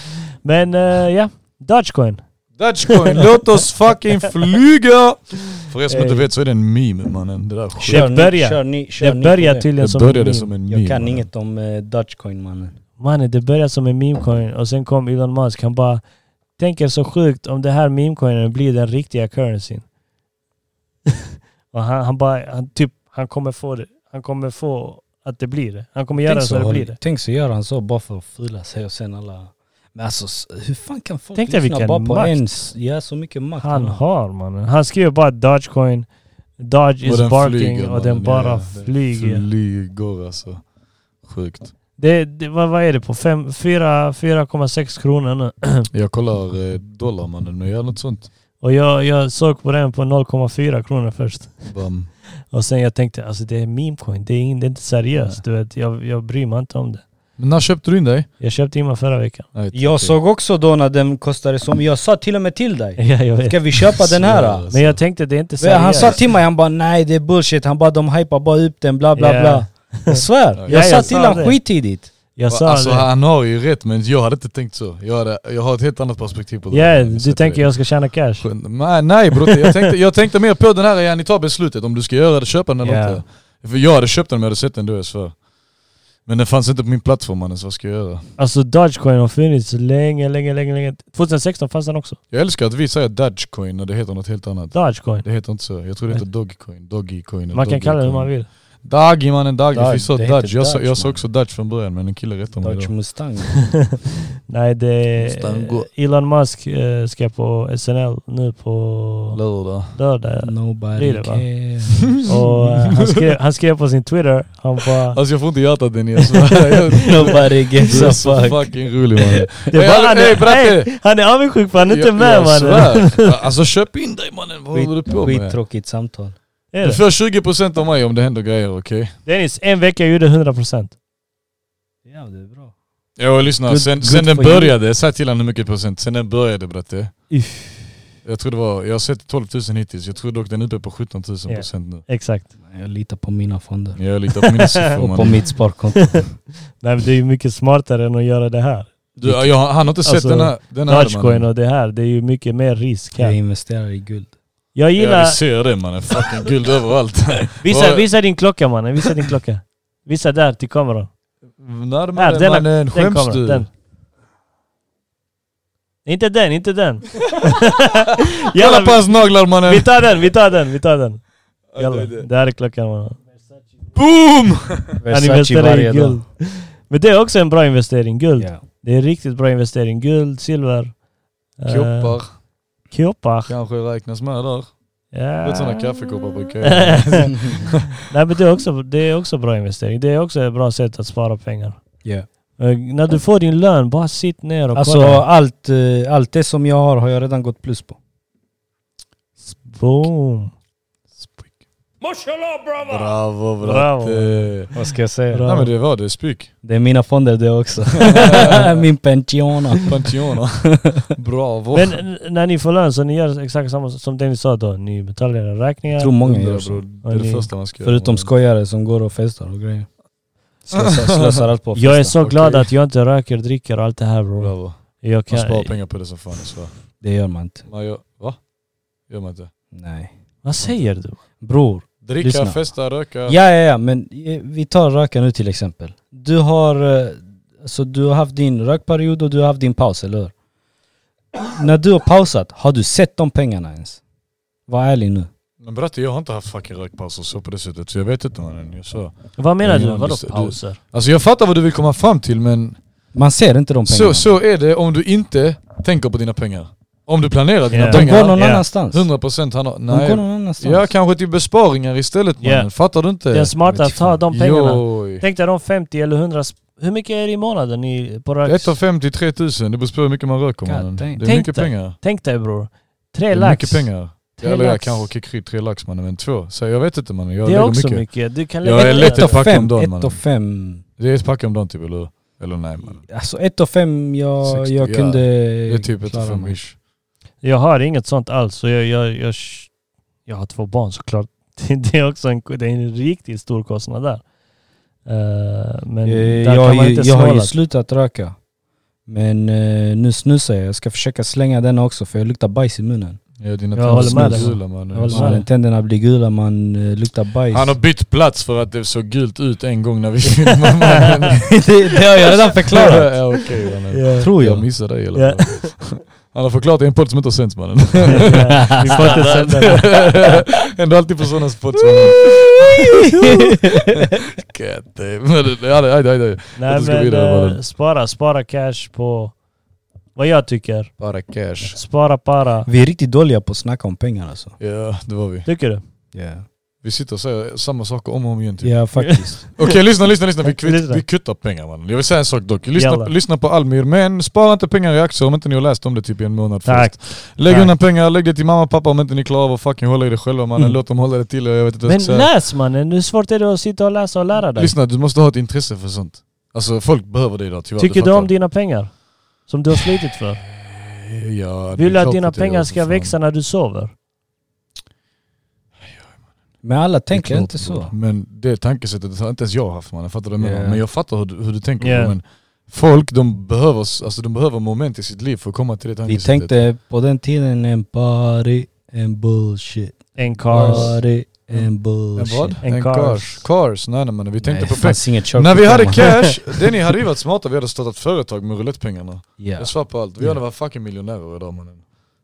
Speaker 1: Men eh, ja, Dogecoin.
Speaker 2: Dogecoin, låt oss fucking flyga! För er som inte
Speaker 1: Hey.
Speaker 2: vet så är det en meme mannen. Det där skit.
Speaker 1: Det börjar-
Speaker 3: kör ni, kör
Speaker 1: Det
Speaker 3: ni
Speaker 1: börjar
Speaker 3: på
Speaker 1: tydligen
Speaker 2: Det
Speaker 1: som en
Speaker 2: började
Speaker 1: alltså, meme.
Speaker 2: som en meme.
Speaker 3: Jag kan
Speaker 2: mannen.
Speaker 3: inget om eh, Dogecoin mannen.
Speaker 1: Mannen, det började som en memecoin och sen kom Elon Musk. Han bara, tänk er så sjukt om det här memecoinen blir den riktiga currencyn. och han, han bara, han, typ, han kommer få det. Han kommer få att det blir det. Han kommer göra så att det blir det.
Speaker 3: tänk så gör han så bara för att fula sig och sen alla... Men alltså s- hur fan kan folk
Speaker 1: Tänk dig
Speaker 3: lyssna
Speaker 1: vilken
Speaker 3: bara på
Speaker 1: makt.
Speaker 3: en? s- Ja så mycket makt.
Speaker 1: Han har mannen. Han skriver bara Dogecoin, Dodge
Speaker 2: Och
Speaker 1: is
Speaker 2: den
Speaker 1: barking
Speaker 2: flyger,
Speaker 1: och
Speaker 2: mannen.
Speaker 1: den bara
Speaker 2: Ja, den
Speaker 1: flyger.
Speaker 2: Flyger alltså. Sjukt.
Speaker 1: det, det, vad, vad är det på? Fem- fyra- 4,6 kronor nu.
Speaker 2: Jag kollar eh, dollar mannen, men jag gör något sånt.
Speaker 1: Och jag, jag såg på den på 0,4 kronor först.
Speaker 2: Bam.
Speaker 1: Och sen jag tänkte, alltså det är memecoin, det är, in, det är inte seriöst. Du vet, jag, jag bryr mig inte om det.
Speaker 2: Men när köpte du in dig?
Speaker 1: Jag köpte in mig förra veckan.
Speaker 2: Nej,
Speaker 3: Jag
Speaker 2: okej.
Speaker 3: såg också då när den kostade som, jag sa till och med till dig.
Speaker 1: Ja, jag vet.
Speaker 3: Ska vi köpa den
Speaker 2: Så-
Speaker 3: här?
Speaker 1: Men jag tänkte det är inte
Speaker 3: Men
Speaker 1: seriöst.
Speaker 3: han sa till mig, han bara nej det är bullshit, han bara de hypar bara upp den bla bla
Speaker 1: Ja.
Speaker 3: bla. Jag svär,
Speaker 2: Ja,
Speaker 3: jag
Speaker 1: jag sa
Speaker 3: sa till honom
Speaker 1: det.
Speaker 3: skittidigt.
Speaker 1: jag sa
Speaker 2: alltså,
Speaker 1: det.
Speaker 2: han har ju rätt men jag hade inte tänkt så. Jag, hade, jag har ett helt annat perspektiv på det.
Speaker 1: Ja,
Speaker 2: Jag
Speaker 1: du
Speaker 2: sätter
Speaker 1: tänker
Speaker 2: det.
Speaker 1: jag ska tjäna cash?
Speaker 2: Nej, nej bror, jag tänkte, jag tänkte mer på den här, ja, ni tar beslutet om du ska göra det, köpa den eller
Speaker 1: Ja.
Speaker 2: inte. För jag hade köpt den men jag hade sett den då, jag svär. Men den fanns inte på min plattform mannen, så vad ska jag göra?
Speaker 1: Alltså Dogecoin har funnits länge, länge, länge, länge. 2016 fanns den också.
Speaker 2: Jag älskar att vi säger Dogecoin när det heter något helt annat.
Speaker 1: Dogecoin.
Speaker 2: Det heter inte så, jag tror det heter Dogcoin, Doggycoin eller
Speaker 1: Man kan kalla det hur
Speaker 2: Dogecoin.
Speaker 1: man vill.
Speaker 2: Dagi mannen, Dagi.
Speaker 3: Dag,
Speaker 2: Dag, sa
Speaker 3: det
Speaker 2: Dodge.
Speaker 3: heter
Speaker 2: jag, sa,
Speaker 3: Dodge,
Speaker 2: jag sa
Speaker 3: man.
Speaker 2: också Dodge från början men en kille rättade mig
Speaker 3: Dodge
Speaker 2: idag.
Speaker 3: Mustang.
Speaker 1: Nej, det
Speaker 2: Måste gå.
Speaker 1: Elon Musk eh, ska på SNL nu på
Speaker 2: Lördag.
Speaker 1: lördag.
Speaker 3: Nobody
Speaker 1: Det är det, va?
Speaker 3: cares.
Speaker 2: Mm.
Speaker 1: Och eh, han skrev, han skrev på sin Twitter, han bara...
Speaker 2: Alltså jag får inte hjärtat den jag svär. Jag-
Speaker 3: Nobody gives
Speaker 2: Du
Speaker 3: a
Speaker 2: är så
Speaker 3: fuck.
Speaker 2: fucking rolig mannen.
Speaker 1: Det
Speaker 2: Ey,
Speaker 1: var,
Speaker 2: alla-
Speaker 1: han,
Speaker 2: ey,
Speaker 1: är,
Speaker 2: bratte!
Speaker 1: ey, han är avundsjuk för han är inte
Speaker 2: Jag-
Speaker 1: med
Speaker 2: jag
Speaker 1: mannen.
Speaker 2: svär. Alltså köp in dig mannen, vad håller du på med?
Speaker 3: Skittråkigt samtal.
Speaker 1: Är
Speaker 2: Du
Speaker 1: det?
Speaker 2: får 20% av mig om det händer grejer, okej?
Speaker 1: Dennis, en vecka gjorde 100%.
Speaker 3: Ja det är bra.
Speaker 2: Jo lyssna,
Speaker 3: Good-
Speaker 2: sen,
Speaker 3: good
Speaker 2: sen den
Speaker 3: for you.
Speaker 2: började, säg till honom hur mycket procent, sen den började bratte.
Speaker 1: Uff,
Speaker 2: Jag tror det var, jag har sett 12 000 hittills, jag tror dock den är uppe på 17 000
Speaker 1: Ja.
Speaker 2: procent nu.
Speaker 1: exakt.
Speaker 3: Jag litar på mina fonder.
Speaker 2: Jag litar på mina siffror
Speaker 3: Och på
Speaker 2: mannen.
Speaker 3: mitt sparkonto.
Speaker 1: Nej men det är ju mycket smartare än att göra det här.
Speaker 2: Du, jag, han har inte sett
Speaker 1: Alltså,
Speaker 2: den här, den här
Speaker 1: Dogecoin och det här, det är ju mycket mer risk
Speaker 3: Jag
Speaker 1: här.
Speaker 3: investerar i guld.
Speaker 1: Jag
Speaker 2: Ja,
Speaker 1: gillar...
Speaker 2: vi ser det mannen. Fucking guld överallt.
Speaker 1: Visa, visa din klocka mannen, visa din klocka. Visa där till kameran. Här,
Speaker 2: Närmare
Speaker 1: denna-
Speaker 2: mannen,
Speaker 1: Den
Speaker 2: skäms
Speaker 1: kameran,
Speaker 2: du?
Speaker 1: den. Inte den, inte den.
Speaker 2: Kolla på
Speaker 1: Jalla,
Speaker 2: hans naglar mannen!
Speaker 1: vi tar den, vi tar den, vi tar den.
Speaker 2: Ja, det
Speaker 1: Jalla,
Speaker 2: är det.
Speaker 1: där är klockan mannen.
Speaker 2: Boom!
Speaker 1: Han investerar i guld. Men det är också en bra investering, guld. Det är en riktigt bra investering. Guld, silver. eh,
Speaker 2: Koppar
Speaker 1: Koppar.
Speaker 2: kanske räknas med där.
Speaker 1: Ja.
Speaker 2: Vet sådana kaffekoppar på kö.
Speaker 1: Nej men det är, också, det är också bra investering. Det är också ett bra sätt att spara pengar.
Speaker 3: Ja.
Speaker 1: Eh, När du får din lön, bara sitt ner och
Speaker 3: Alltså
Speaker 1: kolla.
Speaker 3: allt, eh, allt det som jag har har jag redan gått plus på.
Speaker 1: Boom.
Speaker 2: Bravo
Speaker 1: Bravo.
Speaker 2: bratte!
Speaker 3: Vad ska jag säga?
Speaker 1: Bra.
Speaker 2: Nej men det var det, spik.
Speaker 3: Det är mina fonder det också. Min pensiona.
Speaker 2: Pantiona. Bravo.
Speaker 1: Men n- när ni får lön så ni gör exakt samma som Dennis sa då. Ni betalar era räkningar.
Speaker 3: Jag tror många
Speaker 2: Hundra,
Speaker 3: gör
Speaker 2: bror.
Speaker 3: så.
Speaker 2: Det är det första man ska göra.
Speaker 3: Förutom
Speaker 2: mannen.
Speaker 3: skojare som går och festar och grejer. Slösar, slösar allt på
Speaker 1: Jag är
Speaker 3: festen.
Speaker 1: så glad
Speaker 2: Okej.
Speaker 1: att jag inte röker, dricker och allt det här bro.
Speaker 2: Bravo.
Speaker 1: Jag
Speaker 2: Man sparar
Speaker 1: kan,
Speaker 2: pengar på det som fan jag svär.
Speaker 3: Det gör man inte.
Speaker 2: Man gör, va? Gör man inte?
Speaker 3: Nej.
Speaker 1: vad säger du?
Speaker 3: Bror.
Speaker 2: Dricka,
Speaker 3: Lyssna.
Speaker 2: festa, röka.
Speaker 3: Ja, ja, ja. Men eh, vi tar röka nu till exempel. Du har, eh, alltså, du har haft din rökperiod och du har haft din paus, eller hur? När du har pausat, har du sett de pengarna ens? Var ärlig nu.
Speaker 2: Men bratte jag har inte haft fucking rökpauser så på det sättet så jag vet inte mannen. Jag svär.
Speaker 1: Vad menar
Speaker 2: Mm,
Speaker 1: du?
Speaker 2: men
Speaker 1: Vadå
Speaker 2: du- du-
Speaker 1: pauser?
Speaker 2: Alltså jag fattar vad du vill komma fram till men
Speaker 3: Man ser inte de
Speaker 2: så,
Speaker 3: pengarna.
Speaker 2: så är det om du inte tänker på dina pengar. Om du planerar dina
Speaker 1: Ja.
Speaker 3: De går
Speaker 2: pengar,
Speaker 3: någon
Speaker 1: Ja.
Speaker 3: annanstans.
Speaker 2: 100% han har,
Speaker 3: De går
Speaker 2: nej.
Speaker 3: någon annanstans.
Speaker 2: Ja kanske till besparingar istället mannen,
Speaker 1: Ja.
Speaker 2: fattar du inte?
Speaker 1: Den smarta,
Speaker 3: vet
Speaker 1: ta
Speaker 3: fan.
Speaker 1: de pengarna.
Speaker 2: Joj.
Speaker 1: Tänk dig de 50 eller 100... sp- Hur mycket är det i månaden i, på rök?
Speaker 2: 150 3000, det beror på hur mycket man röker
Speaker 3: God
Speaker 2: mannen. Det
Speaker 3: damn.
Speaker 2: är
Speaker 1: Tänk
Speaker 2: mycket
Speaker 1: dig.
Speaker 2: pengar.
Speaker 1: Tänk dig bror.
Speaker 2: Det
Speaker 1: Tre
Speaker 2: är
Speaker 1: lax.
Speaker 2: mycket pengar.
Speaker 1: Tre
Speaker 2: Eller jag
Speaker 1: lax.
Speaker 2: kanske kickar tre lax mannen, men två. Så jag vet inte mannen, jag
Speaker 1: Det är
Speaker 2: lägger
Speaker 1: också
Speaker 2: mycket.
Speaker 1: mycket. Du kan
Speaker 2: Jag
Speaker 1: lägga
Speaker 2: är
Speaker 1: ner-
Speaker 2: lätt att
Speaker 3: och
Speaker 2: fuck om
Speaker 3: fem,
Speaker 2: dagen,
Speaker 3: ett
Speaker 2: mannen.
Speaker 3: och fem.
Speaker 2: Det är ett pack om dagen typ eller hur? Eller nej mannen.
Speaker 3: Alltså ett och fem jag,
Speaker 2: 60,
Speaker 3: jag
Speaker 2: ja.
Speaker 3: kunde
Speaker 2: Det är typ ett och
Speaker 3: klara
Speaker 2: fem
Speaker 3: mig.
Speaker 2: ish.
Speaker 1: Jag har inget sånt alls. Så jag, jag, jag, jag har två barn såklart. Det är också en, det är en riktigt stor kostnad där. Eh, men
Speaker 3: Eh,
Speaker 1: där
Speaker 3: Jag,
Speaker 1: kan
Speaker 3: har
Speaker 1: man
Speaker 3: ju,
Speaker 1: inte
Speaker 3: jag har ju
Speaker 1: snåla.
Speaker 3: slutat röka. Men eh, nu snusar jag. Jag ska försöka slänga den också för jag luktar bajs i munnen.
Speaker 2: Ja, dina
Speaker 1: Jag
Speaker 2: tänder
Speaker 1: håller med
Speaker 2: är
Speaker 1: dig.
Speaker 2: gula, mannen.
Speaker 1: Jag håller med
Speaker 2: Ja.
Speaker 1: dig.
Speaker 3: Man, tänderna blir gula, man eh, luktar bajs.
Speaker 2: Han har bytt plats för att det såg gult ut en gång när vi filmade mannen.
Speaker 3: det, det har jag redan förklarat.
Speaker 2: ja, okej, mannen.
Speaker 1: Ja.
Speaker 3: Tror
Speaker 2: Jag
Speaker 3: jag.
Speaker 2: missade dig i alla
Speaker 1: Ja.
Speaker 2: fall. Han har förklarat i en podd som inte har sänts mannen.
Speaker 1: Vi får inte sända det.
Speaker 2: Ändå alltid på sådana spots mannen. God damn, mannen. Ja, det- aj, aj, aj.
Speaker 1: Nej
Speaker 2: Jag ska
Speaker 1: men
Speaker 2: vidare bara.
Speaker 1: eh, spara, spara cash på vad jag tycker.
Speaker 2: Bara cash.
Speaker 1: Spara para.
Speaker 3: Vi är riktigt dåliga på att snacka om pengar alltså.
Speaker 2: Ja, det var vi.
Speaker 1: Tycker du?
Speaker 3: Ja,
Speaker 2: Vi sitter och säger samma saker om och om igen typ.
Speaker 3: faktiskt.
Speaker 2: Okej lyssna, lyssna, lyssna. Vi, kvitt,
Speaker 1: Lyssna.
Speaker 2: vi kuttar pengar mannen. Jag vill säga en sak dock.
Speaker 1: Jalla.
Speaker 2: Lyssna, lyssna på Almir, men spara inte pengar i aktier om inte ni har läst om det typ i en månad
Speaker 1: Tack.
Speaker 2: först. Lägg
Speaker 1: Tack.
Speaker 2: undan pengar, lägg det till mamma och pappa om inte ni klarar av att fucking hålla i det själva mannen.
Speaker 1: Mm.
Speaker 2: Låt dem hålla det till er, jag vet inte vad
Speaker 1: Men
Speaker 2: jag ska säga.
Speaker 1: läs mannen, hur svårt är det att sitta och läsa och lära dig?
Speaker 2: Lyssna, du måste ha ett intresse för sånt. Alltså folk behöver det idag tyvärr.
Speaker 1: Tycker du
Speaker 2: fattar.
Speaker 1: om dina pengar? Som du har slitit för?
Speaker 2: Ja, det är
Speaker 1: Vill du att
Speaker 2: klart
Speaker 1: dina
Speaker 2: jag gör,
Speaker 1: pengar
Speaker 2: för
Speaker 1: ska
Speaker 2: fan.
Speaker 1: växa när du sover?
Speaker 3: Men alla
Speaker 2: Det är
Speaker 3: tänker
Speaker 2: klart,
Speaker 3: inte så.
Speaker 2: bror. Men det tankesättet har inte ens jag haft mannen, fattar du vad jag menar?
Speaker 3: Ja.
Speaker 2: Men jag fattar hur du, hur du tänker.
Speaker 1: Ja.
Speaker 2: Men folk de behöver, s- alltså, de behöver moment i sitt liv för att komma till det
Speaker 3: Vi
Speaker 2: tankesättet.
Speaker 3: tänkte på den tiden en party, en bullshit.
Speaker 1: En
Speaker 2: alltså-
Speaker 1: cars.
Speaker 3: Party, en
Speaker 2: En
Speaker 3: bullshit.
Speaker 2: vad?
Speaker 1: En
Speaker 2: En
Speaker 1: cars.
Speaker 2: cars. Cars, nej nej men vi tänkte
Speaker 3: Nej,
Speaker 2: på
Speaker 3: det
Speaker 2: pengar.
Speaker 3: fanns inget körkort
Speaker 2: När vi hade
Speaker 3: då.
Speaker 2: cash, det ni hade ju varit smarta, vi hade startat företag med roulettepengarna.
Speaker 3: Ja.
Speaker 2: Jag svär på allt, vi
Speaker 3: Ja.
Speaker 2: hade varit fucking miljonärer idag mannen.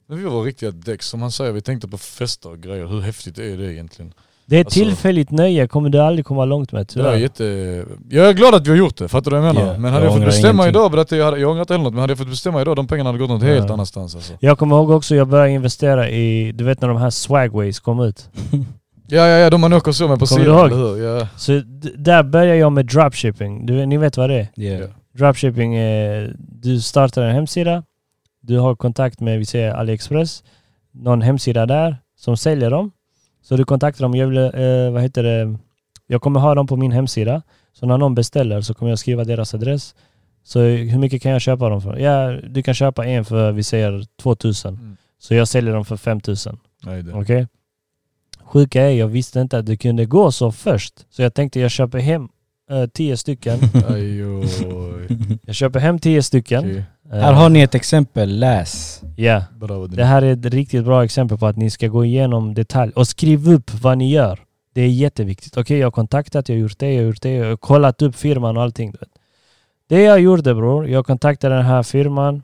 Speaker 2: Men vi var riktiga däck, som han säger, vi tänkte på fester och grejer. Hur häftigt är det egentligen?
Speaker 1: Det är ett
Speaker 2: Alltså-
Speaker 1: tillfälligt nöje, kommer du aldrig komma långt med
Speaker 2: Det där är
Speaker 1: tyvärr.
Speaker 2: jätte... Jag är glad att vi har gjort det, fattar du vad jag menar?
Speaker 3: Ja,
Speaker 2: Men hade
Speaker 3: jag
Speaker 2: jag, fått
Speaker 3: ångrar
Speaker 2: bestämma
Speaker 3: ingenting.
Speaker 2: idag, berätta, jag, hade, jag ångrar inte heller något, men hade jag fått bestämma idag, de pengarna hade gått något helt
Speaker 1: Ja.
Speaker 2: annanstans alltså.
Speaker 1: Jag kommer ihåg också, jag började investera i, du vet när de här swagways kom ut.
Speaker 2: Ja, ja, ja, de man åker så med på
Speaker 1: Kommer du
Speaker 2: sidan,
Speaker 1: ihåg?
Speaker 2: eller hur? Ja.
Speaker 1: Så d- där började jag med dropshipping. Du, ni vet vad det är?
Speaker 3: Ja.
Speaker 1: Dropshipping är, du startar en hemsida, du har kontakt med, vi säger AliExpress, någon hemsida där som säljer dem. Så du kontaktar dem, jag vill, eh, vad heter det, jag kommer ha dem på min hemsida. Så när någon beställer så kommer jag skriva deras adress. Så hur mycket kan jag köpa dem för? Ja, du kan köpa en för, vi säger 2000.
Speaker 2: Mm.
Speaker 1: Så jag säljer dem för 5000.
Speaker 2: Nej, det.
Speaker 1: Okej. Sjuka är, jag visste inte att det kunde gå så först. Så jag tänkte jag köper hem eh, tio stycken.
Speaker 2: Aj, oj.
Speaker 1: Jag köper hem tio stycken.
Speaker 2: Okej,
Speaker 1: Eh,
Speaker 3: Här har ni ett exempel, läs.
Speaker 1: ja.
Speaker 2: bravo.
Speaker 1: Det här är ett riktigt bra exempel på att ni ska gå igenom detalj och skriv upp vad ni gör. Det är jätteviktigt. Okej, jag har kontaktat, jag har gjort det, jag har gjort det, jag har kollat upp firman och allting. Du vet. Det jag gjorde bror, jag kontaktade den här firman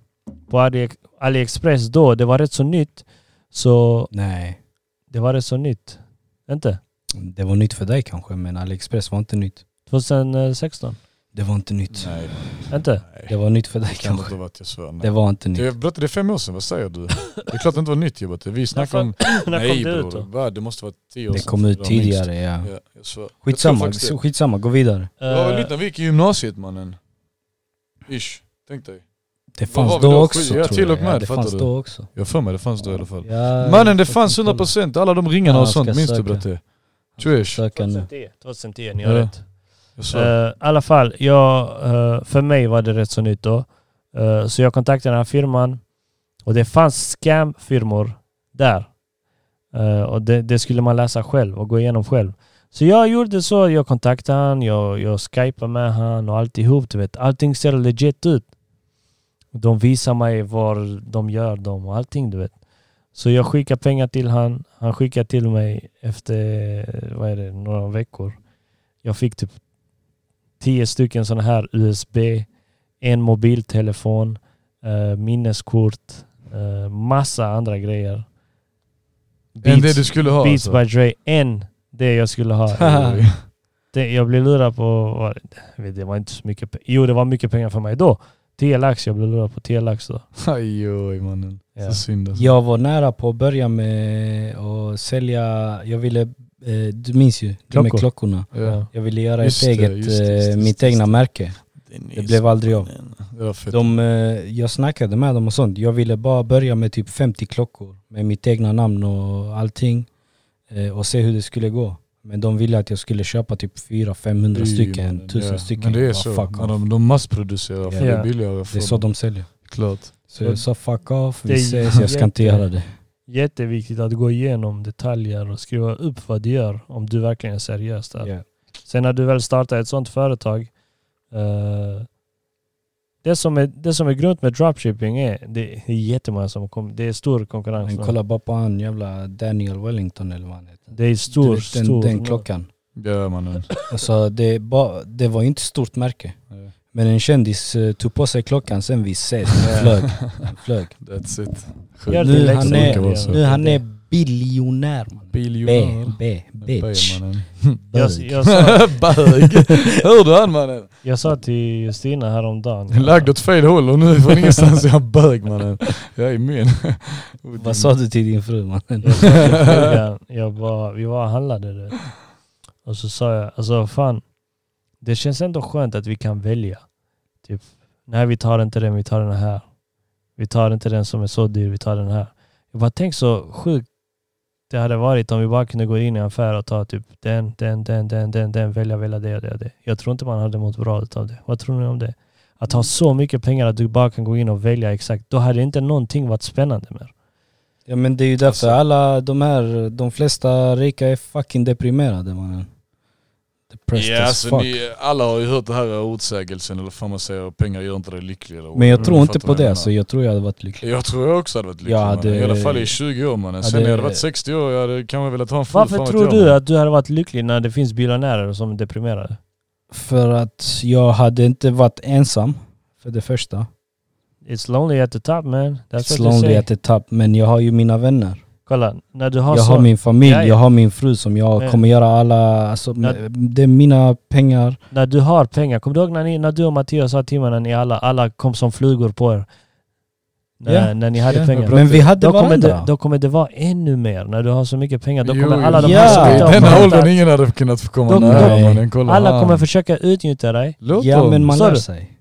Speaker 1: på Ali- AliExpress då. Det var rätt så nytt. Så
Speaker 3: Nej,
Speaker 1: det var rätt så nytt. Inte?
Speaker 3: det var nytt för dig kanske men AliExpress var inte nytt.
Speaker 1: 2016?
Speaker 3: Det var inte nytt.
Speaker 2: Nej,
Speaker 1: Inte?
Speaker 3: Det var nytt för dig
Speaker 2: det kan inte
Speaker 3: kanske.
Speaker 2: ha varit, jag svär.
Speaker 3: Det
Speaker 2: nej.
Speaker 3: var inte nytt.
Speaker 2: Det, berätta, det är fem år sedan, vad säger du? Det är klart det inte var nytt Jebbatte, vi snackar om...
Speaker 1: När kom
Speaker 2: Nej
Speaker 1: det ut
Speaker 2: bror,
Speaker 1: då?
Speaker 2: Va, det måste vara tio år
Speaker 3: Det
Speaker 2: sedan,
Speaker 3: kom ut
Speaker 2: var minst.
Speaker 3: tidigare ja.
Speaker 2: Ja, jag svär. Jag tror
Speaker 3: Skitsamma,
Speaker 2: faktiskt det.
Speaker 3: skitsamma, gå vidare.
Speaker 2: Det var väl nytt
Speaker 1: Eh,
Speaker 2: när vi gick i gymnasiet mannen. Ish, tänk dig.
Speaker 3: Det
Speaker 2: Vad
Speaker 3: fanns
Speaker 2: var vi
Speaker 3: då
Speaker 2: då?
Speaker 3: också
Speaker 2: Skit- ja,
Speaker 3: tror
Speaker 2: till och
Speaker 3: jag. Ja,
Speaker 2: med,
Speaker 3: det
Speaker 2: fattar
Speaker 3: fanns
Speaker 2: du?
Speaker 3: då också.
Speaker 2: Jag har för mig det fanns då i alla fall.
Speaker 3: Ja,
Speaker 2: Mannen det
Speaker 3: jag
Speaker 2: fanns
Speaker 3: ska kolla.
Speaker 2: 100% alla de ringarna
Speaker 3: Ja,
Speaker 2: och
Speaker 3: jag
Speaker 2: sånt,
Speaker 3: ska
Speaker 2: minns du
Speaker 3: söka.
Speaker 2: bratte? Trash.
Speaker 3: Söka nu.
Speaker 1: 2010, 2010, ni har
Speaker 2: Ja.
Speaker 1: rätt.
Speaker 2: Jag
Speaker 1: Eh, I
Speaker 2: svär.
Speaker 1: alla fall, jag, eh, för mig var det rätt så nytt då. Eh, så jag kontaktade den här firman och det fanns scam-firmor där. Eh, och det, det skulle man läsa själv och gå igenom själv. Så jag gjorde så, jag kontaktade han, jag, jag skypade med han och alltihop. Du vet. Allting ser legit ut. De visar mig vad de gör dem och allting du vet. Så jag skickar pengar till han. Han skickar till mig efter, vad är det, några veckor. Jag fick typ tio stycken sådana här USB, en mobiltelefon, eh, minneskort, eh, massa andra grejer.
Speaker 2: Än det du skulle ha
Speaker 1: Beats
Speaker 2: alltså.
Speaker 1: by Dre än det jag skulle ha. det, jag blev lurad på... vad- jag vet, Det var inte så mycket pe- Jo, det var mycket pengar för mig då. 10 lax. Jag blev lurad på 10 lax då.
Speaker 2: Aj oj mannen.
Speaker 1: Ja.
Speaker 2: Så synd alltså.
Speaker 3: Jag var nära på att börja med att sälja, jag ville, eh, du minns ju, det
Speaker 1: Klockor.
Speaker 3: med klockorna.
Speaker 2: Ja.
Speaker 3: Jag ville göra
Speaker 2: Just
Speaker 3: ett
Speaker 2: det,
Speaker 3: eget,
Speaker 2: just det, just det,
Speaker 3: eh,
Speaker 2: just
Speaker 3: mitt
Speaker 2: det, just
Speaker 3: egna
Speaker 2: det.
Speaker 3: märke. Det blev aldrig av.
Speaker 2: Det var fett.
Speaker 3: De, eh, jag snackade med dem och sånt. Jag ville bara börja med typ 50 klockor med mitt egna namn och allting eh, och se hur det skulle gå. Men de ville att jag skulle köpa typ 400-500
Speaker 2: Fy,
Speaker 3: stycken,
Speaker 2: mannen,
Speaker 3: 1000
Speaker 2: ja.
Speaker 3: stycken.
Speaker 2: Men det
Speaker 3: Jag
Speaker 2: är
Speaker 3: bara,
Speaker 2: så.
Speaker 3: Fuck
Speaker 2: Men
Speaker 3: off.
Speaker 2: de, de massproducerar för
Speaker 1: Ja.
Speaker 2: det är billigare. För
Speaker 3: Det är så de säljer.
Speaker 2: Klart.
Speaker 3: Så jag sa fuck off,
Speaker 1: Det är
Speaker 3: vi ses, jag ska inte
Speaker 1: jätte-
Speaker 3: göra det.
Speaker 1: Jätteviktigt att gå igenom detaljer och skriva upp vad du gör om du verkligen är seriös där.
Speaker 3: Ja.
Speaker 1: Sen när du väl startar ett sånt företag. eh, det, som är, det som är grunt med dropshipping är det är jättemånga som kommer. Det är stor konkurrens.
Speaker 3: Men
Speaker 1: nu.
Speaker 3: kolla bara på han jävla Daniel Wellington eller vad han heter.
Speaker 1: Det är
Speaker 3: Du
Speaker 1: stor,
Speaker 3: vet, den,
Speaker 1: stor.
Speaker 3: den klockan.
Speaker 2: Ja mannen.
Speaker 3: Alltså det, ba, det var ju inte stort märke.
Speaker 2: Ja.
Speaker 3: Men en kändis eh, tog på sig klockan sen vi ses,
Speaker 2: Ja.
Speaker 3: flög. flög.
Speaker 2: That's it.
Speaker 1: Gör
Speaker 3: Nu
Speaker 1: läxan.
Speaker 3: han
Speaker 2: Det brukar vara
Speaker 3: är,
Speaker 2: så.
Speaker 3: nu han är biljonär. man. B,
Speaker 2: Biljonär.
Speaker 3: B,
Speaker 2: Bög,
Speaker 3: bitch.
Speaker 2: mannen.
Speaker 1: Jag,
Speaker 3: Bög.
Speaker 1: jag, sa,
Speaker 2: Bög. Hör du han mannen?
Speaker 1: jag sa till Justina häromdagen.
Speaker 2: Lagd åt fel håll och nu från ingenstans är han bög mannen. Jag är min.
Speaker 3: Vad sa du till din fru mannen?
Speaker 1: Jag sa till frugan, jag bara, vi var och handlade det. Och så sa jag, alltså fan, det känns ändå skönt att vi kan välja. Typ, nej vi tar inte den, vi tar den här. Vi tar inte den som är så dyr, vi tar den här. Jag bara, tänk så sjukt det hade varit om vi bara kunde gå in i en affär och ta typ den, den, den, den, den, den, välja, välja det och det och det. Jag tror inte man hade mått bra utav det. Vad tror ni om det? Att ha så mycket pengar att du bara kan gå in och välja exakt. Då hade inte någonting varit spännande mer.
Speaker 3: Ja men det är ju därför
Speaker 2: Alltså-
Speaker 3: alla de här, de flesta rika är fucking deprimerade mannen. Depressed
Speaker 2: Ja,
Speaker 3: as
Speaker 2: alltså,
Speaker 3: fuck.
Speaker 2: ni, alla har ju hört det här ordsägelsen, eller fan man säger pengar gör inte dig lycklig. Eller,
Speaker 3: Men jag
Speaker 1: Mm,
Speaker 3: tror
Speaker 2: jag
Speaker 3: inte
Speaker 2: fattar
Speaker 3: på
Speaker 2: vad du
Speaker 3: det
Speaker 2: menar.
Speaker 3: alltså, jag tror jag hade varit lycklig.
Speaker 2: jag tror jag också hade varit lycklig.
Speaker 3: Jag
Speaker 2: mannen.
Speaker 3: hade-
Speaker 2: I alla fall i 20 år mannen. Sen
Speaker 3: hade-
Speaker 2: när jag hade varit 60 år, jag hade kanske velat ha en full
Speaker 1: Varför
Speaker 2: fan vet
Speaker 1: tror
Speaker 2: jag,
Speaker 1: du
Speaker 2: mannen.
Speaker 1: att du hade varit lycklig när det finns biljonärer som är deprimerade?
Speaker 3: För att jag hade inte varit ensam, för det första.
Speaker 1: It's lonely at the top man. That's
Speaker 3: It's
Speaker 1: what
Speaker 3: lonely
Speaker 1: they
Speaker 3: at
Speaker 1: say.
Speaker 3: the top, men jag har ju mina vänner.
Speaker 1: Kolla, när du har
Speaker 3: jag
Speaker 1: så...
Speaker 3: har min familj,
Speaker 1: Ja, ja.
Speaker 3: jag har min fru som jag
Speaker 1: Men-
Speaker 3: kommer göra alla, alltså,
Speaker 1: Ja.
Speaker 3: det är mina pengar.
Speaker 1: När du har pengar. Kommer du ihåg när, ni, när du och Mattias sa till mig när ni alla, alla kom som flugor på er? När,
Speaker 3: Ja.
Speaker 1: när ni hade
Speaker 2: Ja,
Speaker 1: pengar.
Speaker 2: bra.
Speaker 3: Men vi hade
Speaker 1: Då kommer, det,
Speaker 3: varandra.
Speaker 1: då kommer det vara ännu mer. När du har så mycket pengar, då
Speaker 2: Jo,
Speaker 1: kommer
Speaker 2: jo.
Speaker 1: alla de
Speaker 3: Ja.
Speaker 1: här som
Speaker 2: I
Speaker 1: inte har
Speaker 2: denna åldern
Speaker 1: kontrakt,
Speaker 2: ingen hade kunnat få komma
Speaker 1: De-
Speaker 2: nära
Speaker 3: Nej.
Speaker 2: mannen. Kolla,
Speaker 1: Alla kommer
Speaker 2: han.
Speaker 1: försöka utnyttja dig.
Speaker 2: Låt
Speaker 3: ja
Speaker 2: dem.
Speaker 3: men man
Speaker 1: Sa
Speaker 3: lär
Speaker 1: du?
Speaker 3: sig.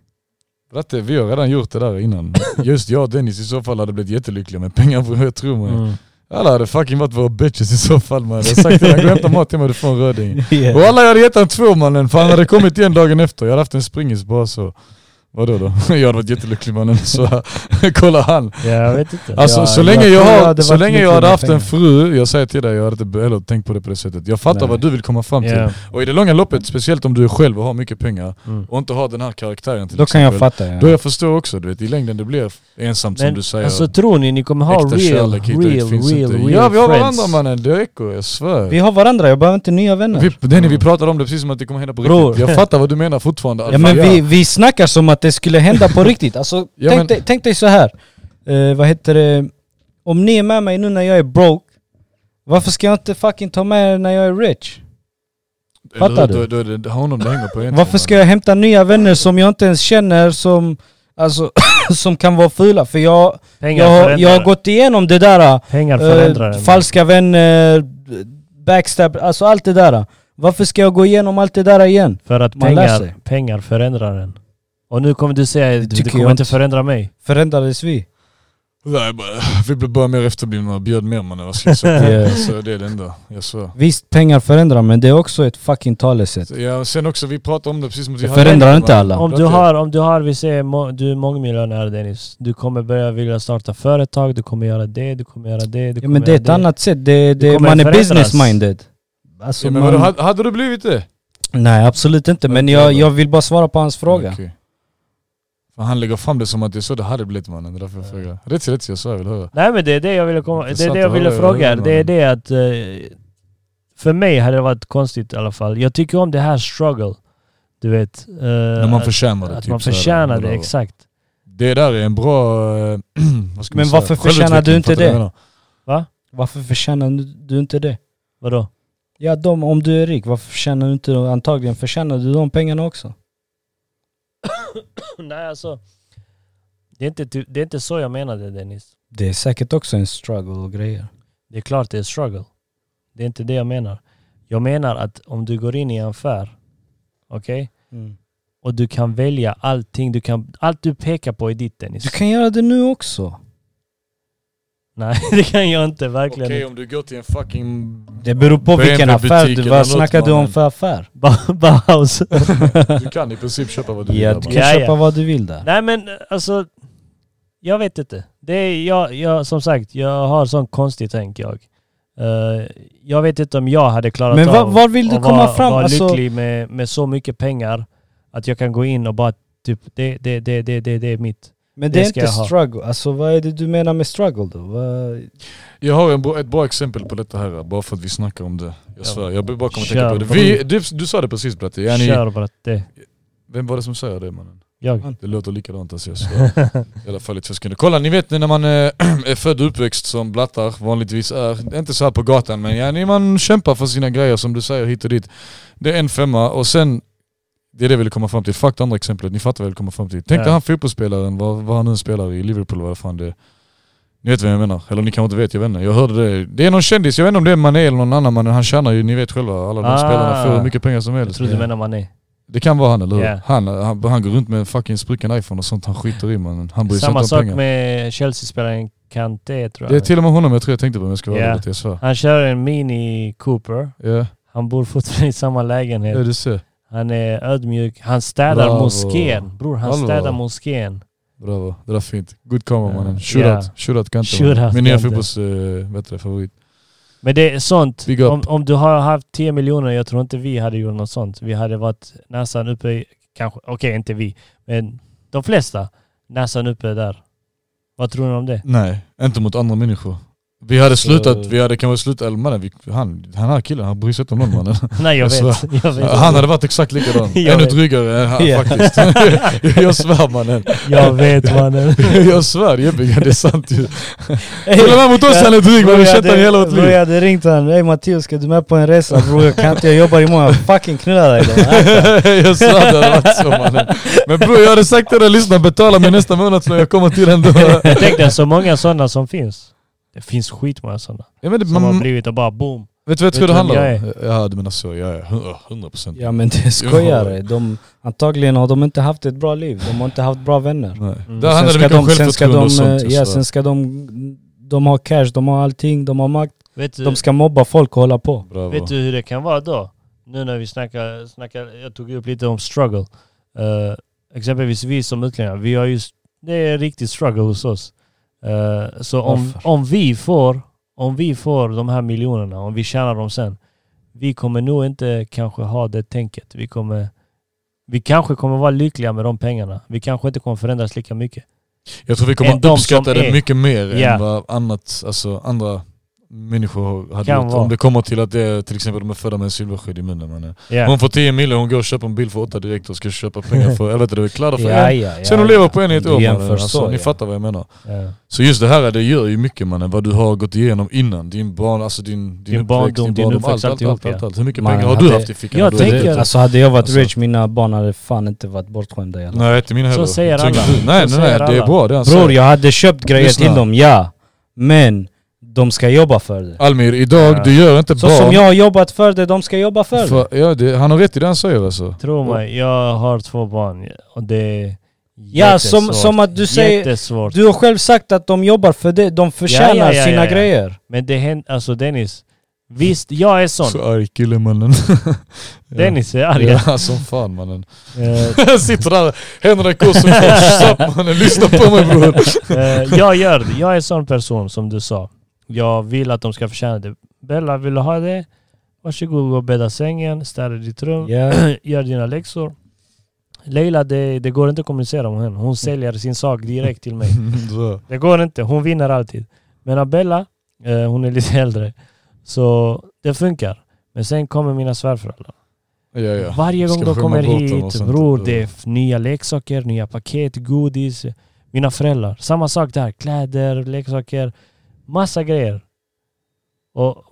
Speaker 2: Bratte, vi har redan gjort det där innan. Just jag och Dennis i så fall hade blivit jättelyckliga med pengar bror, jag tror mannen.
Speaker 1: Mm.
Speaker 2: Alla hade fucking varit våra bitches i så fall mannen. Jag har sagt till honom, gå och hämta mat till mig du får en röding.
Speaker 3: Ja.
Speaker 2: Och alla jag hade gett han två mannen, för han hade kommit igen dagen efter. Jag hade haft en springis bara så. Vadå då? Jag hade varit jättelycklig mannen. Så kolla han.
Speaker 1: Ja, jag vet inte.
Speaker 2: Alltså
Speaker 3: Ja,
Speaker 2: så länge
Speaker 3: jag
Speaker 2: jag,
Speaker 3: tror jag
Speaker 2: har,
Speaker 3: hade
Speaker 2: så
Speaker 3: varit
Speaker 2: länge jag
Speaker 3: lycklig
Speaker 2: hade
Speaker 3: med
Speaker 2: haft en
Speaker 3: pengar.
Speaker 2: fru, jag säger till dig, jag hade inte heller tänkt på det på det sättet. Jag fattar
Speaker 3: Nej.
Speaker 2: vad du vill komma fram till.
Speaker 1: Ja.
Speaker 2: Och i det långa loppet, speciellt om du är själv och har mycket pengar
Speaker 1: Mm.
Speaker 2: och inte har den här karaktären till
Speaker 3: Då kan jag
Speaker 2: exempel.
Speaker 3: fatta. Ja.
Speaker 2: Då jag förstår också, du vet i längden det blir ensamt som du säger.
Speaker 1: alltså tror ni ni kommer ha
Speaker 2: Äkta
Speaker 1: real,
Speaker 2: kärlek hit och dit
Speaker 1: real,
Speaker 2: finns
Speaker 1: real,
Speaker 2: inte.
Speaker 1: real
Speaker 2: Ja vi har
Speaker 1: friends?
Speaker 2: varandra mannen, det är ekor, jag svär.
Speaker 3: Vi har varandra, jag behöver inte nya vänner.
Speaker 2: Vi, Denny vi pratar om det precis som att det kommer hända på
Speaker 1: Bror.
Speaker 2: riktigt. Jag fattar vad du menar fortfarande.
Speaker 3: Ja
Speaker 2: Alfa,
Speaker 3: men vi, vi snackar som att det skulle hända på riktigt. Alltså,
Speaker 2: Ja,
Speaker 3: tänk,
Speaker 2: men-
Speaker 3: dig, tänk dig så här. Eh, vad heter det? Om ni är med mig nu när jag är broke, varför ska jag inte fucking ta med er när jag är rich?
Speaker 2: Eller
Speaker 3: fattar
Speaker 2: hur? Då, då, då, honom det hänger på egentligen.
Speaker 3: Varför ska jag hämta nya vänner som jag inte ens känner som, alltså, som kan vara fula? För jag,
Speaker 1: Pengar
Speaker 3: jag, har- jag
Speaker 1: förändrar
Speaker 3: har
Speaker 1: det.
Speaker 3: gått igenom det där.
Speaker 1: Pengar
Speaker 3: eh,
Speaker 1: förändrar en.
Speaker 3: falska vänner, backstab, alltså allt det där. Varför ska jag gå igenom allt det där igen?
Speaker 1: För att
Speaker 3: Man lär
Speaker 1: pengar,
Speaker 3: sig.
Speaker 1: pengar förändrar en. Och nu kommer du säga att det
Speaker 3: tycker
Speaker 1: kommer
Speaker 3: jag
Speaker 1: inte
Speaker 3: inte.
Speaker 1: förändra mig.
Speaker 3: Förändrades vi?
Speaker 2: Nej, bara, vi blev bara mer efterblivna och bjöd mer mannen. Vad ska jag säga?
Speaker 3: Ja.
Speaker 2: Så det är det enda. Jag svär.
Speaker 3: Visst, pengar förändrar men det är också ett fucking talesätt.
Speaker 2: Så, Ja, sen också, vi pratar om det precis som att vi
Speaker 3: Det
Speaker 2: hade-
Speaker 3: förändrar inte alla.
Speaker 1: Om du
Speaker 2: Okej.
Speaker 1: har, om du har vi säger må, du är mångmiljonär Dennis. Du kommer börja vilja starta företag, du kommer göra det, du kommer göra det, du
Speaker 3: Ja,
Speaker 1: kommer
Speaker 3: men det är
Speaker 1: göra
Speaker 3: ett annat sätt, det,
Speaker 1: Det
Speaker 3: det,
Speaker 1: kommer
Speaker 3: man är
Speaker 1: förändras.
Speaker 3: business minded. alltså,
Speaker 2: Ja, men
Speaker 3: man,
Speaker 2: vadå, hade, hade du blivit det?
Speaker 3: Nej absolut inte, men
Speaker 2: Okej,
Speaker 3: jag,
Speaker 2: då.
Speaker 3: jag vill bara svara på hans fråga.
Speaker 2: Okej. Fan, han lägger fram det som att det är så det hade blivit mannen, det är därför jag frågar. Rätt till rätt jag svär, vill höra.
Speaker 3: Eh,
Speaker 1: Nej men det är det jag ville, komma, det är
Speaker 2: Intressant
Speaker 1: det jag
Speaker 2: att
Speaker 1: ville
Speaker 2: höra, jag
Speaker 1: fråga.
Speaker 2: undrar.
Speaker 1: Det är det att... eh, För mig hade det varit konstigt i alla fall. Jag tycker om det här struggle. Du vet. eh,
Speaker 2: När man
Speaker 1: att-
Speaker 2: förtjänar det.
Speaker 1: Att
Speaker 2: typ
Speaker 1: man
Speaker 2: så här,
Speaker 1: förtjänar det,
Speaker 2: whatever.
Speaker 1: exakt.
Speaker 2: Det där är en bra... eh, vad ska man
Speaker 3: Men
Speaker 2: säga,
Speaker 3: varför förtjänar du
Speaker 2: självutveckling,
Speaker 3: inte
Speaker 2: fattar
Speaker 3: det?
Speaker 2: vad jag menar?
Speaker 3: Varför förtjänar du inte det?
Speaker 1: Vadå?
Speaker 3: Ja de, om du är rik, varför förtjänar du inte det? Antagligen förtjänar du de pengarna också.
Speaker 1: Nej alltså. Det är, inte, ty- det är inte så jag menade Dennis.
Speaker 3: Det är säkert också en struggle och grejer.
Speaker 1: Det är klart det är struggle. Det är inte det jag menar. Jag menar att om du går in i en affär, okej?
Speaker 2: Mm.
Speaker 1: Och du kan välja allting, du kan, allt du pekar på är ditt Dennis.
Speaker 3: Du kan göra det nu också.
Speaker 1: Nej det kan jag inte,
Speaker 2: Okej
Speaker 1: verkligen inte.
Speaker 2: om du går till en fucking...
Speaker 3: Det beror på
Speaker 2: BMW
Speaker 3: vilken affär
Speaker 2: butik
Speaker 3: du,
Speaker 2: eller
Speaker 3: vad
Speaker 2: något,
Speaker 3: snackar du om
Speaker 2: mannen.
Speaker 3: för affär?
Speaker 1: Ba- Bauhaus.
Speaker 2: Du kan i princip köpa vad du
Speaker 3: Ja,
Speaker 2: vill.
Speaker 3: du
Speaker 2: där,
Speaker 3: kan
Speaker 2: man.
Speaker 1: Ja, ja.
Speaker 3: köpa vad du vill där.
Speaker 1: Nej men alltså, jag vet inte. Det är, jag, jag, som sagt, jag har sån konstig tänk jag. Eh, jag vet inte om jag hade klarat
Speaker 3: Men va,
Speaker 1: av
Speaker 3: var vill du
Speaker 1: och
Speaker 3: komma
Speaker 1: vara-
Speaker 3: fram?
Speaker 1: Vara
Speaker 3: Alltså,
Speaker 1: lycklig med, med så mycket pengar att jag kan gå in och bara typ det, det, det, det, det, det är mitt.
Speaker 3: men det, är
Speaker 1: det ska
Speaker 3: inte
Speaker 1: jag ha.
Speaker 3: struggle. Alltså vad är det du menar med struggle då? Vad-
Speaker 2: Jag har en bra, ett bra exempel på detta här, bara för att vi snackar om det. Jag svär, jag bara kommer tänka
Speaker 1: Kör,
Speaker 2: på det.
Speaker 1: kom
Speaker 2: Vi,
Speaker 1: igen.
Speaker 2: du, du sa det precis bratte, Yani-
Speaker 1: Kör bara det.
Speaker 2: vem var det som sa det mannen?
Speaker 1: Jag.
Speaker 2: Det låter likadant alltså jag svär. I alla fall i två sekunder. Kolla, ni vet när man eh, är född och uppväxt som blattar vanligtvis är, inte så här på gatan men yani, man kämpar för sina grejer som du säger hit och dit. Det är en femma och sen, det är det jag ville komma fram till. Fuck det andra exemplet, ni fattar vad jag vill komma fram till. Tänk dig
Speaker 1: Ja.
Speaker 2: han fotbollsspelaren, vad, vad han nu spelar i Liverpool, vad fan det är. Ni vet vem jag menar, eller ni kanske inte vet, jag vet inte. Jag hörde det. Det är någon kändis, jag vet inte om det är Mané eller någon annan men han tjänar ju, ni vet själva, alla de
Speaker 1: Ah.
Speaker 2: spelarna får hur mycket pengar som
Speaker 1: Jag
Speaker 2: helst.
Speaker 1: tror du menar man är.
Speaker 2: Det kan vara han eller hur?
Speaker 1: Ja.
Speaker 2: Han, han, han går runt med en fucking sprucken iPhone och sånt, han skiter i mannen. Han bryr sig
Speaker 1: Samma
Speaker 2: inte om
Speaker 1: sak
Speaker 2: pengar.
Speaker 1: med Chelsea-spelaren Kanté tror
Speaker 2: Det är
Speaker 1: jag.
Speaker 2: till och med honom jag tror jag tänkte på om jag ska vara
Speaker 1: Ja.
Speaker 2: ärlig, jag svär.
Speaker 1: Han kör en Mini Cooper.
Speaker 2: Ja,
Speaker 1: Han bor fortfarande i samma
Speaker 2: ja
Speaker 1: lägenhet.
Speaker 2: du ser.
Speaker 1: Han är ödmjuk. Han städar
Speaker 2: Bravo.
Speaker 1: moskén. Bror, han
Speaker 2: Bravo.
Speaker 1: städar moskén.
Speaker 2: Bravo, det där är fint. Good karma
Speaker 1: Ja.
Speaker 2: mannen. Shootout,
Speaker 1: Ja.
Speaker 2: shootout Kante.
Speaker 1: Shootout
Speaker 2: mannen. Min nya
Speaker 1: Kante.
Speaker 2: fotbolls, eh, vet du, favorit.
Speaker 1: Men det är sånt.
Speaker 2: Big up.
Speaker 1: Om, om du har haft 10 miljoner, jag tror inte vi hade gjort något sånt. Vi hade varit nästan uppe, i- kanske, okej inte vi, men de flesta nästan uppe där. Vad tror ni om det?
Speaker 2: Nej, inte mot andra människor. Vi hade
Speaker 3: Så-
Speaker 2: slutat, vi hade kanske slutat, eller mannen, vi, han, han här killen, han bryr sig inte om någon mannen.
Speaker 1: Nej jag
Speaker 2: Jag
Speaker 1: vet. Jag vet.
Speaker 2: Han hade varit exakt likadan.
Speaker 1: Jag
Speaker 2: Ännu
Speaker 1: vet.
Speaker 2: drygare eh,
Speaker 3: Ja.
Speaker 2: faktiskt. jag svär mannen.
Speaker 1: Jag vet mannen.
Speaker 2: Jag svär Jeppe, det är sant ju. Till och med mot oss han är dryg, men vi
Speaker 3: Bror, jag
Speaker 2: kättar
Speaker 3: hade-
Speaker 2: hela vårt
Speaker 3: bror,
Speaker 2: liv.
Speaker 3: jag hade ringt han, hej Mattias ska du med på en resa? Bror jag kan inte, jag jobbar imorgon, fucking knulla dig då.
Speaker 2: jag sa det hade varit så mannen. Men bror jag hade sagt till dig, lyssna betala mig nästa månad så jag kommer till ändå.
Speaker 1: Tänk dig så många sådana som finns. Det finns skitmånga sådana.
Speaker 2: Ja, men det,
Speaker 1: Som har
Speaker 2: man,
Speaker 1: blivit och bara boom.
Speaker 2: vet du vad jag
Speaker 1: vet
Speaker 2: tror det
Speaker 1: vem
Speaker 2: handlar
Speaker 1: jag
Speaker 2: om? Ja du menar så, ja ja, hu- hundra procent.
Speaker 3: Ja men det är skojare, de, antagligen har de inte haft ett bra liv, de har inte haft bra vänner.
Speaker 2: Nej.
Speaker 1: Mm.
Speaker 2: Där handlar det mycket om
Speaker 3: sen ska
Speaker 2: självförtroende
Speaker 3: de, eh,
Speaker 2: och sånt. alltså.
Speaker 3: ja,
Speaker 2: jag svär.
Speaker 3: sen ska de, de har cash, de har allting, de har makt,
Speaker 1: Vet du,
Speaker 3: de ska mobba folk och hålla på.
Speaker 2: Bravo.
Speaker 1: Vet du hur det kan vara då? Nu när vi snackar, snackar jag tog upp lite om struggle. Eh, exempelvis vi som utlänningar, vi har just, det är riktigt struggle hos oss. Eh, så om,
Speaker 3: Varför?
Speaker 1: om, vi får, om vi får de här miljonerna, om vi tjänar dem sen, vi kommer nog inte kanske ha det tänket. Vi, kommer, vi kanske kommer vara lyckliga med de pengarna. Vi kanske inte kommer förändras lika mycket.
Speaker 2: Jag tror vi
Speaker 3: Eh,
Speaker 1: än
Speaker 2: kommer
Speaker 1: de
Speaker 2: uppskatta
Speaker 1: som
Speaker 2: det
Speaker 1: är-
Speaker 2: mycket mer
Speaker 1: Ja.
Speaker 2: än vad annat, alltså, andra människor hade
Speaker 1: Kan
Speaker 2: gjort.
Speaker 1: vara.
Speaker 2: Om det kommer till att det är, till exempel de är födda med en silverskydd i munnen. mannen.
Speaker 1: Yeah.
Speaker 2: Hon får 10 miljoner, hon går och köper en bil för 8 direkt och ska köpa pengar för, jag vet inte, kläder för en.
Speaker 3: ja,
Speaker 2: Sen hon lever på en i ett
Speaker 3: Du
Speaker 2: år mannen.
Speaker 3: jämför
Speaker 2: Alltså,
Speaker 3: så,
Speaker 2: ni
Speaker 3: ja.
Speaker 2: fattar vad jag menar.
Speaker 1: eh,
Speaker 2: Så just det här, det gör ju mycket mannen, vad du har gått igenom innan. Din barn, alltså din, din,
Speaker 1: Din barndom, din
Speaker 2: allt,
Speaker 1: uppväxt,
Speaker 2: allt, allt,
Speaker 1: alltihop,
Speaker 2: allt,
Speaker 1: ja.
Speaker 2: allt. Hur mycket
Speaker 3: Man
Speaker 2: pengar har du
Speaker 3: hade-
Speaker 2: haft i fickan?
Speaker 1: Jag
Speaker 2: när du var
Speaker 1: tänker-
Speaker 2: liten?
Speaker 3: Alltså hade jag varit
Speaker 2: Alltså.
Speaker 3: rich, mina barn hade fan inte varit bortskämda jävlar.
Speaker 2: Nej inte mina
Speaker 1: Så
Speaker 2: heller.
Speaker 1: säger
Speaker 2: Tänker
Speaker 1: alla.
Speaker 2: du? Nej
Speaker 1: Så
Speaker 2: nej, nej
Speaker 1: säger
Speaker 2: det är
Speaker 1: alla.
Speaker 2: bra det han
Speaker 3: Bror
Speaker 2: säger.
Speaker 3: jag hade köpt grejer
Speaker 2: Lyssna.
Speaker 3: till dem, ja. Men de ska jobba för det.
Speaker 2: Almir, idag
Speaker 1: Ja.
Speaker 2: du gör inte
Speaker 3: Så
Speaker 2: barn
Speaker 3: som jag har jobbat för det, de ska jobba för, det.
Speaker 2: Alltså- För, ja, det, han har rätt i det han säger alltså.
Speaker 1: Tro mig, jag har två barn och det är
Speaker 3: Ja, som-
Speaker 1: jättesvårt.
Speaker 3: som att du säger-
Speaker 1: Jättesvårt.
Speaker 3: Du har själv sagt att de jobbar för det, de förtjänar
Speaker 1: Ja, ja, ja,
Speaker 3: sina
Speaker 1: ja, ja.
Speaker 3: grejer.
Speaker 1: Men det händer, alltså Dennis. Visst, jag är sån.
Speaker 2: Så arg kille mannen. Ja.
Speaker 1: Dennis är arg.
Speaker 2: Ja, som fan mannen.
Speaker 1: Eh,
Speaker 2: Sitter där, händerna i kors och kors. Stopp, mannen, lyssna på mig bror.
Speaker 1: eh, jag gör det. Jag är sån person som du sa. Jag vill att de ska förtjäna det. Bella, vill du ha det? Varsågod gå och bädda sängen, städa ditt rum,
Speaker 3: Ja.
Speaker 1: gör dina läxor. Leila, det, det går inte att kommunicera med henne.
Speaker 2: Mm.
Speaker 1: Hon säljer sin sak direkt till mig.
Speaker 2: Så.
Speaker 1: Det går inte. Hon vinner alltid. Men Abella, eh, hon är lite äldre. Så det funkar. Men sen kommer mina svärföräldrar.
Speaker 2: Ja, ja.
Speaker 1: Varje gång
Speaker 2: Ska
Speaker 1: de
Speaker 2: skämma
Speaker 1: kommer
Speaker 2: bort dem och
Speaker 1: hit,
Speaker 2: sånt
Speaker 1: bror,
Speaker 2: där.
Speaker 1: det är f- nya leksaker, nya paket, godis. Mina föräldrar. Samma sak där. Kläder, leksaker. Massa grejer. Och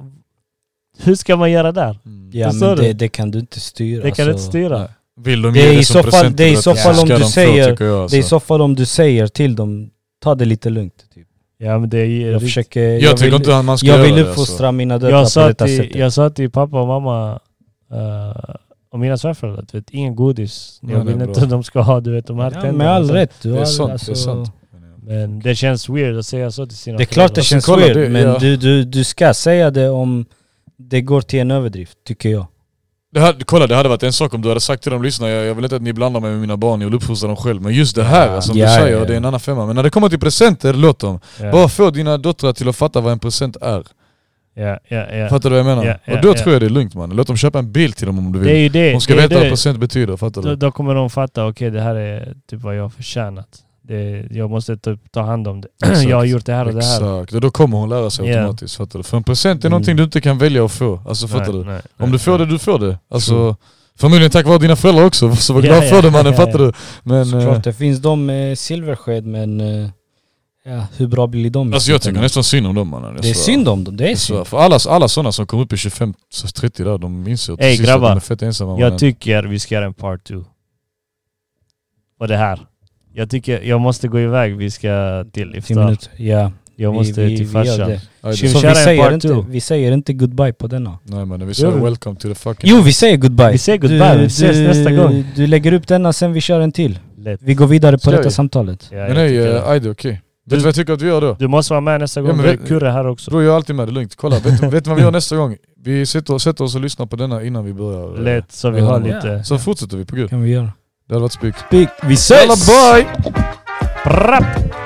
Speaker 1: hur ska man göra där?
Speaker 2: Mm.
Speaker 3: Ja
Speaker 1: Förstår
Speaker 3: men
Speaker 1: du?
Speaker 3: det, det kan du inte styra. alltså.
Speaker 1: Det kan du inte
Speaker 3: så.
Speaker 1: styra.
Speaker 2: Alltså, Nej. Vill de
Speaker 3: Det
Speaker 2: ge
Speaker 3: är
Speaker 2: det
Speaker 3: i
Speaker 2: som
Speaker 3: så fall-
Speaker 2: present
Speaker 3: det är i
Speaker 2: till
Speaker 3: så
Speaker 2: att-
Speaker 3: fall om
Speaker 2: ska de
Speaker 3: du
Speaker 2: få,
Speaker 3: säger-
Speaker 2: tycker jag,
Speaker 3: Det är i
Speaker 2: alltså.
Speaker 3: så fall om du säger till dem, ta det lite lugnt. Typ.
Speaker 1: Ja, men det är
Speaker 3: Jag försöker... Jag,
Speaker 2: Jag
Speaker 3: vill,
Speaker 2: tycker inte att man ska
Speaker 3: jag
Speaker 2: göra
Speaker 3: vill
Speaker 2: det, alltså.
Speaker 3: uppfostra mina döttrar
Speaker 1: jag
Speaker 3: på
Speaker 1: sa,
Speaker 3: detta
Speaker 1: till,
Speaker 3: sättet.
Speaker 1: jag sa till pappa och mamma eh, och mina svärföräldrar, du vet, ingen godis. Jag
Speaker 2: Nej,
Speaker 1: vill
Speaker 2: nej,
Speaker 1: inte
Speaker 2: bra.
Speaker 1: att de ska ha du vet, de här
Speaker 3: ja,
Speaker 1: tänderna
Speaker 3: med
Speaker 1: och
Speaker 3: all
Speaker 1: sånt.
Speaker 3: rätt. Du
Speaker 2: Det
Speaker 3: har-
Speaker 2: är sant, det
Speaker 3: alltså-
Speaker 2: är sant.
Speaker 1: Men det känns weird att säga så till sina
Speaker 3: Det är klart det
Speaker 1: föräldrar.
Speaker 3: känns
Speaker 2: kolla,
Speaker 3: weird,
Speaker 2: det-
Speaker 3: men
Speaker 2: ja.
Speaker 3: du, du, du ska säga det om det går till en överdrift, tycker jag.
Speaker 2: Det här, kolla det hade varit en sak om du hade sagt till dem lyssna jag, jag vill inte att ni blandar mig med mina barn, jag vill uppfostra dem själv. Men just det här
Speaker 3: Ja.
Speaker 2: som
Speaker 3: Ja,
Speaker 2: du
Speaker 3: ja,
Speaker 2: säger,
Speaker 3: ja.
Speaker 2: det är en annan femma. Men när det kommer till presenter, låt dem.
Speaker 1: Ja,
Speaker 2: Bara få dina döttrar till att fatta vad en present är.
Speaker 1: ja, ja, ja.
Speaker 2: Fattar du vad jag menar?
Speaker 1: Ja, ja,
Speaker 2: och då
Speaker 1: ja.
Speaker 2: tror jag det är lugnt man. Låt dem köpa en bil till dem om du
Speaker 1: Det är
Speaker 2: vill.
Speaker 1: ju det.
Speaker 2: De ska
Speaker 1: det är
Speaker 2: veta vad
Speaker 1: det.
Speaker 2: present betyder, fattar
Speaker 1: Då,
Speaker 2: du?
Speaker 1: då kommer de fatta, okej det här är typ vad jag har förtjänat. Det, jag måste typ ta hand om det.
Speaker 2: Exakt.
Speaker 1: jag har gjort det här och det här.
Speaker 2: Exakt, och då kommer hon lära sig
Speaker 1: Ja. Mm.
Speaker 2: automatiskt. Fattar du? För en present är någonting du inte kan välja att få. Alltså
Speaker 1: Nej,
Speaker 2: fattar du?
Speaker 1: nej,
Speaker 2: Om
Speaker 1: nej,
Speaker 2: du får det,
Speaker 1: nej.
Speaker 2: du får det. Alltså, förmodligen tack vare dina föräldrar också, så var
Speaker 1: Ja,
Speaker 2: glad
Speaker 1: ja,
Speaker 2: för det mannen,
Speaker 1: ja,
Speaker 2: fattar
Speaker 1: ja.
Speaker 2: du? Men, eh,
Speaker 3: Såklart, det finns de med silversked men eh, ja, hur bra blir de? i
Speaker 2: alltså jag tycker
Speaker 3: slutändan?
Speaker 2: nästan synd om dem mannen. jag
Speaker 3: Det är
Speaker 2: svär.
Speaker 3: synd om dem, det är
Speaker 2: Jag svär.
Speaker 3: synd.
Speaker 2: För alla, alla sådana som kom upp i 25-30 där, de inser till
Speaker 1: Ey,
Speaker 2: sist
Speaker 1: grabbar.
Speaker 2: att de är fett ensamma mannen.
Speaker 1: Jag tycker vi ska göra en part two. Och det här. Jag tycker jag måste gå iväg, vi ska till
Speaker 3: Tio
Speaker 1: Iftar.
Speaker 3: minuter, ja.
Speaker 1: Jag
Speaker 3: Vi-
Speaker 1: måste
Speaker 3: vi-
Speaker 1: till
Speaker 3: vi gör
Speaker 1: farsan.
Speaker 3: det.
Speaker 2: Aj,
Speaker 1: Tjuv-
Speaker 2: det-
Speaker 1: vi
Speaker 3: Så
Speaker 1: köra
Speaker 3: vi
Speaker 1: en
Speaker 3: säger,
Speaker 1: part
Speaker 3: inte,
Speaker 1: two?
Speaker 3: vi säger inte goodbye på denna.
Speaker 2: Nej mannen, vi säger
Speaker 1: Jo.
Speaker 2: welcome to the fucking...
Speaker 3: Jo vi säger goodbye!
Speaker 1: Vi säger goodbye, vi ses nästa gång.
Speaker 3: Du lägger upp denna sen vi kör en till.
Speaker 1: Lätt.
Speaker 3: Vi går vidare på
Speaker 2: Ska
Speaker 3: detta
Speaker 2: vi?
Speaker 3: samtalet.
Speaker 1: Ja,
Speaker 2: Men
Speaker 1: jag
Speaker 2: nej,
Speaker 1: tycker det.
Speaker 2: eh, aj det är okej. Vet du vad jag tycker att vi gör då?
Speaker 1: Du måste vara med nästa
Speaker 2: Ja,
Speaker 1: gång.
Speaker 2: men
Speaker 1: Vi
Speaker 2: vi-
Speaker 1: har Kurre här också.
Speaker 2: Bror jag är alltid med, det är lugnt. Kolla, vet, vet du vad vi gör nästa gång? Vi sitter, sätter oss och lyssnar på denna innan vi börjar. eh.
Speaker 1: Lätt, så vi
Speaker 2: Ja,
Speaker 1: har
Speaker 2: men-
Speaker 1: lite...
Speaker 2: Så fortsätter vi på gud.
Speaker 3: Kan vi göra.
Speaker 2: Det hade varit spik.
Speaker 3: Vi
Speaker 2: Jalla
Speaker 3: ses!
Speaker 2: bye!
Speaker 1: Prapp!